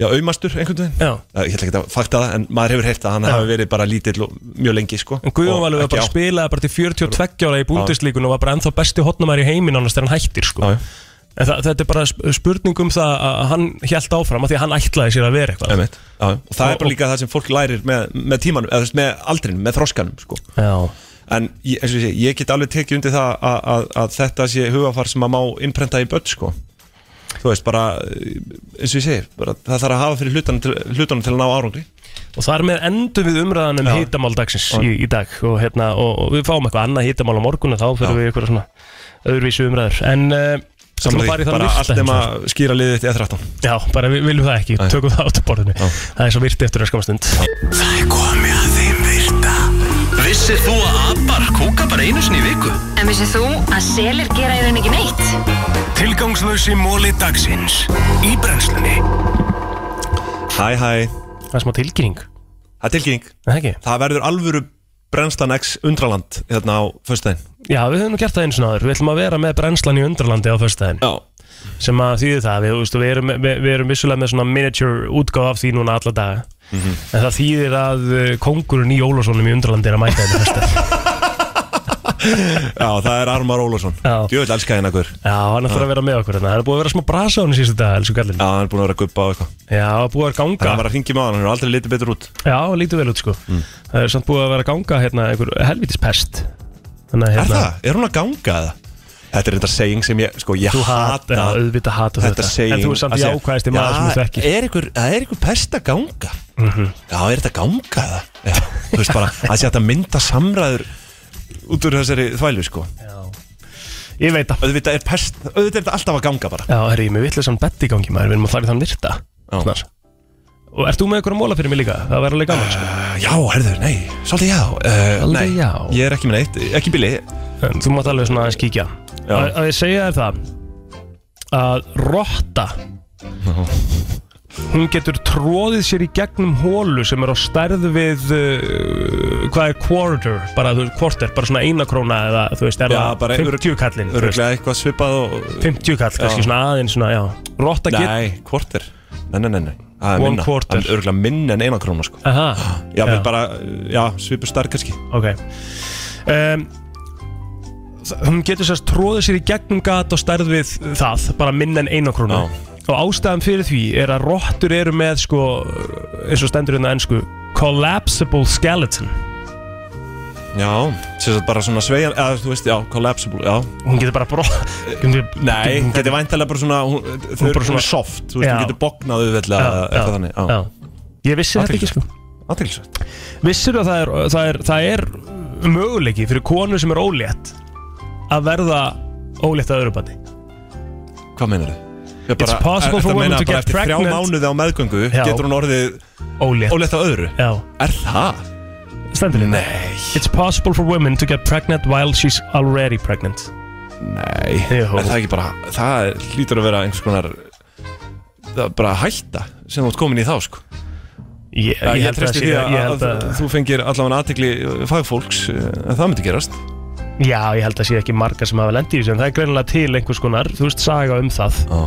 Speaker 2: Já, aumastur einhvern veginn
Speaker 1: Já.
Speaker 2: Ég ætla ekki að fakta það, en maður hefur heyrt að hann
Speaker 1: Já.
Speaker 2: hafi verið bara lítill og mjög lengi sko
Speaker 1: en Guðjón
Speaker 2: Og
Speaker 1: Valur var
Speaker 2: ekki
Speaker 1: bara
Speaker 2: átt.
Speaker 1: spilaði bara til 42 ára í búndislíkun og var bara ennþá besti hotnamæður í heiminn annars þegar hann hættir sko. en það, þetta er bara sp- spurning um það að hann hjælt áfram af því að hann ætlaði sér að vera eitthvað
Speaker 2: Einmitt, já, og það er bara líka það sem fólk lærir með, með tímanum, eða þú veist, með aldrinum, með þroskanum sko.
Speaker 1: Já.
Speaker 2: en ég, eins og ég, segi, ég get alveg tekið undir það að, að, að þetta sé hugafar sem að má innprenta í börn sko. þú veist bara eh, eins og ég segi, bara, það þarf að hafa fyrir hlutunum til, hlutunum til að ná árangri
Speaker 1: og þar með endum við umræðan um hýtamál dagsins í, í dag og, hérna, og, og við fáum eitthvað annað hýtamál á morgun en þá fyrir við ykkur svona öðruvísu umræður en uh,
Speaker 2: Sammála því, bara allt nema skýra liðið þitt í E aðþráttan
Speaker 1: sko. Já, bara við viljum það ekki, tökum það át á borðinu Það er svo virti eftir að skamastund
Speaker 12: Það er komið að þeim virta Vissir þú að abar kúka bara einu sinni í viku?
Speaker 13: En vissið þú að selir gera í rauninni ekki neitt?
Speaker 12: Tilgangslösi móli dagsins Í brennslunni
Speaker 2: Hæ hæ
Speaker 1: Það er smá tilkynning
Speaker 2: Það er tilkynning
Speaker 1: Það,
Speaker 2: verður alvöru brennslan X undraland hérna á föstudaginn
Speaker 1: Já, við höfum nú gert það eins og náður Við ætlum að vera með brennslan í undralandi á föstudaginn
Speaker 2: Já
Speaker 1: Sem að þýði það, við, þú veist, við, erum, við, við erum vissulega með svona miniature útgáð af því núna alla daga
Speaker 2: Mhm.
Speaker 1: En það þýðir að uh, kongurinn í Ólafssonum í undralandi er að mæta þetta föstudaginn
Speaker 2: Já, það er Armar Ólafsson Djöðl elska hérna, hennar hver
Speaker 1: Já, hann ætlar að vera með okkur hérna. Það er búið að vera smá brasa á hann síðustu dag, elsku kallin
Speaker 2: Já, hann er búin að vera að guppa á eitthvað
Speaker 1: Já, búið að vera að ganga
Speaker 2: Hann var að ringi með hann, hann er aldrei litið betur út Mm.
Speaker 1: Já, lítið vel út sko Það er samt búið að vera að ganga hérna einhver helvitis pest Þannig, að,
Speaker 2: Er
Speaker 1: hérna,
Speaker 2: það? Er hún að ganga eða? Þetta er þetta seging sem ég, sko, ég
Speaker 1: Þú hata,
Speaker 2: hata
Speaker 1: já, auðvitað hata
Speaker 2: þetta
Speaker 1: þetta.
Speaker 2: seging
Speaker 1: En þú ert samt
Speaker 2: að segja,
Speaker 1: jákvæðasti maður sem þú
Speaker 2: "Já,
Speaker 1: þekkir."
Speaker 2: er ykkur- Það er ykkur pest að ganga
Speaker 1: Mhm.
Speaker 2: Já, er þetta ganga eða? Já, þú veist bara, að sé hægt að mynda samræður út úr þessari þvælu, sko
Speaker 1: Já, ég veit það
Speaker 2: Auðvitað er pest, auðvitað er þetta alltaf að ganga bara
Speaker 1: Já, herri, ég með vittlega samt bett í gangi maður Við erum að fara í þann virta snar. Og ert þú með einhverja móla fyrir mig líka? Það væri alveg gaman sko.
Speaker 2: Eh, Já, herðu, nei, svolítið já uh,
Speaker 1: Svolítið
Speaker 2: nei,
Speaker 1: já.
Speaker 2: Ég er ekki með neitt, ekki bíli
Speaker 1: En Þú mátt alveg svona aðeins kíkja
Speaker 2: Já.
Speaker 1: að, að ég segja þér það Að rotta Hún getur tróðið sér í gegnum hólu sem er á stærð við uh, hvað er quarter bara, þú veist, quarter, bara svona eina króna eða þú veist, er það 50 kallinn þú veist.
Speaker 2: Öruglega eitthvað svipað og
Speaker 1: 50 kall, kannski svona aðeins svona, já Rotta get-
Speaker 2: Nei, kvartir Nei, nei, nei, nei Það er
Speaker 1: One
Speaker 2: minna.
Speaker 1: quarter.
Speaker 2: Það er öruglega minna en eina krónu sko
Speaker 1: Aha,
Speaker 2: Já,
Speaker 1: já.
Speaker 2: já. bara, já, svipur starf kannski
Speaker 1: Ok um, þ- Hún getur sérst tróðið sér í gegnum gat og stærð við það bara minna en eina krónu og ástæðan fyrir því er að rottur eru með sko, eins og stendur hérna á ensku collapsible skeleton
Speaker 2: Já, sem sagt bara svona sveigjan eða þú veist, já, collapsible, já
Speaker 1: Hún getur bara bró
Speaker 2: Nei, þetta er væntalega bara svona hún, þau
Speaker 1: bara
Speaker 2: eru svona
Speaker 1: svona-
Speaker 2: soft, þú veist,
Speaker 1: Já.
Speaker 2: hún getur bognað auðveldlega
Speaker 1: Já,
Speaker 2: eða eitthvað
Speaker 1: já,
Speaker 2: þannig, já,
Speaker 1: já. Ég vissi þetta ekki sko
Speaker 2: Aðtilsvægt
Speaker 1: Vissir að það er, það, er, það er möguleiki fyrir konu sem er ólétt að verða ólétt að öðru bandi
Speaker 2: Hvað meinar þau?
Speaker 1: It's possible for women to get pregnant
Speaker 2: Þrjá mánuði á meðgöngu
Speaker 1: Já.
Speaker 2: getur hún orðið
Speaker 1: Ólétt
Speaker 2: ólétt á öðru
Speaker 1: Já
Speaker 2: Er það?
Speaker 1: Stendur hérna It's possible for women to get pregnant while she's already pregnant
Speaker 2: Nei, er það ekki bara það er- hlýtur að vera einhvers konar það er bara hætta sem þú ert komin í þá sko
Speaker 1: Ég,
Speaker 2: ég,
Speaker 1: ég held
Speaker 2: ég treysti
Speaker 1: að
Speaker 2: því
Speaker 1: sé-
Speaker 2: að,
Speaker 1: ég
Speaker 2: að,
Speaker 1: held að-
Speaker 2: þú fengir allavega aðtekli fagfólks eh, en það myndi gerast
Speaker 1: Já, ég held að sé ekki margar sem hafa lendið í þessu en það er greinilega til einhvers konar, þú veist, saga um það
Speaker 2: Já.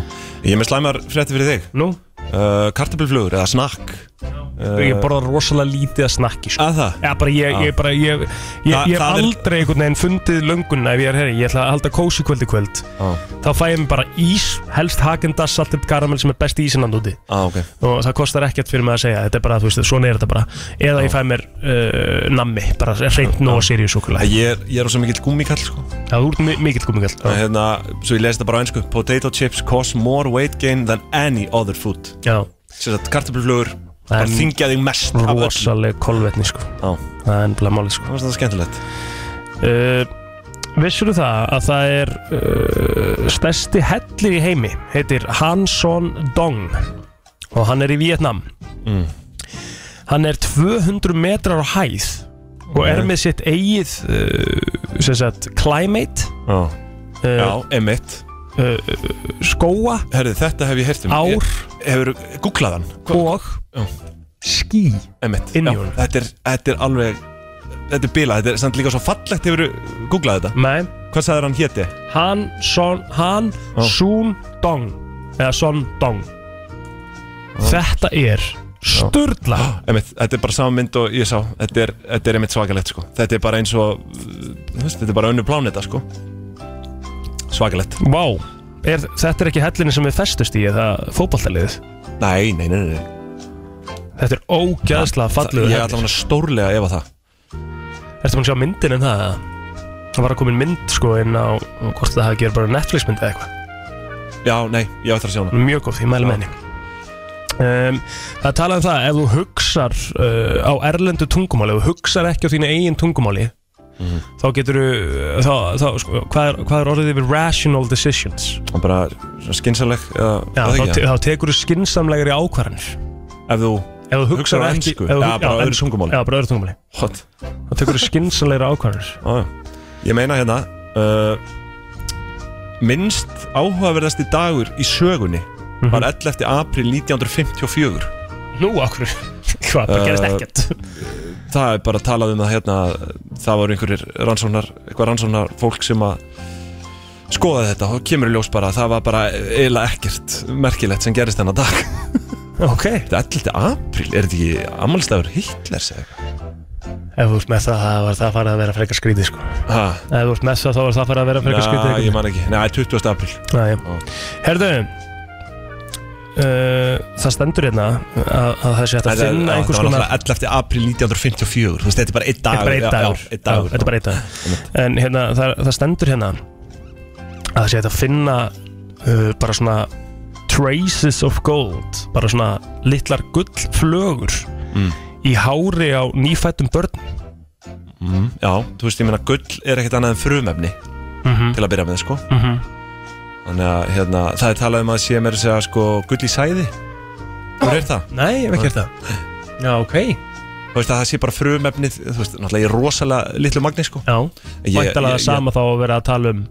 Speaker 2: Ég er með slæmar frétti fyrir þig
Speaker 1: Nú?
Speaker 2: Uh, kartabilflugur eða snakk uh,
Speaker 1: Ég borða rosalega lítið að snakki sko.
Speaker 2: Að það?
Speaker 1: Já, bara ég, ég, bara, ég, ég,
Speaker 2: Þa-
Speaker 1: ég hef
Speaker 2: Ah. það er-
Speaker 1: aldrei einhvern veginn fundið löngunna ef ég er herri, ég ætla að halda kósi kvöld í kvöld
Speaker 2: Á.
Speaker 1: þá fæ ég mér bara ís, helst hakendass saltið karamell sem er best í ísinnan úti
Speaker 2: ah, okay.
Speaker 1: og það kostar ekkert fyrir mig að segja þetta er bara, þú veist, svona er þetta bara eða ég fæ mér uh, nammi, bara reynd nú og sirjus okkur
Speaker 2: Ég er, ég er á svo mikill gúmmikall sko.
Speaker 1: Já, þú ert mi- mikill gúmmikall
Speaker 2: uh, hérna, Svo ég lesi þetta bara á einsku Potato chips cause more weight gain than any other food
Speaker 1: Já
Speaker 2: Sérstætt kartabilflugur bara
Speaker 1: En
Speaker 2: þingja þig mest af öll
Speaker 1: rosaleg kolvetni sko
Speaker 2: Já.
Speaker 1: það er ennbla málið sko
Speaker 2: það er skemmtilegt
Speaker 1: uh, vissur það að það er uh, stærsti hellir í heimi heitir Han Son Dong og hann er í Vietnam
Speaker 2: Mm.
Speaker 1: hann er 200 metrar á hæð og er
Speaker 2: Ok.
Speaker 1: með sitt eigið uh, sem sagt climate
Speaker 2: Já.
Speaker 1: Eh,
Speaker 2: Já, emitt
Speaker 1: uh, skóa
Speaker 2: Herðu, þetta hef ég heyrt um
Speaker 1: Ár.
Speaker 2: Ég- Hefur googlað hann
Speaker 1: Og Ský
Speaker 2: Emitt
Speaker 1: Inn í honum.
Speaker 2: þetta, er- þetta er alveg Þetta er bilað Þetta er samt líka svo fallegt Hefur googlað þetta
Speaker 1: Nei
Speaker 2: Hvað sagður hann héti?
Speaker 1: Han Son Han Sun Dong eða Son Dong þetta er sturla
Speaker 2: Emitt, þetta er bara sama mynd og ég sá Þetta er, þetta er emitt svakalegt sko Þetta er bara eins og þú veist, Þetta er bara önnu pláneta sko Svakalegt
Speaker 1: Vá, er, þetta er ekki hellinni sem við festust í eða fótballtaliðið
Speaker 2: Nei, nei, nei, nei, nei.
Speaker 1: Þetta er ógæðslega fallegur
Speaker 2: Ég er
Speaker 1: hellir.
Speaker 2: allavega stórlega ef að það
Speaker 1: Ertu búin að sjá myndin en það? eða? Það var að komin mynd sko inn á hvort það hafi gerð bara Netflix mynd eða eitthvað
Speaker 2: Já, nei, ég ætla að sjá hana
Speaker 1: Mjög góð, ég mæli með henni um, Það er talað um það ef þú hugsar uh, á erlendu tungumáli ef þú hugsar ekki á þínu eigin tungumáli
Speaker 2: Mhm.
Speaker 1: þá getur þú þá, þá, sko, hvað, er, hvað er orðið yfir rational decisions
Speaker 2: Það er bara skinsaleg eða,
Speaker 1: Já,
Speaker 2: eða
Speaker 1: þá,
Speaker 2: ekki,
Speaker 1: te- þá tekur þú skinsamlegri ákvarðanir
Speaker 2: Ef þú
Speaker 1: Ef þú
Speaker 2: hugsar
Speaker 1: hugsar
Speaker 2: á
Speaker 1: ekki
Speaker 2: ensku,
Speaker 1: ef þú-
Speaker 2: eða bara á öðru
Speaker 1: en-
Speaker 2: tungumáli.
Speaker 1: Já, bara öðru tungumáli
Speaker 2: Hot
Speaker 1: Þá tekur þú skinsamlegri ákvarðanir
Speaker 2: Já, já. Ég meina hérna uh, Minnst áhugaverðasti dagur í sögunni var 11. april 1954
Speaker 1: Mhm. Nú, okkur Hvað, það gerist
Speaker 2: Eh,
Speaker 1: ekkert
Speaker 2: Það er bara talað um það hérna Það voru einhverjir rannsóknar Eitthvað rannsóknar fólk sem að skoða þetta og kemur í ljós bara að það var bara eiginlega ekkert merkilegt sem gerist þennan dag
Speaker 1: Ok
Speaker 2: Þetta er 11. april, er þetta ekki ammálstagur Hitlers eða eitthvað?
Speaker 1: Ef þú ert með það, það var það farið að vera frekar skrítið sko.
Speaker 2: Ha?
Speaker 1: Ef þú ert með það, þá var það farið að vera frekar skrítið
Speaker 2: Næ, ég man ekki, nei, 20. april
Speaker 1: Næ, Herðu uh, Það stendur hérna að, að það sé hægt að
Speaker 2: Þetta- já,
Speaker 1: finna einhvers
Speaker 2: Það var náttúrulega
Speaker 1: konar
Speaker 2: 11. april 1954 Þú veist, þetta er bara einn
Speaker 1: Þetta er
Speaker 2: dagur
Speaker 1: bara einn
Speaker 2: já,
Speaker 1: dagur.
Speaker 2: já, einn dagur
Speaker 1: Já, Þetta er bara einn dagur En hérna, það, það stendur hérna að það sé hægt að finna uh, bara svona traces of gold bara svona litlar gullflögur
Speaker 2: Mm.
Speaker 1: í hári á nýfættum börn
Speaker 2: mm, Já, þú veist, ég meina gull er ekkert annað en frumefni
Speaker 1: Mhm.
Speaker 2: Til að byrja með, sko
Speaker 1: Mhm.
Speaker 2: Þannig að, hérna, það er talað um að sé mér að segja, sko, gull í sæði Þú er það?
Speaker 1: Nei, ég hef ekki gert það Já, ok
Speaker 2: Þú veist að það sé bara frumefnið, þú veist, náttúrulega í rosalega litlu magni, sko
Speaker 1: Já,
Speaker 2: Ég-
Speaker 1: Væntalega
Speaker 2: ég- ég-
Speaker 1: sama þá að vera að tala um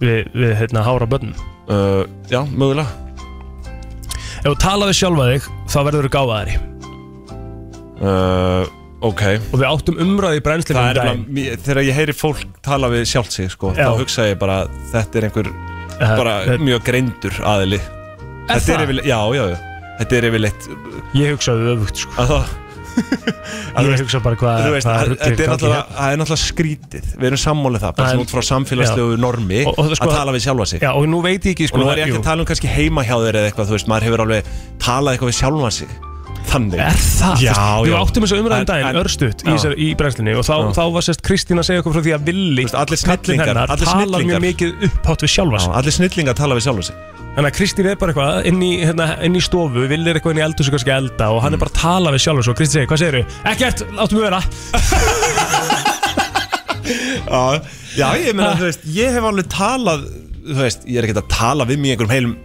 Speaker 1: við, við hérna, hára börn
Speaker 2: uh, Já, mögulega
Speaker 1: Ef þú tala við sjálfa þig, þá verður þú gáfaðari
Speaker 2: uh, Ok
Speaker 1: Og við áttum umræði í brennslinu
Speaker 2: Það
Speaker 1: um
Speaker 2: er
Speaker 1: daginn.
Speaker 2: bara, mér- þegar ég heyri fólk tala við sjálft sig, sko
Speaker 1: Já.
Speaker 2: Þá hugsa ég bara, þetta er einhver,
Speaker 1: Eh,
Speaker 2: bara
Speaker 1: þetta-
Speaker 2: mjög greindur aðili
Speaker 1: Er
Speaker 2: Þetta er
Speaker 1: það?
Speaker 2: yfirleitt, já, já, já Þetta er yfirleitt
Speaker 1: Ég hugsaði öfugt sko
Speaker 2: að það
Speaker 1: Ég hugsa bara hvað
Speaker 2: Þú veist,
Speaker 1: hvað
Speaker 2: að-
Speaker 1: rugl
Speaker 2: þetta er
Speaker 1: í gangi
Speaker 2: náttúrulega
Speaker 1: hérna.
Speaker 2: það er náttúrulega skrítið Við erum sammálið það, bara
Speaker 1: Það er-
Speaker 2: svona út frá samfélagslegu
Speaker 1: Já.
Speaker 2: normi
Speaker 1: Og- og það er sko-
Speaker 2: að tala við sjálfa sig
Speaker 1: Já, og nú veit ég ekki
Speaker 2: Og
Speaker 1: sko
Speaker 2: nú er ég ekki
Speaker 1: jú.
Speaker 2: að tala um kannski heima hjá þér eða eitthvað, þú veist, maður hefur alveg talað eitthvað við sjálfa sig þannig
Speaker 1: Er það?
Speaker 2: Já,
Speaker 1: Við
Speaker 2: já.
Speaker 1: áttum þessu umræðum
Speaker 2: En- en-
Speaker 1: daginn örstutt í,
Speaker 2: Já.
Speaker 1: þessari- í brennslinni og þá, þá var sérst Kristín að segja okkur frá því að villi
Speaker 2: allir
Speaker 1: kallinn
Speaker 2: snillingar,
Speaker 1: hennar
Speaker 2: allir
Speaker 1: talar
Speaker 2: snillingar.
Speaker 1: mjög mikið upphátt við sjálfa sig
Speaker 2: Allir snillingar tala við sjálfa sig
Speaker 1: Þannig að Kristín er bara eitthvað inn í, hérna, inn í stofu, villi er eitthvað inn í eldhús og kannski að elda og hann
Speaker 2: Mm.
Speaker 1: er bara að tala við sjálfa sig og Kristín segir, hvað segirðu? Ekkert, láttu mig vera
Speaker 2: Já, já ég
Speaker 1: Ah.
Speaker 2: meina, þú veist, ég hef alveg talað Þú veist, ég er ekkert að tala við mig í einhverjum heilum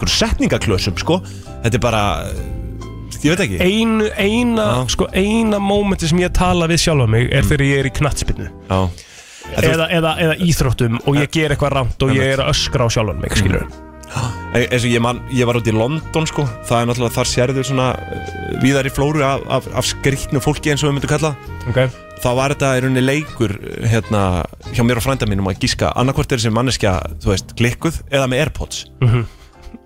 Speaker 2: einhverjum setningaklösum, sko Þetta er bara, ég veit ekki
Speaker 1: Einu, eina, sko, eina mómenti sem ég tala við sjálfa mig
Speaker 2: Mm.
Speaker 1: er þegar ég er í knattspinnu
Speaker 2: Já
Speaker 1: eða, eða, eða íþróttum og ég ger eitthvað rámt og ég er að öskra á sjálfan
Speaker 2: Mm.
Speaker 1: mig, skilur
Speaker 2: En eins og ég, man, ég var út í London sko það er náttúrulega þar sérðu svona uh, víðar í flóru af, af, af skrýtnu fólki eins og við myndum kalla
Speaker 1: okay.
Speaker 2: þá var þetta í rauninni leikur uh, hérna, hjá mér og frænda mínum að gíska annarkvort er þessi manneskja, þú veist, glikkuð eða með Airpods
Speaker 1: Mhm.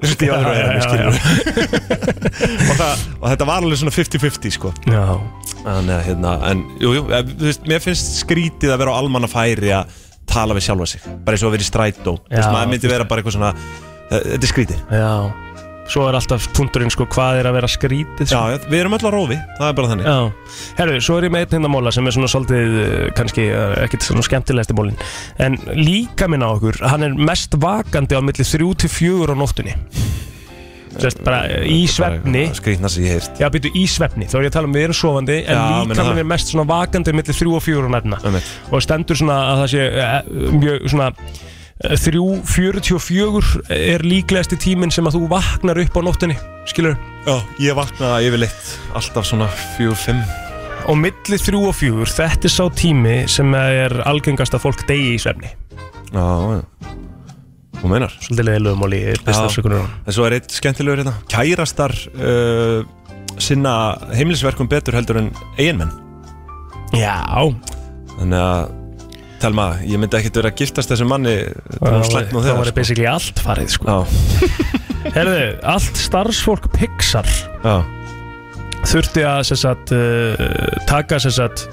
Speaker 2: Þú veist, í
Speaker 1: Já,
Speaker 2: alvöru
Speaker 1: já,
Speaker 2: eyranu,
Speaker 1: já,
Speaker 2: skilurðu. og, það, og þetta var alveg svona 50-50 sko
Speaker 1: Já
Speaker 2: en, hérna, en jú, jú, eh, þú veist, mér finnst skrítið að vera á almanna færi að tala við sjálfa sig bara eins og að vera í strætó Þú veist,
Speaker 1: Já,
Speaker 2: maður myndi vera bara eitthvað svona eh, þetta er skrítið
Speaker 1: Já Svo er alltaf punkturinn sko hvað er að vera skrítið sko.
Speaker 2: Já, við erum öll á rófi, það er bara þannig
Speaker 1: Já, herru, svo er ég með einn hérna móla sem er svona svolítið, uh, kannski, uh, ekkert svona skemmtilegasti mólin En líka minn á okkur, hann er mest vakandi á milli 3-4 á nóttunni Sest bara uh, í svefni
Speaker 2: Skrýtna sem ég heirt
Speaker 1: Já, byrju, í svefni, þá er ég að tala um við erum sofandi En
Speaker 2: Já, meina
Speaker 1: líka
Speaker 2: það.
Speaker 1: minn er mest svona vakandi á milli 3 og 4 á nættina Og stendur svona að það sé uh, mjög svona eh, 3.44 er líklegasti tíminn sem að þú vaknar upp á nóttinni, skilur
Speaker 2: Já, ég vakna yfirleitt alltaf svona 4-5
Speaker 1: Og milli þrjú og fjúr, þetta er sá tími sem er algengast að fólk degi í svefni
Speaker 2: Já, já Þú meinar
Speaker 1: Svolítið leiðilegum og líðið, besta sökunum
Speaker 2: En svo er eitt skemmtilegur hérna Kærastar uh, sinna heimilisverkum betur heldur en eiginmenn
Speaker 1: Já
Speaker 2: Þannig að Telma, ég myndi ekkert vera að giftast þessum manni
Speaker 1: Það
Speaker 2: Það var slæmt nú
Speaker 1: það
Speaker 2: þegar
Speaker 1: var basically allt farið sko. Herðu, allt starfsfólk Pixar
Speaker 2: Já.
Speaker 1: Þurfti að sem sagt, uh, taka sem sagt,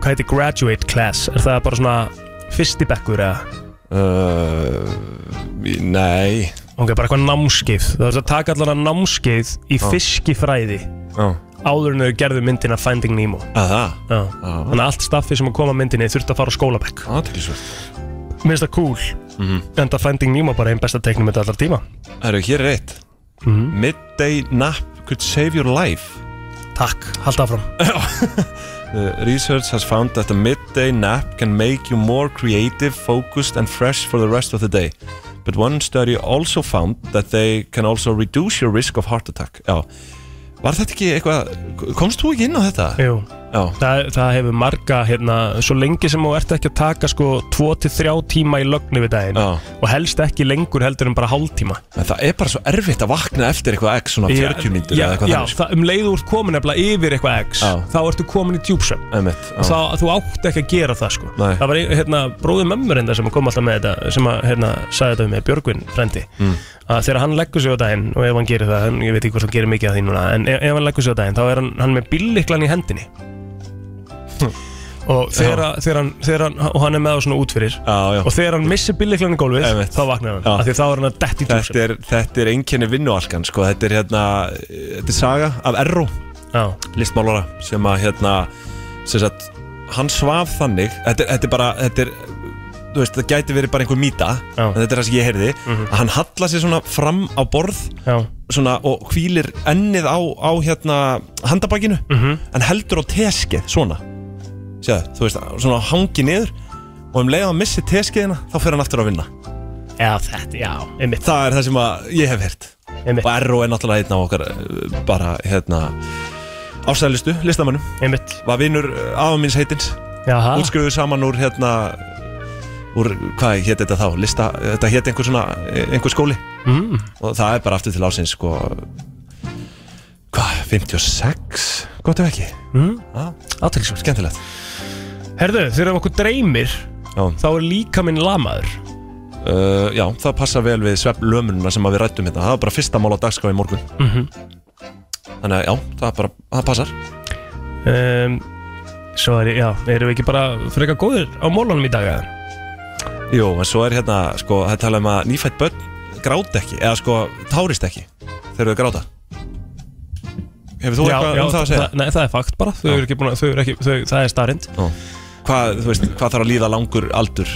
Speaker 1: hvað heitir graduate class Er það bara svona fyrsti bekkur eða?
Speaker 2: uh, Nei
Speaker 1: Ok, bara eitthvað námskeið Það þurfti að taka allan að námskeið í
Speaker 2: Já.
Speaker 1: fiskifræði
Speaker 2: Já.
Speaker 1: Áður en þau gerðu myndina Finding Nemo
Speaker 2: Að það?
Speaker 1: Já. Þannig að allt staffið sem að koma að myndinni þurfti að fara á skólabekk
Speaker 2: Aðtilsvöld
Speaker 1: Mér finnst það cool
Speaker 2: Mhm.
Speaker 1: En það Finding Nemo bara einn besta teiknum þetta allar tíma
Speaker 2: Herru, hér er eitt
Speaker 1: Mhm.
Speaker 2: Midday nap could save your life
Speaker 1: Takk, halda áfram
Speaker 2: The research has found that a midday nap can make you more creative, focused and fresh for the rest of the day. But one study also found that they can also reduce your risk of heart attack. Já, var þetta ekki eitthvað, komst þú ekki inn á þetta?
Speaker 1: Jú,
Speaker 2: Já.
Speaker 1: það, það hefur marga hérna, Svo lengi sem þú ert ekki að taka sko 2-3 tíma í lögnu við daginn
Speaker 2: Já.
Speaker 1: Og helst ekki lengur heldur en bara hálftíma
Speaker 2: En það er bara svo erfitt að vakna eftir eitthvað X svona 40 mínútur
Speaker 1: Já,
Speaker 2: eða eitthvað
Speaker 1: já
Speaker 2: þannig. sko.
Speaker 1: það, um leiðu úr komin nefnilega yfir eitthvað X
Speaker 2: Já.
Speaker 1: Þá ertu komin í djúpsum
Speaker 2: Emmett,
Speaker 1: og þá, þú átt ekki að gera það sko
Speaker 2: Nei.
Speaker 1: það var ein- hérna, bróðið mömmur enda sem kom alltaf með þetta sem að, hérna, sagði þetta við mig, Björgvin frendi,
Speaker 2: Mm.
Speaker 1: að þegar hann leggur sig á daginn og ef hann gerir það, en ég veit ekki hvort hann gerir mikið af því núna, en e-, ef, ef hann leggur sig á daginn þá er hann, hann með bílliklan í hendinni
Speaker 2: Hm.
Speaker 1: og þegar, þegar, hann, þegar hann, og hann er með á svona útfyrir
Speaker 2: já, já.
Speaker 1: og þegar hann missir bílliklan í gólfið
Speaker 2: Einmitt.
Speaker 1: þá vaknar hann,
Speaker 2: Já.
Speaker 1: af því þá er hann að detti
Speaker 2: Þetta er, þetta er einkenni vinnualkan sko. þetta, er, hérna, þetta er saga af Erró listmálara sem að hérna, sem sagt, hann svaf þannig þetta, er- þetta er bara þetta er, þú veist, það gæti verið bara einhver mýta en þetta er það sem ég heyrði að hann hallar sér svona fram á borð
Speaker 1: Mhm. Já.
Speaker 2: svona, og hvílir ennið á, á hérna, handabakinu
Speaker 1: Mhm.
Speaker 2: en heldur á teskið svona Sjáðu, þú veist, svona hangi niður og um leið að hann missi teskiðina þá fer hann aftur að vinna
Speaker 1: Já, þetta, já, einmitt
Speaker 2: Það er það sem að ég hef heyrt
Speaker 1: einmitt.
Speaker 2: Og R.O. er náttúrulega einn af okkar uh, bara, hérna ástæðlistu, listamannum
Speaker 1: einmitt.
Speaker 2: Var vinur eh, afa minns heitins
Speaker 1: Jaha.
Speaker 2: Útskrifuðu saman úr, hérna úr, hvað hétt þetta þá? Lista, þetta hétt einhver svona, eh, einhver skóli
Speaker 1: Mm.
Speaker 2: og það er bara aftur til ásins sko hvað, 56? Gott ef ekki
Speaker 1: mm.
Speaker 2: Aðtilsvæmt Skemmtilegt
Speaker 1: Herðu, þegar okkur dreymir
Speaker 2: Já.
Speaker 1: þá er líka minn lamaður
Speaker 2: uh, Já, það passa vel við svefnlömununa sem að við rættum hérna Það var bara fyrsta mál á dagskrá í morgun
Speaker 1: Mhm.
Speaker 2: Þannig að já, það, bara, það passar
Speaker 1: um, Svo er, já, erum við ekki bara frekar góðir á mólunum í dag eða?
Speaker 2: Jú, en svo er hérna, sko, það er talað um að nýfætt börn gráta ekki, eða sko, tárist ekki þegar þau gráta. Hefur þú eitthvað um það að segja?
Speaker 1: það- Nei, það er fakt bara, þau eru ekki búin að, þau eru ekki, þau, það er starind
Speaker 2: Hvað, þú veist, hvað þarf að líða langur aldur?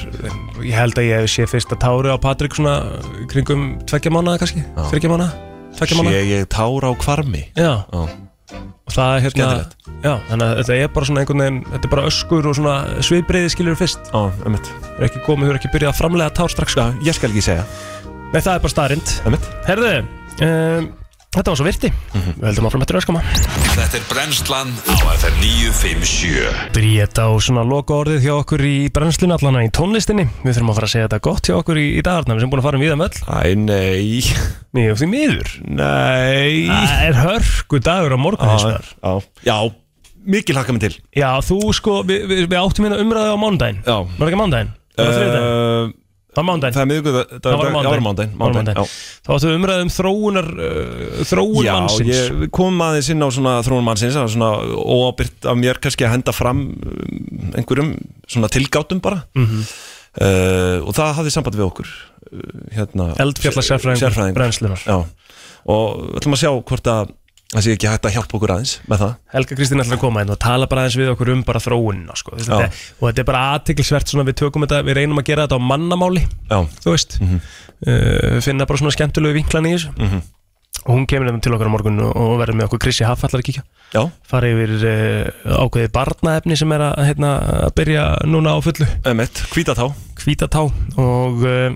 Speaker 1: Ég held að ég hef séð fyrsta tári á Patrik svona í kringum tveggja mánaða kannski, þryggja mánaða, tveggja mánaða
Speaker 2: Sé ég tára á kvarmi?
Speaker 1: Já. og það er hérna
Speaker 2: Skemmtilegt.
Speaker 1: já, þannig að þetta er bara svona einhvern veginn þetta er bara öskur og svona sviðbreiði skilur fyrst
Speaker 2: Já, einmitt
Speaker 1: Það er ekki komið, þú er ekki byrjað að framlega tár strax Já,
Speaker 2: ég skal ekki segja
Speaker 1: Nei, það er bara starind
Speaker 2: Einmitt Mhm.
Speaker 1: Herðu, um, þetta var svo virti Við höldum áfram eftir öskama
Speaker 6: Þetta er brennslan á FM 957
Speaker 1: Bríða á svona loka orðið hjá okkur í brennslun allana í tónlistinni Við þurfum að fara að segja þetta gott hjá okkur í, í dagarna Við sem búin að fara um viðan völl
Speaker 2: Æ, nei
Speaker 1: Nei, og því miður
Speaker 2: Nei
Speaker 1: Það er hörku dagur á morgun hins vegar.
Speaker 2: Já, já, mikið hlakka mig til
Speaker 1: Já, þú sko, við, við, við áttum hérna umræði á mánudaginn
Speaker 2: Já
Speaker 1: Var það ekki mánudaginn? Var það þriðjudaginn?
Speaker 2: Uh,
Speaker 1: Það var mándaginn
Speaker 2: Það er miðugvöld
Speaker 1: Það var á
Speaker 2: Það var
Speaker 1: mánudaginn.
Speaker 2: mándaginn
Speaker 1: Það var á mánudaginn. Þá áttum við umræðið um þróunar uh, þróun
Speaker 2: Já,
Speaker 1: mannsins
Speaker 2: ég, við komum aðeins inn á svona þróun mannsins það var svona óabyrt af mér kannski að henda fram um, einhverjum svona tilgátum bara
Speaker 1: Mhm.
Speaker 2: uh, og það hafði samband við okkur uh, hérna,
Speaker 1: Eldfjalla sérfræðingur brennslunar.
Speaker 2: Já, og við ætlum að sjá hvort að það sé ekki hægt að hjálpa okkur aðeins með það
Speaker 1: Helga Kristín ætlar að koma einn og tala bara aðeins við okkur um bara þróunina sko. Þú veist,
Speaker 2: Já.
Speaker 1: þetta, og þetta er bara aðtiklisvert svona við tökum þetta, við reynum að gera þetta á mannamáli
Speaker 2: Já.
Speaker 1: þú veist uh, finna bara svona skemmtilegu vinklan í þessu
Speaker 2: Mhm.
Speaker 1: og hún kemur hérna til okkar á morgun og- og verður með okkur Krissi Haff ætlar að kíkja
Speaker 2: Já.
Speaker 1: fara yfir uh, ákveðið barnaefni sem er að, hérna, að byrja núna á fullu
Speaker 2: Emmett, hvítatá
Speaker 1: hvítatá og uh,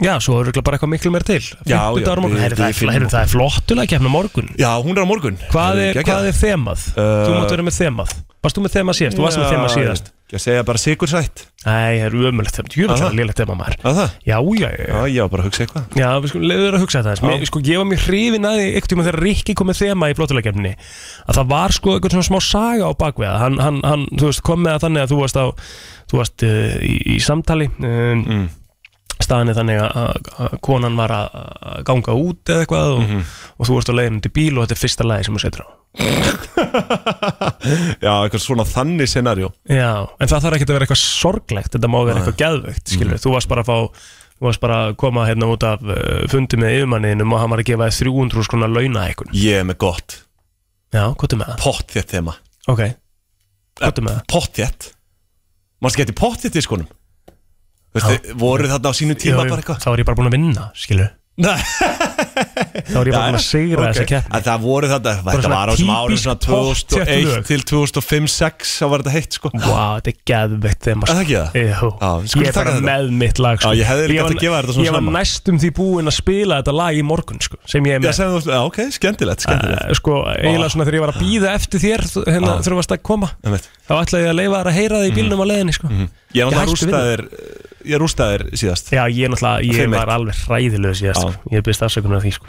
Speaker 1: já, svo er örugglega bara eitthvað miklu meira til
Speaker 2: Já, já,
Speaker 1: Fimmtudagur á morgun.
Speaker 2: við-
Speaker 1: Herri, það
Speaker 2: við
Speaker 1: er
Speaker 2: finnum
Speaker 1: fl- herri, það er flottulega kemna morgun
Speaker 2: Já, hún er á morgun
Speaker 1: Hvað
Speaker 2: Það
Speaker 1: er,
Speaker 2: er geggjað.
Speaker 1: hvað er þemað? Þú mátt vera með þemað Varst þú með þemað síðast? Þú varst með
Speaker 2: Já,
Speaker 1: þemað síðast
Speaker 2: Ég ég segja bara sigursætt
Speaker 1: Nei, það er ömulegt þemað Jú, það er lélegt þemað maður
Speaker 2: Það?
Speaker 1: Já, já, já
Speaker 2: Já, ég var bara að hugsa eitthvað
Speaker 1: Já, við skulum leiður að hugsa
Speaker 2: Já.
Speaker 1: þetta aðeins. Mér- Sko, ég var mér hrifin að því einhvern tíma þegar Rikki kom með þema í flottuleikefninni að það var sko einhvern svona smá saga á bakvið það. hann, hann, hann, þú veist, kom með það þannig að þú varst á þú varst uh, í, í samtali um, mm. staðinni þannig að- að að konan var að að ganga út eða eitthvað og, og þú varst á leiðinu til bíl og þetta er fyrsta lagi sem þú setur á
Speaker 2: Já, eitthvað svona þannig scenarjó
Speaker 1: Já, en það þarf ekki að vera eitthvað sorglegt þetta má vera eitthvað geðveikt, skilur þú varst bara að fá þú varst bara að koma hérna út af uh, fundi með yfirmanniðinum og hann var að gefa þér 300 skona launahækun
Speaker 2: Ég er með gott
Speaker 1: Já, hvað er með það?
Speaker 2: Pott þér þema
Speaker 1: Ok,
Speaker 2: eh,
Speaker 1: hvað er með um það?
Speaker 2: Pott þér Mann skemmti pott þér diskunum Veistu, voru þarna á sínum tíma bara eitthvað
Speaker 1: Þá er ég bara búin að vinna, skilur
Speaker 2: Nei
Speaker 1: Þá er ég bara búin að sigra
Speaker 2: ok.
Speaker 1: þessa keppni
Speaker 2: En það voru þetta,
Speaker 1: Bara
Speaker 2: þetta
Speaker 1: svona
Speaker 2: var á þessum árum
Speaker 1: típisk
Speaker 2: svona
Speaker 1: pottþétt
Speaker 2: 2001
Speaker 1: lög.
Speaker 2: til 2005-06 þá var þetta heitt sko
Speaker 1: Vá, þetta er geðveikt þeim
Speaker 2: Er það ekki það? við
Speaker 1: Jú,
Speaker 2: skulum
Speaker 1: ég er
Speaker 2: taka
Speaker 1: bara
Speaker 2: þetta.
Speaker 1: með mitt lag sko.
Speaker 2: Já, ég hefði líka
Speaker 1: var-
Speaker 2: hægt að gefa þér þetta svona
Speaker 1: Ég var
Speaker 2: snemma.
Speaker 1: næstum því búinn að spila þetta lag í morgun sko, sem ég er
Speaker 2: Já,
Speaker 1: með
Speaker 2: sem þú, já, ok, skemmtilegt, skemmtilegt
Speaker 1: Eh, sko, eiginlega svona þegar ég var að býða eftir þér þú- hérna,
Speaker 2: Ah.
Speaker 1: þegar þú varst að koma
Speaker 2: Einmitt.
Speaker 1: þá ætlaði ég að leifa þær að heyra það
Speaker 2: Mm.
Speaker 1: í bílnum á leiðinni sko.
Speaker 2: Mhm. Ég var
Speaker 1: hætti
Speaker 2: náttúrulega
Speaker 1: við
Speaker 2: rústaðir Ég rústaðir síðast
Speaker 1: Já, ég náttúrulega, ég
Speaker 2: Fimm eitt.
Speaker 1: var alveg hræðilega síðast, sko. ég byrst afsökunar af því sko.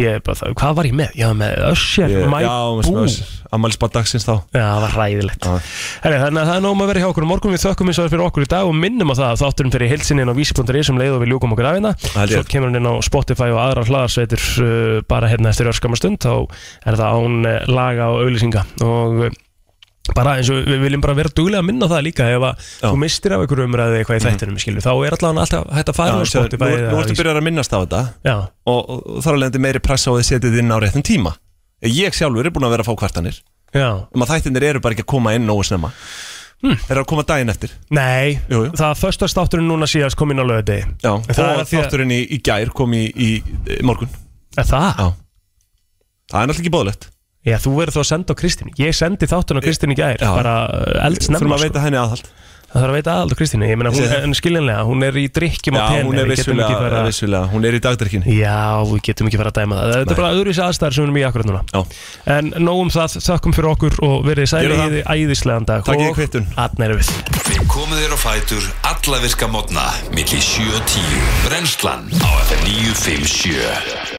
Speaker 1: ég, er bara, það- hvað var ég með? Ég var með Usher,
Speaker 2: Ég-
Speaker 1: My Boo
Speaker 2: Já, ammælisbad dagsins þá
Speaker 1: Já, það var hræðilegt Herri, þannig að það er nóg um að vera hjá okkur á morgun Við þökkum eins og það fyrir okkur í dag og minnum á það að Þátturinn fyrir heilsininn á vísi.is um leið og við ljúkum okkur af hérna
Speaker 2: held ég.
Speaker 1: Svo kemur hann inn á Spotify og aðra hlaðarsveitur uh, bara hérna eftir örskama stund þá er það án uh, laga og auðlýsinga og uh, bara eins og við viljum bara vera duglega að minna á það líka ef að þú mistir af einhverju umræðu eða
Speaker 2: Mhm.
Speaker 1: eitthvað í þættinum skilur, þá er allavega alltaf hægt að fara inn á
Speaker 2: sjáðu,
Speaker 1: Spotify
Speaker 2: nú,
Speaker 1: eða
Speaker 2: nú ertu
Speaker 1: Vísi.
Speaker 2: byrjar að minnast á þetta
Speaker 1: Já.
Speaker 2: og, og, og þar alveg meiri pressa á að þið setið inn á réttum tíma ég sjálfur er búin að vera að fá kvartanir
Speaker 1: Já.
Speaker 2: um að þættinir eru bara ekki að koma inn nógu snemma hmm. þeir eru að koma daginn eftir
Speaker 1: Nei, jú, jú. það föstastátturinn núna síðast kom inn á lögadegi
Speaker 2: Já,
Speaker 1: En það er
Speaker 2: og
Speaker 1: af því að-
Speaker 2: þátturinn í, í gær kom í, í, í morgun
Speaker 1: Er það?
Speaker 2: Já. það er náttúrulega ekki bóðlegt
Speaker 1: Já, þú verður þá að senda á Kristínu Ég sendi þáttun á Kristínu í gær
Speaker 2: Já.
Speaker 1: Bara uh, eldsnemma
Speaker 2: Þurfum að veita henni aðhald
Speaker 1: Það þarf að veita aðhald á Kristínu Ég meina, hún
Speaker 2: Ég segi það.
Speaker 1: er skiljanlega Hún er í drikkjum á tenni
Speaker 2: hún er
Speaker 1: við getum
Speaker 2: vissulega,
Speaker 1: ekki fara-
Speaker 2: vissulega hún er í dagdrykkin
Speaker 1: Já, við getum ekki fara að dæma það Þetta er bara öðruvísi aðstæðar sem við erum í akkurat núna
Speaker 2: Já.
Speaker 1: En nóg um það, þakkum fyrir okkur Og verið
Speaker 6: Gerðu
Speaker 1: sæli
Speaker 6: það.
Speaker 1: í æðislegan dag
Speaker 6: Takk í
Speaker 1: Og Arnar er við
Speaker 6: Við komum þér á fætur alla virka modna milli 7 og 10 Brennslan á FM 957